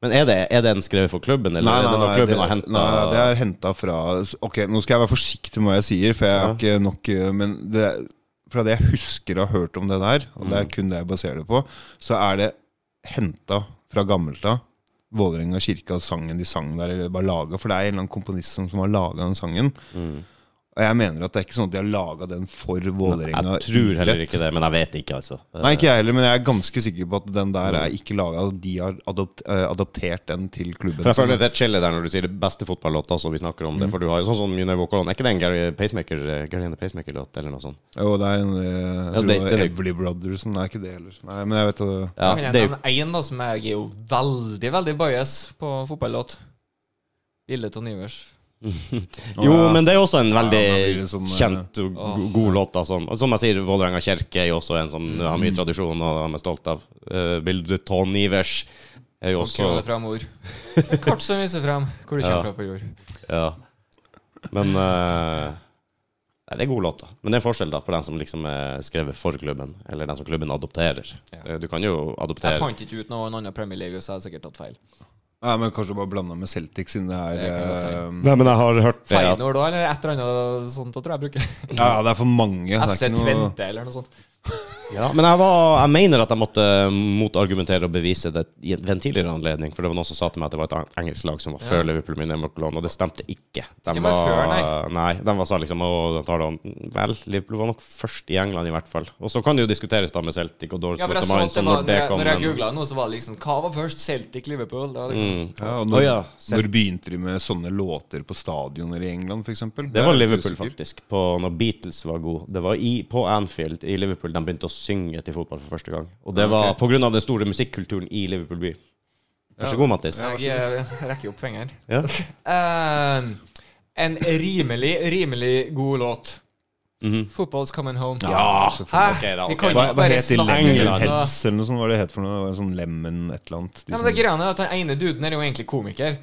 Speaker 1: Men er det, er det en skrevet for klubben, eller er det noe klubben
Speaker 3: det,
Speaker 1: har hentet?
Speaker 3: nei, nei, det er henta fra Ok, nå skal jeg være forsiktig med hva jeg sier, for jeg har ikke nok eh, Men det, fra det jeg husker å ha hørt om det der, og
Speaker 1: Mm.
Speaker 3: det er kun det jeg baserer det på, så er det henta fra gammelt av. Vålerenga kirke og sangen de sang der, eller bare laget, For det er en eller annen komponist som, som har laga den sangen. Og jeg mener at det er ikke sånn at de har laga den for Vålerenga.
Speaker 1: Mm. Jeg tror heller
Speaker 3: idrett.
Speaker 1: ikke det, men jeg vet ikke, altså.
Speaker 3: Nei, ikke jeg heller, men jeg er ganske sikker på at den der er ikke laga. De har adopt, eh, adoptert den til klubben.
Speaker 1: For jeg
Speaker 3: sin.
Speaker 1: føler det er chillet der når du sier det beste fotballåta som vi snakker om det. For du har jo sånn som You Never Walk Alone. Er ikke det en Gary Pacemaker eh, Gary and the Pacemaker-låt, eller noe sånt?
Speaker 3: Jo, det er en eh, Jeg tror
Speaker 1: det-
Speaker 3: det,
Speaker 1: det
Speaker 3: var
Speaker 1: er-
Speaker 3: Everly Brothers Nei, ikke det heller. Nei, men jeg vet at
Speaker 1: Ja,
Speaker 2: jeg
Speaker 1: det er
Speaker 2: kan
Speaker 1: jo
Speaker 2: nevne en da, som jeg er jo veldig, veldig bias på fotballåt. Bildet av Nivers.
Speaker 1: Jo, men det er også en veldig
Speaker 3: Ja, nå blir det sånn, eh,
Speaker 1: kjent og go- god låt. da, Som, og som jeg sier, Vålerenga kirke er jo også en som har mye tradisjon og er stolt av. Eh, bildet Ton Ivers er jo også
Speaker 2: Kråle fra mor. Et Kart som viser frem hvor du
Speaker 1: Ja.
Speaker 2: kommer fra på jord.
Speaker 1: Ja. Men eh, Nei, det er god låt, da. Men det er forskjell da på den som liksom er skrevet for klubben, eller den som klubben adopterer.
Speaker 2: Ja.
Speaker 1: Eh, Du kan jo
Speaker 2: Jeg
Speaker 1: adoptere
Speaker 2: fant ikke ut noen annen Premier League, så jeg har sikkert tatt feil.
Speaker 3: Nei, men kanskje bare blanda med Celtic, siden det er
Speaker 2: Det kan godt hende.
Speaker 3: eh,
Speaker 1: Nei, men jeg har hørt det at
Speaker 2: Feinor da, eller et eller annet sånt, da tror jeg jeg bruker.
Speaker 3: Ja, ja, det er for mange. Det er
Speaker 2: FC
Speaker 3: ikke noe
Speaker 2: Tvente eller noe sånt.
Speaker 1: Ja, men jeg, var, jeg mener at jeg måtte eh, motargumentere og bevise det i en- ved en tidligere anledning. For det var noen som sa til meg at det var et an- engelsk lag som var før Liverpool med Neymar Colón, og det stemte ikke. De
Speaker 2: Ikke bare før,
Speaker 1: nei. de var sa liksom å, de tar det om. Vel, Liverpool var nok først i England, i hvert fall. Og så kan det jo diskuteres da med Celtic og Dortmund
Speaker 2: Ja, men jeg
Speaker 1: og
Speaker 2: så
Speaker 1: Mainz
Speaker 2: at
Speaker 1: og
Speaker 2: det var,
Speaker 1: når
Speaker 2: når
Speaker 1: det
Speaker 2: jeg,
Speaker 1: kom.
Speaker 2: når jeg
Speaker 1: men- Mm.
Speaker 2: googlet noe, så var det liksom Hva var først? Celtic-Liverpool? Det var det.
Speaker 3: ja, og når,
Speaker 1: Å, ja, Celtic.
Speaker 3: når begynte de med sånne låter på stadioner i England, f.eks.?
Speaker 1: Det var Liverpool, faktisk. På, når Beatles var gode. Det var i, på Anfield i Liverpool de begynte å synge til fotball for første gang. Og det
Speaker 2: Ah,
Speaker 1: var på grunn av den store musikkulturen i Liverpool by. Vær så god, Mattis.
Speaker 2: Jeg eh, rekker opp fingeren.
Speaker 1: Ja.
Speaker 2: Eh, en rimelig, rimelig god låt.
Speaker 1: Mhm.
Speaker 2: Fotball's Coming Home.
Speaker 3: Ja!
Speaker 2: Hæ?
Speaker 3: selvfølgelig.
Speaker 1: Ok, da,
Speaker 2: Vi
Speaker 1: ok.
Speaker 2: kan
Speaker 3: Hva,
Speaker 2: ikke
Speaker 3: hva
Speaker 2: bare
Speaker 3: het de
Speaker 2: snakke
Speaker 1: Lenger
Speaker 3: Lenger
Speaker 2: om det.
Speaker 3: Heads, eller noe sånt? Hva var det het for noe? Det var Sånn Lemon et eller annet. de
Speaker 2: Ja,
Speaker 3: som-
Speaker 2: men det greia er at den ene duden er jo egentlig komiker.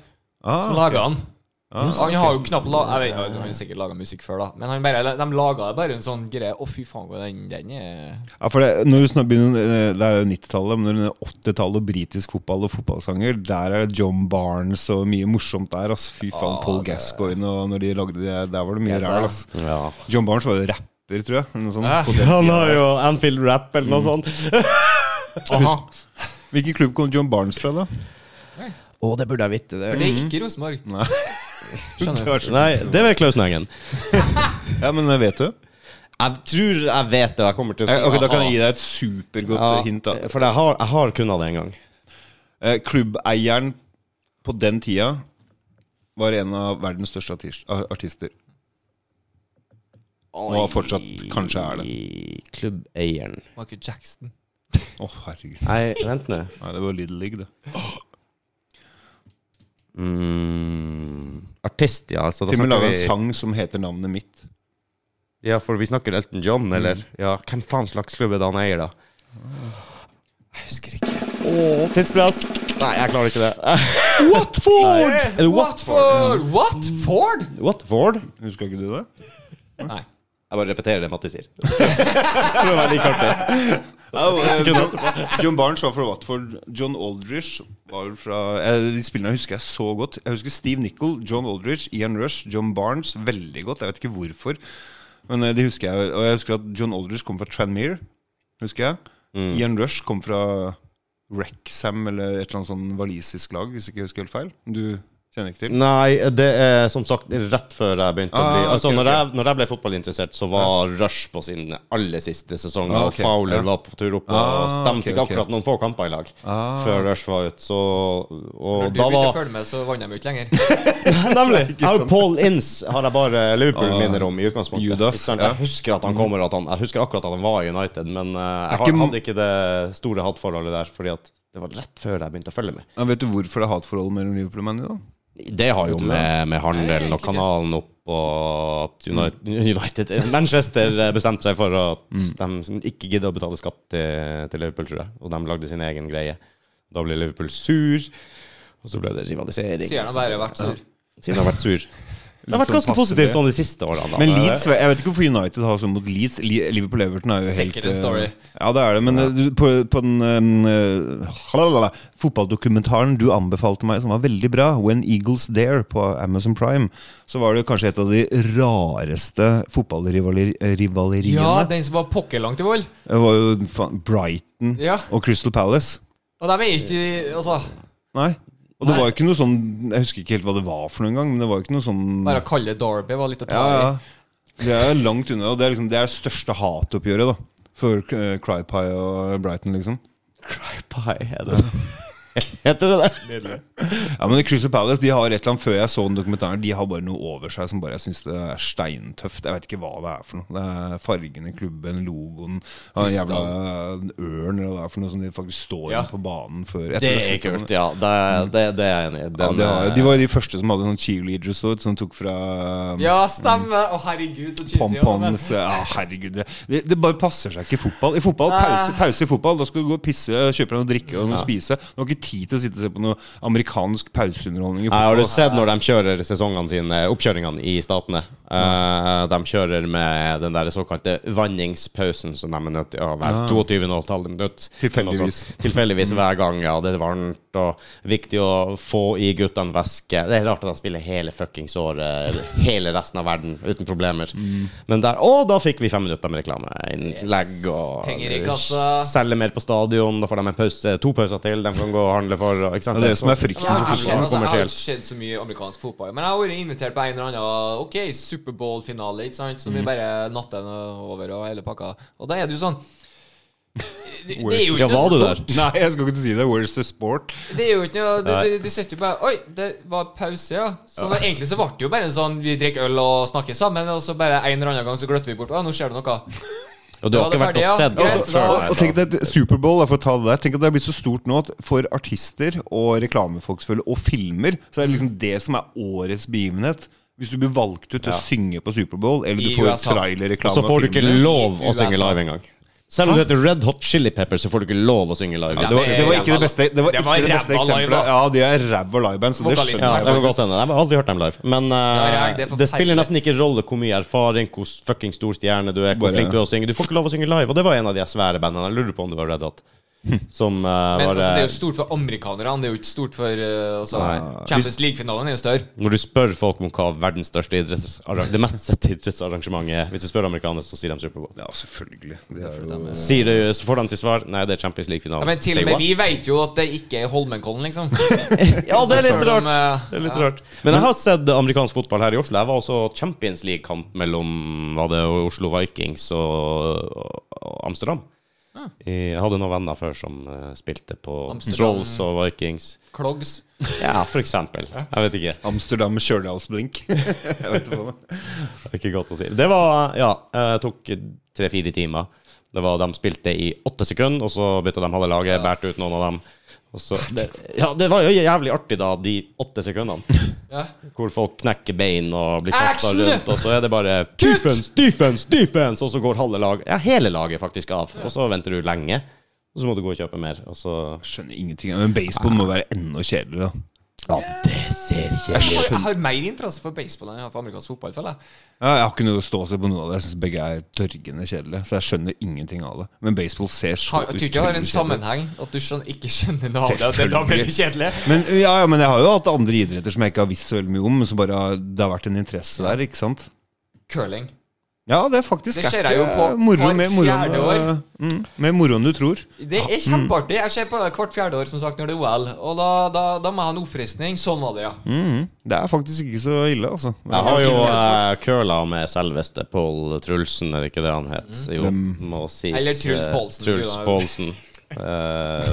Speaker 3: Ah,
Speaker 2: Som laga den.
Speaker 3: ah,
Speaker 2: Han har jo knapt la Jeg vet ikke, han har sikkert laga musikk før, da. Men han bare, de laga bare en sånn greie. Å, fy faen, den, den er
Speaker 3: Ja, for det, når du snak- begynner, eh, det er jo 90-tallet, men under 80-tallet og britisk fotball og fotballsanger, der er det John Barnes og mye morsomt der. ass. Fy faen, Paul Gascoigne og når de lagde det, der var det mye
Speaker 2: Yes,
Speaker 3: ræl.
Speaker 2: ja.
Speaker 3: Ah, ass.
Speaker 1: Ja.
Speaker 3: John Barnes var jo rapper, tror jeg. eller noe sånt.
Speaker 2: Ja.
Speaker 3: på den
Speaker 1: Han
Speaker 3: tiden
Speaker 1: har
Speaker 3: der.
Speaker 1: jo Anfield Rap eller noe sånt.
Speaker 2: Aha.
Speaker 3: Hvilken klubb kom John Barnes fra, da?
Speaker 1: Å, det burde jeg vite.
Speaker 2: For det er ikke Rosenborg.
Speaker 3: Nei.
Speaker 2: Skjønner du.
Speaker 3: Det var så-
Speaker 1: Nei, det er vel Klausenengen.
Speaker 3: Ja, men eh, vet du?
Speaker 1: Jeg tror jeg vet det. Jeg kommer til å si
Speaker 3: Eh, Ok, Da kan jeg
Speaker 1: aha.
Speaker 3: gi deg et supergodt
Speaker 1: Ja,
Speaker 3: eh, hint. da.
Speaker 1: For jeg har, jeg har kunnet det en gang.
Speaker 3: Eh, Klubbeieren på den tida var en av verdens største artis- a- artister. Og fortsatt kanskje er det.
Speaker 1: I klubbeieren
Speaker 2: Michael Jackson.
Speaker 3: Å, herregud.
Speaker 1: Nei, vent nå.
Speaker 3: Nei, det var Little League, det.
Speaker 1: Mm, artist, ja. Altså, da
Speaker 3: Til og med
Speaker 1: snakker
Speaker 3: laga
Speaker 1: vi-
Speaker 3: en sang som heter navnet mitt.
Speaker 1: Ja, for vi snakker Elton John,
Speaker 3: Mm.
Speaker 1: eller? Ja, hvem faen slags klubb er det han eier, da? Jeg husker ikke. Å, tidspress! Nei, jeg klarer ikke det.
Speaker 2: Watford!
Speaker 1: Er det
Speaker 2: Watford! Watford?
Speaker 1: Watford?
Speaker 3: Huska ikke du det?
Speaker 2: Nei.
Speaker 1: Jeg bare repeterer det Matti sier. For å være like artig.
Speaker 3: eh, John Barnes var fra Watford. John Aldrich var vel fra eh, De spillene husker jeg så godt. Jeg husker Steve Nichol, John Aldrich, Ian Rush, John Barnes veldig godt. Jeg vet ikke hvorfor. Men eh, de husker jeg Og jeg husker at John Aldrich kom fra Tranmere. Husker jeg. Ian Rush kom fra Wrexham eller et eller annet sånn walisisk lag, hvis ikke jeg husker helt feil. Du kjenner ikke til?
Speaker 1: Nei, det er som sagt rett før jeg begynte å
Speaker 3: Ah,
Speaker 1: bli Altså,
Speaker 3: ok,
Speaker 1: når,
Speaker 3: ok.
Speaker 1: jeg, når jeg ble fotballinteressert, så var Rush på sin aller siste sesong,
Speaker 3: Ah, ok,
Speaker 1: og Fowler
Speaker 3: ja.
Speaker 1: var på tur opp, og
Speaker 3: Ah,
Speaker 1: Stem
Speaker 3: ok,
Speaker 1: fikk
Speaker 3: ok.
Speaker 1: akkurat noen få kamper i lag
Speaker 3: Ah.
Speaker 1: før Rush var ute, så Og da
Speaker 2: Når du begynte å
Speaker 1: var
Speaker 2: følge med, så vant de jo ikke lenger.
Speaker 1: Nemlig! Jeg har Paul Ince har jeg bare Liverpool-minner om i
Speaker 3: Ah,
Speaker 1: utgangspunktet.
Speaker 3: Judas,
Speaker 1: Ikke sant?
Speaker 3: ja. Mm.
Speaker 1: Jeg husker at han kommer og at han, Jeg husker akkurat at han var i United, men eh, jeg
Speaker 3: ikke
Speaker 1: har-
Speaker 3: m-
Speaker 1: hadde ikke det store hatforholdet der, fordi at det var rett før jeg begynte å følge med.
Speaker 3: Ja, vet du hvorfor det er hatforhold mellom Liverpool og Man United? da?
Speaker 1: Det har jo
Speaker 3: Vet du
Speaker 1: med, med handelen og kanalen opp og at United, United Manchester eh, bestemte seg for at
Speaker 3: Mm.
Speaker 1: de ikke gidder å betale skatt til, til Liverpool, tror jeg. Og de lagde sin egen greie. Da ble Liverpool sur, og så ble det rivalisering.
Speaker 2: Sier han bare vært sur.
Speaker 1: Siden han har vært sur. Det har
Speaker 3: Litt
Speaker 1: vært ganske
Speaker 3: sånn passe
Speaker 1: positivt
Speaker 3: det.
Speaker 1: sånn de siste årene. da.
Speaker 3: Men Leeds, jeg vet ikke hvorfor United har sånn mot Leeds. Li- Liverpool Everton er jo helt
Speaker 2: Sikkert en story.
Speaker 3: eh, Ja, det er det. Men eh, du, på, på den eh, halalala, fotballdokumentaren du anbefalte meg, som var veldig bra, When Eagles Dare på Amazon Prime, så var det kanskje et av de rareste fotballrivaleriene.
Speaker 2: Ja, den som var pokkerlangt i vold.
Speaker 3: Det var jo faen, Brighton
Speaker 2: Ja.
Speaker 3: og Crystal Palace.
Speaker 2: Og de er ikke Altså,
Speaker 3: Nei. Og det
Speaker 2: Nei.
Speaker 3: var jo ikke noe sånn Jeg husker ikke helt hva det var for noen gang, men det var jo ikke noe sånn
Speaker 2: bare å kalle det Derby var litt å ta
Speaker 3: Ja,
Speaker 2: i.
Speaker 3: ja. Det er jo langt unna, og det er liksom det er største hatoppgjøret da for eh, Crypie og Brighton, liksom.
Speaker 1: Pie, er det Heter det det?
Speaker 3: Ja, men Crystal Palace de har et eller annet før jeg så den dokumentaren. De har bare noe over seg som bare jeg syns det er steintøft. Jeg vet ikke hva det er for noe. Det er fargene, klubben, logoen, ja,
Speaker 2: Krystall.
Speaker 3: jævla ørn eller hva det er for noe som de faktisk står
Speaker 2: Ja.
Speaker 3: i på banen før. Jeg
Speaker 1: Det
Speaker 3: tror
Speaker 1: er
Speaker 3: slutt-
Speaker 1: kult, ja. Det, det, det er jeg enig i.
Speaker 3: Ja,
Speaker 1: Den,
Speaker 3: de, har,
Speaker 1: eh,
Speaker 3: de var jo de første som hadde sånn cheerleaders og som tok fra um,
Speaker 2: Ja, stemmer! Å, herregud, så cheesy. også, men-
Speaker 3: Pompoms altså. Ja, herregud. Det, det, det bare passer seg ikke i fotball. I fotball, pause, pause i fotball, da skal du gå og pisse, kjøpe deg noe å drikke og noe å spise. Du har ikke tid til å sitte og se på noe amerikansk pauseunderholdning i
Speaker 1: Nei, har
Speaker 3: fotball.
Speaker 1: du sett når de kjører sesongene sine, oppkjøringene i statene? Eh, de kjører med den der såkalte vanningspausen som de er nødt til å være 22,5 minutter.
Speaker 3: Ah. Tilfeldigvis. Mm.
Speaker 1: Tilfeldigvis hver gang, ja. Det er varmt og viktig å få i guttene væske. Det er rart at de spiller hele fuckings året, eller hele resten av verden, uten problemer.
Speaker 3: Mm.
Speaker 1: Men der Å, da fikk vi fem minutter med reklame. Innlegg og
Speaker 2: Penger i kassa.
Speaker 1: Selge mer på stadion. Da får de en pause, to pauser til de kan gå og handle for. Ikke sant?
Speaker 3: Det er det som er
Speaker 2: Men Jeg har
Speaker 3: frykten.
Speaker 2: ikke sett- altså, jeg har
Speaker 1: kommersiell.
Speaker 2: ikke sett så mye amerikansk fotball. Men jeg har vært invitert på en eller annen Ok, Superbowl-finale, ikke sant?
Speaker 1: Mm.
Speaker 2: Som vi bare natter den over og hele pakka. Og da er du sånn Det, det er jo
Speaker 1: Ja,
Speaker 2: ikke
Speaker 1: var
Speaker 2: noe
Speaker 1: du
Speaker 2: sport.
Speaker 1: der?
Speaker 3: Nei, jeg skal ikke si det. Where's the sport?
Speaker 2: Det er jo ikke noe Du, du, du sitter jo bare Oi, det var pause, ja. Så det- egentlig så ble det jo bare en sånn Vi drikker øl og snakker sammen, og så bare en eller annen gang så gløtter vi bort Å, nå skjer det noe.
Speaker 1: Og du har
Speaker 2: Da
Speaker 1: ikke
Speaker 2: var
Speaker 1: vært
Speaker 2: det
Speaker 1: og
Speaker 2: ferdig,
Speaker 1: sett
Speaker 2: ja.
Speaker 1: det
Speaker 3: Altså,
Speaker 2: Greit,
Speaker 1: selv,
Speaker 2: da-
Speaker 1: nei,
Speaker 3: Og tenk deg Superbowl, for å ta det der. Tenk at det er blitt så stort nå at for artister og reklamefolk selvfølgelig, og filmer, så er det liksom det som er årets begivenhet. Hvis du blir valgt ut til å synge på Superbowl, eller
Speaker 2: I
Speaker 3: du får
Speaker 2: USA.
Speaker 1: Og
Speaker 3: trailerreklame
Speaker 1: så får du ikke
Speaker 3: filmer.
Speaker 1: lov å
Speaker 2: I
Speaker 1: synge
Speaker 2: USA.
Speaker 1: live engang. Selv om du heter Red Hot Chili Peppers, så får du ikke lov å synge live.
Speaker 2: Ja,
Speaker 3: Det var, det var ikke det beste, det var
Speaker 2: Det var
Speaker 3: ikke det beste
Speaker 2: ræva live,
Speaker 3: eksempelet.
Speaker 2: da.
Speaker 3: Ja, de er ræva liveband, så det
Speaker 2: Vokalisten
Speaker 1: ja,
Speaker 3: skjønner
Speaker 1: det
Speaker 3: jeg.
Speaker 1: kan godt hende. Jeg har aldri hørt dem live. Men eh,
Speaker 2: Ja, det er
Speaker 1: det,
Speaker 2: forferdelig.
Speaker 1: spiller nesten ikke rolle hvor mye erfaring, hvor fucking stor stjerne du er, hvor
Speaker 3: Bare-
Speaker 1: flink du er å synge. Du får ikke lov å synge live, og det var en av de svære bandene. Jeg lurer på om det var Red Hot. Som eh,
Speaker 2: Men
Speaker 1: var
Speaker 2: altså, det er
Speaker 1: eh,
Speaker 2: jo stort for amerikanerne. Det er jo ikke stort for eh, altså, Champions League-finalen er jo større.
Speaker 1: eh, Når du spør folk om hva verdens største idrettsarrangement Det mest sette idrettsarrangementet er, hvis du spør amerikanere, så sier de Superbowl.
Speaker 3: Ja, selvfølgelig. Det er jo
Speaker 2: Ja,
Speaker 1: Sier du, så får de til svar Nei, det er Champions League-finalen.
Speaker 2: men til
Speaker 1: Say
Speaker 2: og med
Speaker 1: what?
Speaker 2: vi vet jo at det ikke er Holmenkollen, liksom.
Speaker 1: Ja, det er litt
Speaker 2: Selv om,
Speaker 1: rart.
Speaker 2: eh,
Speaker 1: Sånn Det er litt rart. Men jeg har sett amerikansk fotball her i Oslo. Jeg var også Champions League-kamp mellom var det Oslo Vikings og, og Amsterdam. Ah. Eh, Jeg hadde noen venner før som eh, spilte på
Speaker 2: Amsterdam.
Speaker 1: Strolls og Vikings.
Speaker 2: Clogs.
Speaker 1: Ja, for eksempel. Jeg vet ikke.
Speaker 3: Amsterdam med kjøledalsblink. Jeg vet ikke hva det er.
Speaker 1: Det er ikke godt å si. Det var Ja, eh, tok tre-fire timer. Det var, De spilte i åtte sekunder, og så bytta de halve laget, bærte ut noen av dem. Og så, det, ja, det var jo jævlig artig, da, de åtte sekundene.
Speaker 2: Ja.
Speaker 1: Hvor folk knekker bein og blir kasta
Speaker 2: Action!
Speaker 1: rundt, og så er det bare Defense, defense, defense! Og så går halve laget, ja, hele laget faktisk av. Og så venter du lenge, og så må du gå og kjøpe mer, og så
Speaker 3: Skjønner ingenting. Men baseball må være enda kjedeligere. da.
Speaker 1: Ja, det ser kjedelig
Speaker 2: Jeg har mer interesse for baseball enn jeg har for amerikansk fotball. føler jeg.
Speaker 3: Ja, jeg har ikke noe ståsted på noe av det. Jeg syns begge er dørgende kjedelige. Så jeg skjønner ingenting av det. Men baseball ser så
Speaker 2: Har- Jeg tror ikke jeg har en
Speaker 3: utrolig
Speaker 2: sammenheng at du skjønner, ikke skjønner noe av det. og det- Da blir det
Speaker 3: Selvfølgelig.
Speaker 2: kjedelig.
Speaker 3: Men, ja, ja, men jeg har jo hatt andre idretter som jeg ikke har visst så veldig mye om, men som bare har, det har vært en interesse der, ikke sant?
Speaker 2: Curling.
Speaker 3: Ja, det er faktisk
Speaker 2: Det
Speaker 3: er
Speaker 2: ser
Speaker 3: ikke
Speaker 2: jeg jo på
Speaker 3: moro
Speaker 2: hvert
Speaker 3: med moroen,
Speaker 2: fjerde år.
Speaker 3: eh, Mm, med moroen du tror.
Speaker 2: Det er
Speaker 1: Mm.
Speaker 2: kjempeartig. Jeg ser på det hvert fjerde år som sagt når det er OL. Og da, da, da må jeg ha en oppfriskning. Sånn var det, ja.
Speaker 1: Mm.
Speaker 3: Mhm. det er faktisk ikke så ille, altså.
Speaker 1: Jeg har jo eh, curla med selveste Pål Trulsen, er det ikke det han het? Jo, må sies.
Speaker 2: Mm. Eller Truls
Speaker 1: eh,
Speaker 2: Paulsen,
Speaker 1: Truls
Speaker 2: du da.
Speaker 1: Paulsen. Eh,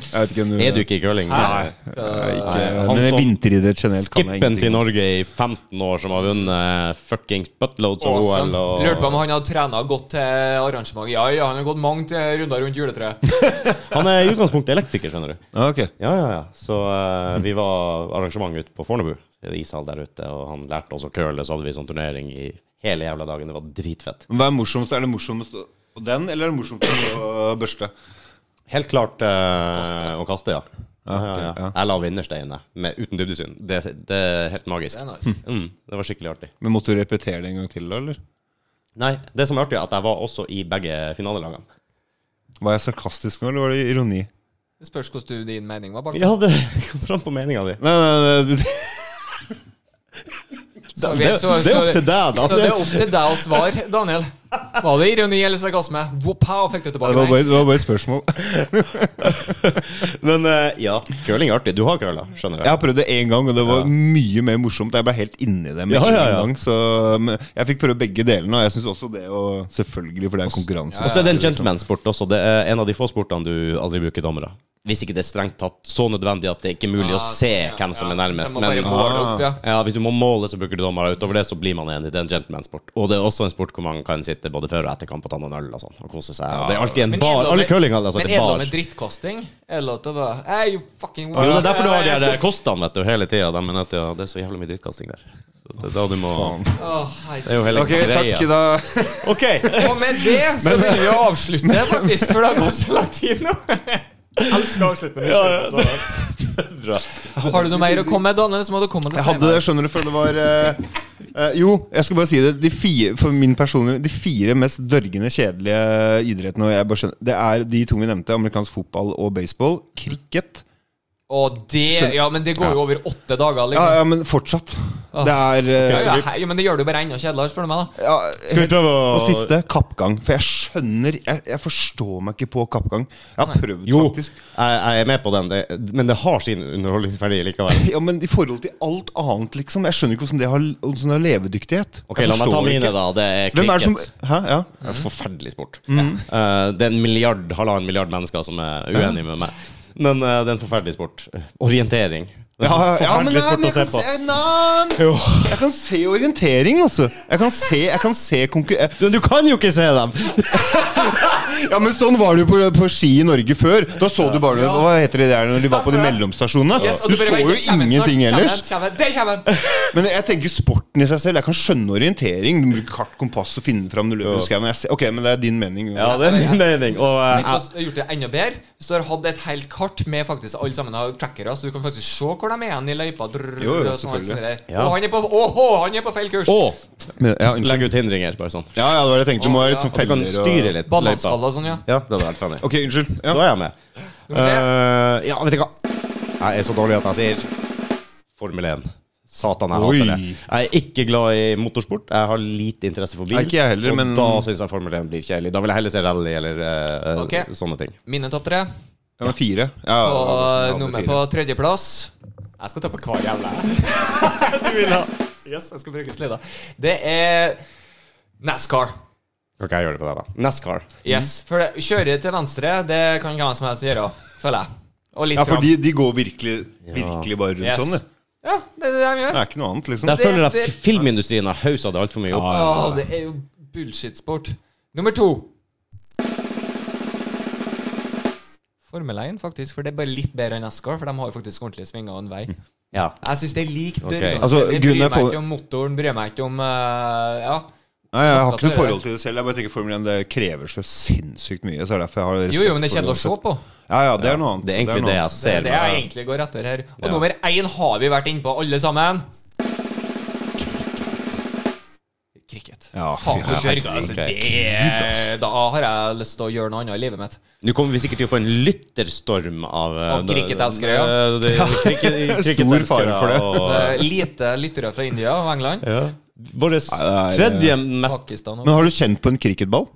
Speaker 3: Jeg vet ikke om
Speaker 1: er du ikke i curling?
Speaker 2: Nei.
Speaker 3: Eh, ikke,
Speaker 1: Nei, han
Speaker 3: men
Speaker 1: som-
Speaker 3: vinteridrett generelt kan jeg
Speaker 1: Skippen til
Speaker 3: ingenting om.
Speaker 1: Norge i 15 år, som har vunnet fuckings buttloads av
Speaker 2: Awesome.
Speaker 1: OL. Og
Speaker 2: Lurte på om han hadde trena godt til arrangementet. Ja, ja, han har gått mange til runder rundt juletreet.
Speaker 1: Han er i utgangspunktet elektriker, skjønner du.
Speaker 3: Ja, ok.
Speaker 1: Ja, ja, ja. Så eh, vi var arrangement ute på Fornebu, i en ishall der ute, og han lærte oss å curle, så hadde vi sånn turnering i hele jævla dagen. Det var dritfett.
Speaker 3: Men Hva er morsomst? Er det morsomst på den, eller er det morsomst på børste?
Speaker 1: Helt klart eh, å kaste, ja. Ja, ja,
Speaker 3: ok,
Speaker 1: ja.
Speaker 3: ja.
Speaker 1: Jeg la vinnersteinene med- uten dybdesyn. Det, det er helt
Speaker 2: Det
Speaker 1: magisk.
Speaker 2: er nice.
Speaker 1: Mm, det var skikkelig artig.
Speaker 3: Men måtte du repetere det en gang til, da, eller?
Speaker 1: Nei, det som er artig, er at jeg var også i begge finalelagene.
Speaker 3: Var jeg sarkastisk nå, eller var det ironi?
Speaker 2: Det spørs hvordan du, din mening var bak.
Speaker 1: Ja, det kommer an på meninga di.
Speaker 3: Nei, nei, nei, du-
Speaker 2: Så
Speaker 1: Det- det er opp til deg, da.
Speaker 2: Så det er opp til deg å svare, Daniel. Var det ironi eller sarkasme? Wow, fikk du
Speaker 3: det
Speaker 2: tilbake
Speaker 3: var
Speaker 2: meg.
Speaker 3: bare, det var bare et spørsmål.
Speaker 1: Men eh, ja, curling er artig. Du har curla, skjønner
Speaker 3: Jeg
Speaker 1: jeg.
Speaker 3: har prøvd det én gang, og det var
Speaker 1: Ja.
Speaker 3: mye mer morsomt. Jeg ble helt inni det med
Speaker 1: Ja,
Speaker 3: en
Speaker 1: ja, ja.
Speaker 3: gang. Så men jeg fikk prøve begge delene, og jeg syns også det å Selvfølgelig, for det er konkurranse.
Speaker 1: Og så er det en gentleman-sport også. Det er en av de få sportene du aldri bruker dommere. Hvis ikke det er strengt tatt så nødvendig at det ikke er
Speaker 2: Ah,
Speaker 1: mulig å se hvem som er nærmest.
Speaker 2: Men,
Speaker 1: Men
Speaker 2: opp, ja.
Speaker 1: ja, hvis du må måle, så bruker du dommere. Utover det så blir man enig. Det er en gentleman-sport. Og det er også en sport hvor man kan sitte både før og etter kamp og ta noen øl og sånn og kose seg. Og det er alltid en
Speaker 2: Men er det
Speaker 1: bar.
Speaker 2: lov
Speaker 1: Alle
Speaker 2: med-
Speaker 1: curlinghaller altså,
Speaker 2: Men
Speaker 1: det
Speaker 2: er det
Speaker 1: er
Speaker 2: lov
Speaker 1: bar.
Speaker 2: med drittkasting? Er det lov til å bare hey, you fucking
Speaker 1: Jo, det er derfor du har de her kostene, vet du, hele tida. De er nødt til å Det er så jævlig mye drittkasting der. Så det er da du må
Speaker 2: Å,
Speaker 1: Det
Speaker 2: herregud.
Speaker 1: er jo hele
Speaker 3: Ok, takk,
Speaker 1: greia.
Speaker 3: da.
Speaker 1: Ok,
Speaker 2: Og med det så vil vi avslutte, faktisk, for det har gått så lang tid nå. Elsker avslutninger.
Speaker 1: Bra.
Speaker 2: Har du noe mer å komme med, Daniel, så må du komme det
Speaker 3: Jeg hadde, jeg skjønner du, for det var eh, eh, Jo, jeg skal bare si det. De fire, for min personlige, de fire mest dørgende kjedelige idrettene og jeg bare skjønner, Det er de to vi nevnte. Amerikansk fotball og baseball. Cricket.
Speaker 2: Og det Ja, men det går jo over åtte dager,
Speaker 3: Ja,
Speaker 2: liksom.
Speaker 3: ja, men fortsatt.
Speaker 1: Ah.
Speaker 3: Det er eh,
Speaker 2: Ja, ja, hei, men det gjør det jo bare enda kjedeligere, spør du meg, da.
Speaker 3: ja,
Speaker 1: Skal vi prøve å
Speaker 3: Og siste kappgang. For jeg skjønner Jeg, jeg forstår meg ikke på kappgang. Jeg har prøvd,
Speaker 1: Jo, jeg,
Speaker 3: faktisk.
Speaker 1: jeg er med på den, det, men det har sin underholdningsverdi likevel.
Speaker 3: Ja, Men i forhold til alt annet, liksom. Jeg skjønner ikke hvordan det har, hvordan det har levedyktighet.
Speaker 1: Ok,
Speaker 3: Jeg
Speaker 1: La meg ta
Speaker 3: forstår
Speaker 1: mine,
Speaker 3: ikke.
Speaker 1: da. Det er
Speaker 3: Hvem er det som Mm.
Speaker 1: cricket.
Speaker 3: Hæ? Ja.
Speaker 1: Det er en Forferdelig sport. Eh, det er en milliard, halvannen milliard mennesker som er uenige med meg. Men eh, det er en forferdelig sport. Orientering. Det er
Speaker 3: Ja, ja,
Speaker 1: en
Speaker 3: ja, men, nei,
Speaker 1: forferdelig
Speaker 3: men
Speaker 1: sport
Speaker 3: jeg, kan
Speaker 1: å se på.
Speaker 3: se, nei,
Speaker 1: Jo.
Speaker 3: jeg kan se orientering, altså. Jeg kan se, jeg kan se konkurr...
Speaker 1: Men du kan jo ikke se dem!
Speaker 3: Ja, men sånn var det jo på, på ski i Norge før. Da så du bare
Speaker 2: Ja.
Speaker 3: Hva heter det der når de var på de
Speaker 2: Stemmer det.
Speaker 3: mellomstasjonene?
Speaker 2: Yes, og
Speaker 3: du
Speaker 2: bare
Speaker 3: så jo
Speaker 2: vent, det kommer snart,
Speaker 3: ingenting
Speaker 2: kommer,
Speaker 3: ellers.
Speaker 2: kommer, Der kommer den!
Speaker 3: Men jeg tenker sporten i seg selv. Jeg kan skjønne orientering. Du bruker kart, kompass og finne fram når du løper. i skauen. Jeg ser- Ok, men det er din mening.
Speaker 1: Ja, det er min mening. Og eh,
Speaker 2: Men
Speaker 3: altså-
Speaker 2: hvordan har gjort det enda bedre. Hvis du har hatt et helt kart med faktisk alle sammen har trackere, så du kan faktisk se hvor de er igjen i løypa. drrrr,
Speaker 3: Jo, jo,
Speaker 2: og sånn, alt sånt
Speaker 3: selvfølgelig.
Speaker 2: der.
Speaker 1: Ja.
Speaker 2: Å, han er på Åhå, han er på feil kurs!
Speaker 1: og
Speaker 3: Men- ja, unnskyld.
Speaker 1: legge ut hindringer, bare sånn.
Speaker 3: Ja, ja, det var det jeg tenkte. Du må
Speaker 2: Å,
Speaker 3: være
Speaker 2: ja.
Speaker 3: litt sånn
Speaker 1: Og du kan
Speaker 3: feller
Speaker 1: styre litt.
Speaker 2: Bananskaller og sånn, ja.
Speaker 1: Ja, det hadde vært funny.
Speaker 3: Ok, unnskyld.
Speaker 1: Da
Speaker 3: Ja.
Speaker 1: er jeg med.
Speaker 2: Nummer tre.
Speaker 1: Eh, ja, vet du hva? Jeg er så dårlig at jeg sier Formel 1. Satan, jeg
Speaker 3: Oi.
Speaker 1: hater det. Jeg er ikke glad i motorsport. Jeg har lite interesse for bil.
Speaker 3: Nei, ikke jeg heller,
Speaker 1: og
Speaker 3: men-
Speaker 1: da syns jeg Formel 1 blir kjedelig. Da vil jeg heller se rally eller eh, eh,
Speaker 2: Ok.
Speaker 1: sånne ting.
Speaker 2: Mine topp tre.
Speaker 3: Ja, men fire. Ja, ja,
Speaker 2: Og
Speaker 3: ja, ja,
Speaker 2: nummer
Speaker 3: fire.
Speaker 2: på tredjeplass Jeg skal ta på hver jævla Du vil ha Yes, jeg skal bruke slida Det er NASCAR
Speaker 1: Ok, jeg gjør det på deg, da. NASCAR.
Speaker 3: Mm.
Speaker 2: Yes, for det, kjøre til venstre Det kan hvem som helst gjøre, føler jeg Og litt
Speaker 3: Ja, for
Speaker 2: fram
Speaker 3: de, de går virkelig, virkelig bare rundt
Speaker 2: yes.
Speaker 3: sånn, det.
Speaker 2: Ja, det er det de
Speaker 3: Det
Speaker 2: gjør
Speaker 3: er ikke noe annet, liksom.
Speaker 1: Der
Speaker 2: Det-
Speaker 1: føler jeg
Speaker 2: det-
Speaker 1: at filmindustrien har hausa det altfor mye opp.
Speaker 2: Åh, det er jo bullshit-sport Nummer to Formel 1 faktisk, for det er bare litt bedre enn NASCAR For de har jo faktisk ordentlig svinger og en vei
Speaker 1: Ja.
Speaker 2: Jeg syns det er likt
Speaker 1: Ok.
Speaker 2: dørgangster.
Speaker 3: Mm. Altså, grunnen
Speaker 2: Jeg bryr
Speaker 3: er
Speaker 2: meg
Speaker 3: for-
Speaker 2: ikke om motoren, bryr meg ikke om eh, Ja.
Speaker 3: Nei, Jeg har ikke noe
Speaker 2: Opptatt av det,
Speaker 3: forhold til det selv. Jeg bare tenker Formel 1 det krever så sinnssykt mye. Så det er derfor jeg har respekt
Speaker 2: Jo, jo, men det er
Speaker 3: for
Speaker 2: kjedelig å se på.
Speaker 3: Ja, ja, det er noe annet.
Speaker 1: Det er egentlig
Speaker 3: noe
Speaker 1: det jeg
Speaker 3: annet.
Speaker 2: Det er
Speaker 1: ser.
Speaker 2: det jeg
Speaker 1: mest.
Speaker 2: egentlig går etter her. Og
Speaker 1: Ja.
Speaker 2: nummer én har vi vært inne på, alle sammen. Cricket.
Speaker 3: Ja,
Speaker 2: Faen,
Speaker 3: fy,
Speaker 2: hvor dørg, altså.
Speaker 1: herregud,
Speaker 2: Det, da har jeg lyst til å gjøre noe annet i livet mitt.
Speaker 1: Nå kommer vi sikkert til å få en lytterstorm av eh,
Speaker 2: Av cricketelskere,
Speaker 1: eh, det- cricket-
Speaker 3: Stor fare for det.
Speaker 1: og-
Speaker 2: Eh, Lite lyttere fra India og England.
Speaker 1: Ja. Vår
Speaker 3: Nei, det er- eh,
Speaker 1: tredje mest
Speaker 2: Pakistan og
Speaker 3: Men har du kjent på en cricketball?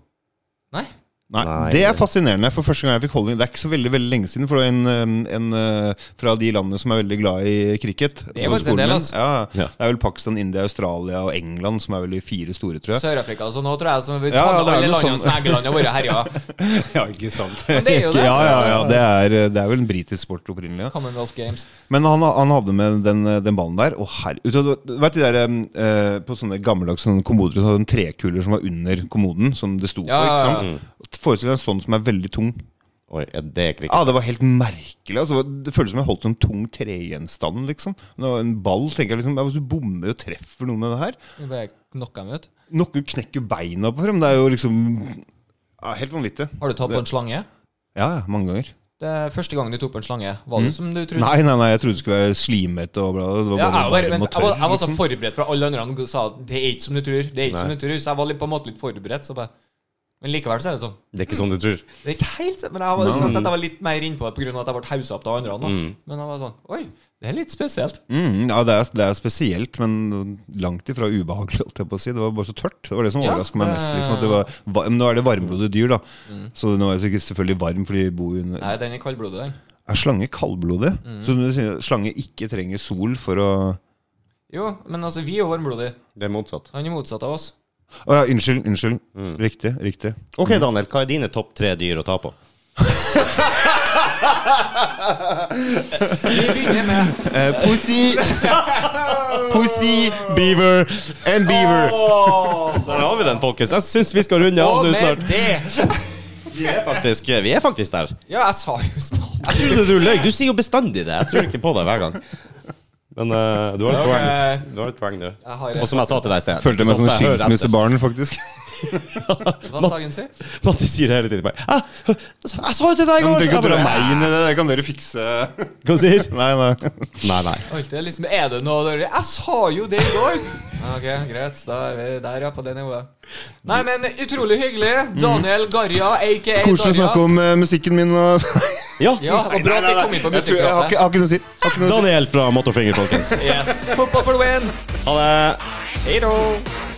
Speaker 2: Nei?
Speaker 3: Nei,
Speaker 1: Nei.
Speaker 3: Det er fascinerende. For første gang jeg fikk holdning Det er ikke så veldig veldig lenge siden. For det var en, eh, en eh, fra de landene som er veldig glad i cricket.
Speaker 2: Det er
Speaker 3: på
Speaker 2: faktisk en
Speaker 3: skolen
Speaker 2: del,
Speaker 3: min.
Speaker 2: ass.
Speaker 3: Ja,
Speaker 1: Ja.
Speaker 3: Det er vel Pakistan, India, Australia og England som er vel de fire store, tror jeg.
Speaker 2: Sør-Afrika og sånn nå tror jeg som vi
Speaker 3: Ja,
Speaker 2: tar med
Speaker 3: det er
Speaker 2: alle
Speaker 3: noe
Speaker 2: landene
Speaker 3: sånn.
Speaker 2: som England har vært herja.
Speaker 3: Ja, ikke sant?
Speaker 2: det er jo det,
Speaker 3: Ja,
Speaker 2: så-
Speaker 3: ja, ja. Det er, eh, det er vel en britisk sport opprinnelig. Ja.
Speaker 2: Commonwealth Games.
Speaker 3: Men han, han hadde med den, den ballen der. Og her, vet du du vet de der eh, På sånne gammeldags sånne kommoder så hadde de trekuler som var under kommoden, som det sto
Speaker 2: Ja,
Speaker 3: på.
Speaker 2: ja,
Speaker 3: ikke sant? Forestill deg en sånn som er veldig tung.
Speaker 1: Oi, ja, det er cricket.
Speaker 3: Ja, Det var helt merkelig. Altså, det føles som jeg holdt en tung tregjenstand. liksom Det var En ball. tenker jeg liksom ja, Hvis du bommer og treffer noe med det her
Speaker 2: Vi bare knocka dem ut.
Speaker 3: Noen knekker beina på frem. Det er jo liksom ja, Helt vanvittig.
Speaker 2: Har du tatt på en slange?
Speaker 3: Ja, ja, mange ganger.
Speaker 2: Det er første gang du tok på en slange, var det
Speaker 3: Mm.
Speaker 2: som du trodde?
Speaker 3: Nei, nei, nei, jeg trodde det skulle være slimete og bla. Det var bare
Speaker 2: Ja, jeg, var,
Speaker 3: varm og
Speaker 2: vent, jeg, var,
Speaker 3: tørr,
Speaker 2: jeg var så
Speaker 3: liksom.
Speaker 2: forberedt, for alle andre sa at det er ikke som du tror. Det er ikke som du tror Så jeg var litt, på en måte litt forberedt. Så bare. Men likevel så er det sånn.
Speaker 1: Det er ikke sånn du tror.
Speaker 2: Det er ikke helt sånn, Men jeg var, følte at jeg var litt mer innpå det pga. at jeg ble hausa opp av andre. da. Men jeg var sånn Oi, det er litt spesielt.
Speaker 3: Mm, ja, det er, det er spesielt, men langt ifra ubehagelig. Holdt jeg på å si. Det var bare så tørt. Det var det som
Speaker 2: Ja,
Speaker 3: overrasket meg mest.
Speaker 2: det-
Speaker 3: Liksom, at det var, va- men nå er det varmblodige dyr, da. Så nå er jeg sikkert selvfølgelig varm, for de bor jo under
Speaker 2: Nei, den er kaldblodig, den.
Speaker 3: Er slange kaldblodig? Så du sier at slange ikke trenger sol for å
Speaker 2: Jo, men altså, vi er jo varmblodige.
Speaker 1: Det er motsatt.
Speaker 2: Han er motsatt av oss.
Speaker 3: Å ja, unnskyld. Unnskyld. Riktig. Riktig.
Speaker 1: Ok, Daniel, hva er dine topp tre dyr å ta på?
Speaker 2: Vi begynner med
Speaker 3: Eh, pussy! pussy, beaver and beaver.
Speaker 1: Der har vi den, folkens. Jeg syns vi skal runde av
Speaker 2: Og
Speaker 1: nå
Speaker 2: med
Speaker 1: snart.
Speaker 2: det
Speaker 1: Vi er faktisk, eh, vi er faktisk der.
Speaker 2: Ja, jeg sa jo snart
Speaker 1: Jeg trodde du løy. Du sier jo bestandig det. Jeg tror ikke på deg hver gang. Men eh, du har et poeng.
Speaker 2: Ok.
Speaker 1: Du har et poeng, du.
Speaker 2: Jeg har-
Speaker 1: Og som jeg sa til deg i sted
Speaker 3: Følte meg som
Speaker 1: så ofte jeg hører etter.
Speaker 3: skilsmissebarn, faktisk.
Speaker 2: Hva sa han si?
Speaker 1: Matti sier det hele tiden bare «Hæ? ah, altså, Jeg sa jo til deg i
Speaker 3: Du
Speaker 1: går!
Speaker 3: trenger ikke
Speaker 1: Jeg
Speaker 3: å dra
Speaker 1: bare,
Speaker 3: meg inn i det. Det kan dere fikse.
Speaker 1: Hva sier?
Speaker 3: Nei, nei.
Speaker 1: Nei, nei.
Speaker 2: Oi, det er liksom Er det noe dårlig? Jeg sa jo det i går! Ja, Ok, greit. Da er vi der, ja, på det nivået. Nei, men utrolig hyggelig. Daniel Garja, aka
Speaker 3: Koselig å
Speaker 2: Darja.
Speaker 3: snakke om eh, musikken min og
Speaker 1: Ja.
Speaker 2: Ja, det var bra at vi kom inn på eh.
Speaker 3: Jeg tror- Jeg har ikke-
Speaker 2: musikkpratet.
Speaker 3: jeg har ikke noe å si. Jeg har ikke noe å si.
Speaker 1: Daniel fra Motorfinger, folkens.
Speaker 2: Yes. Football for the win!
Speaker 1: Ha det.
Speaker 2: Hei då!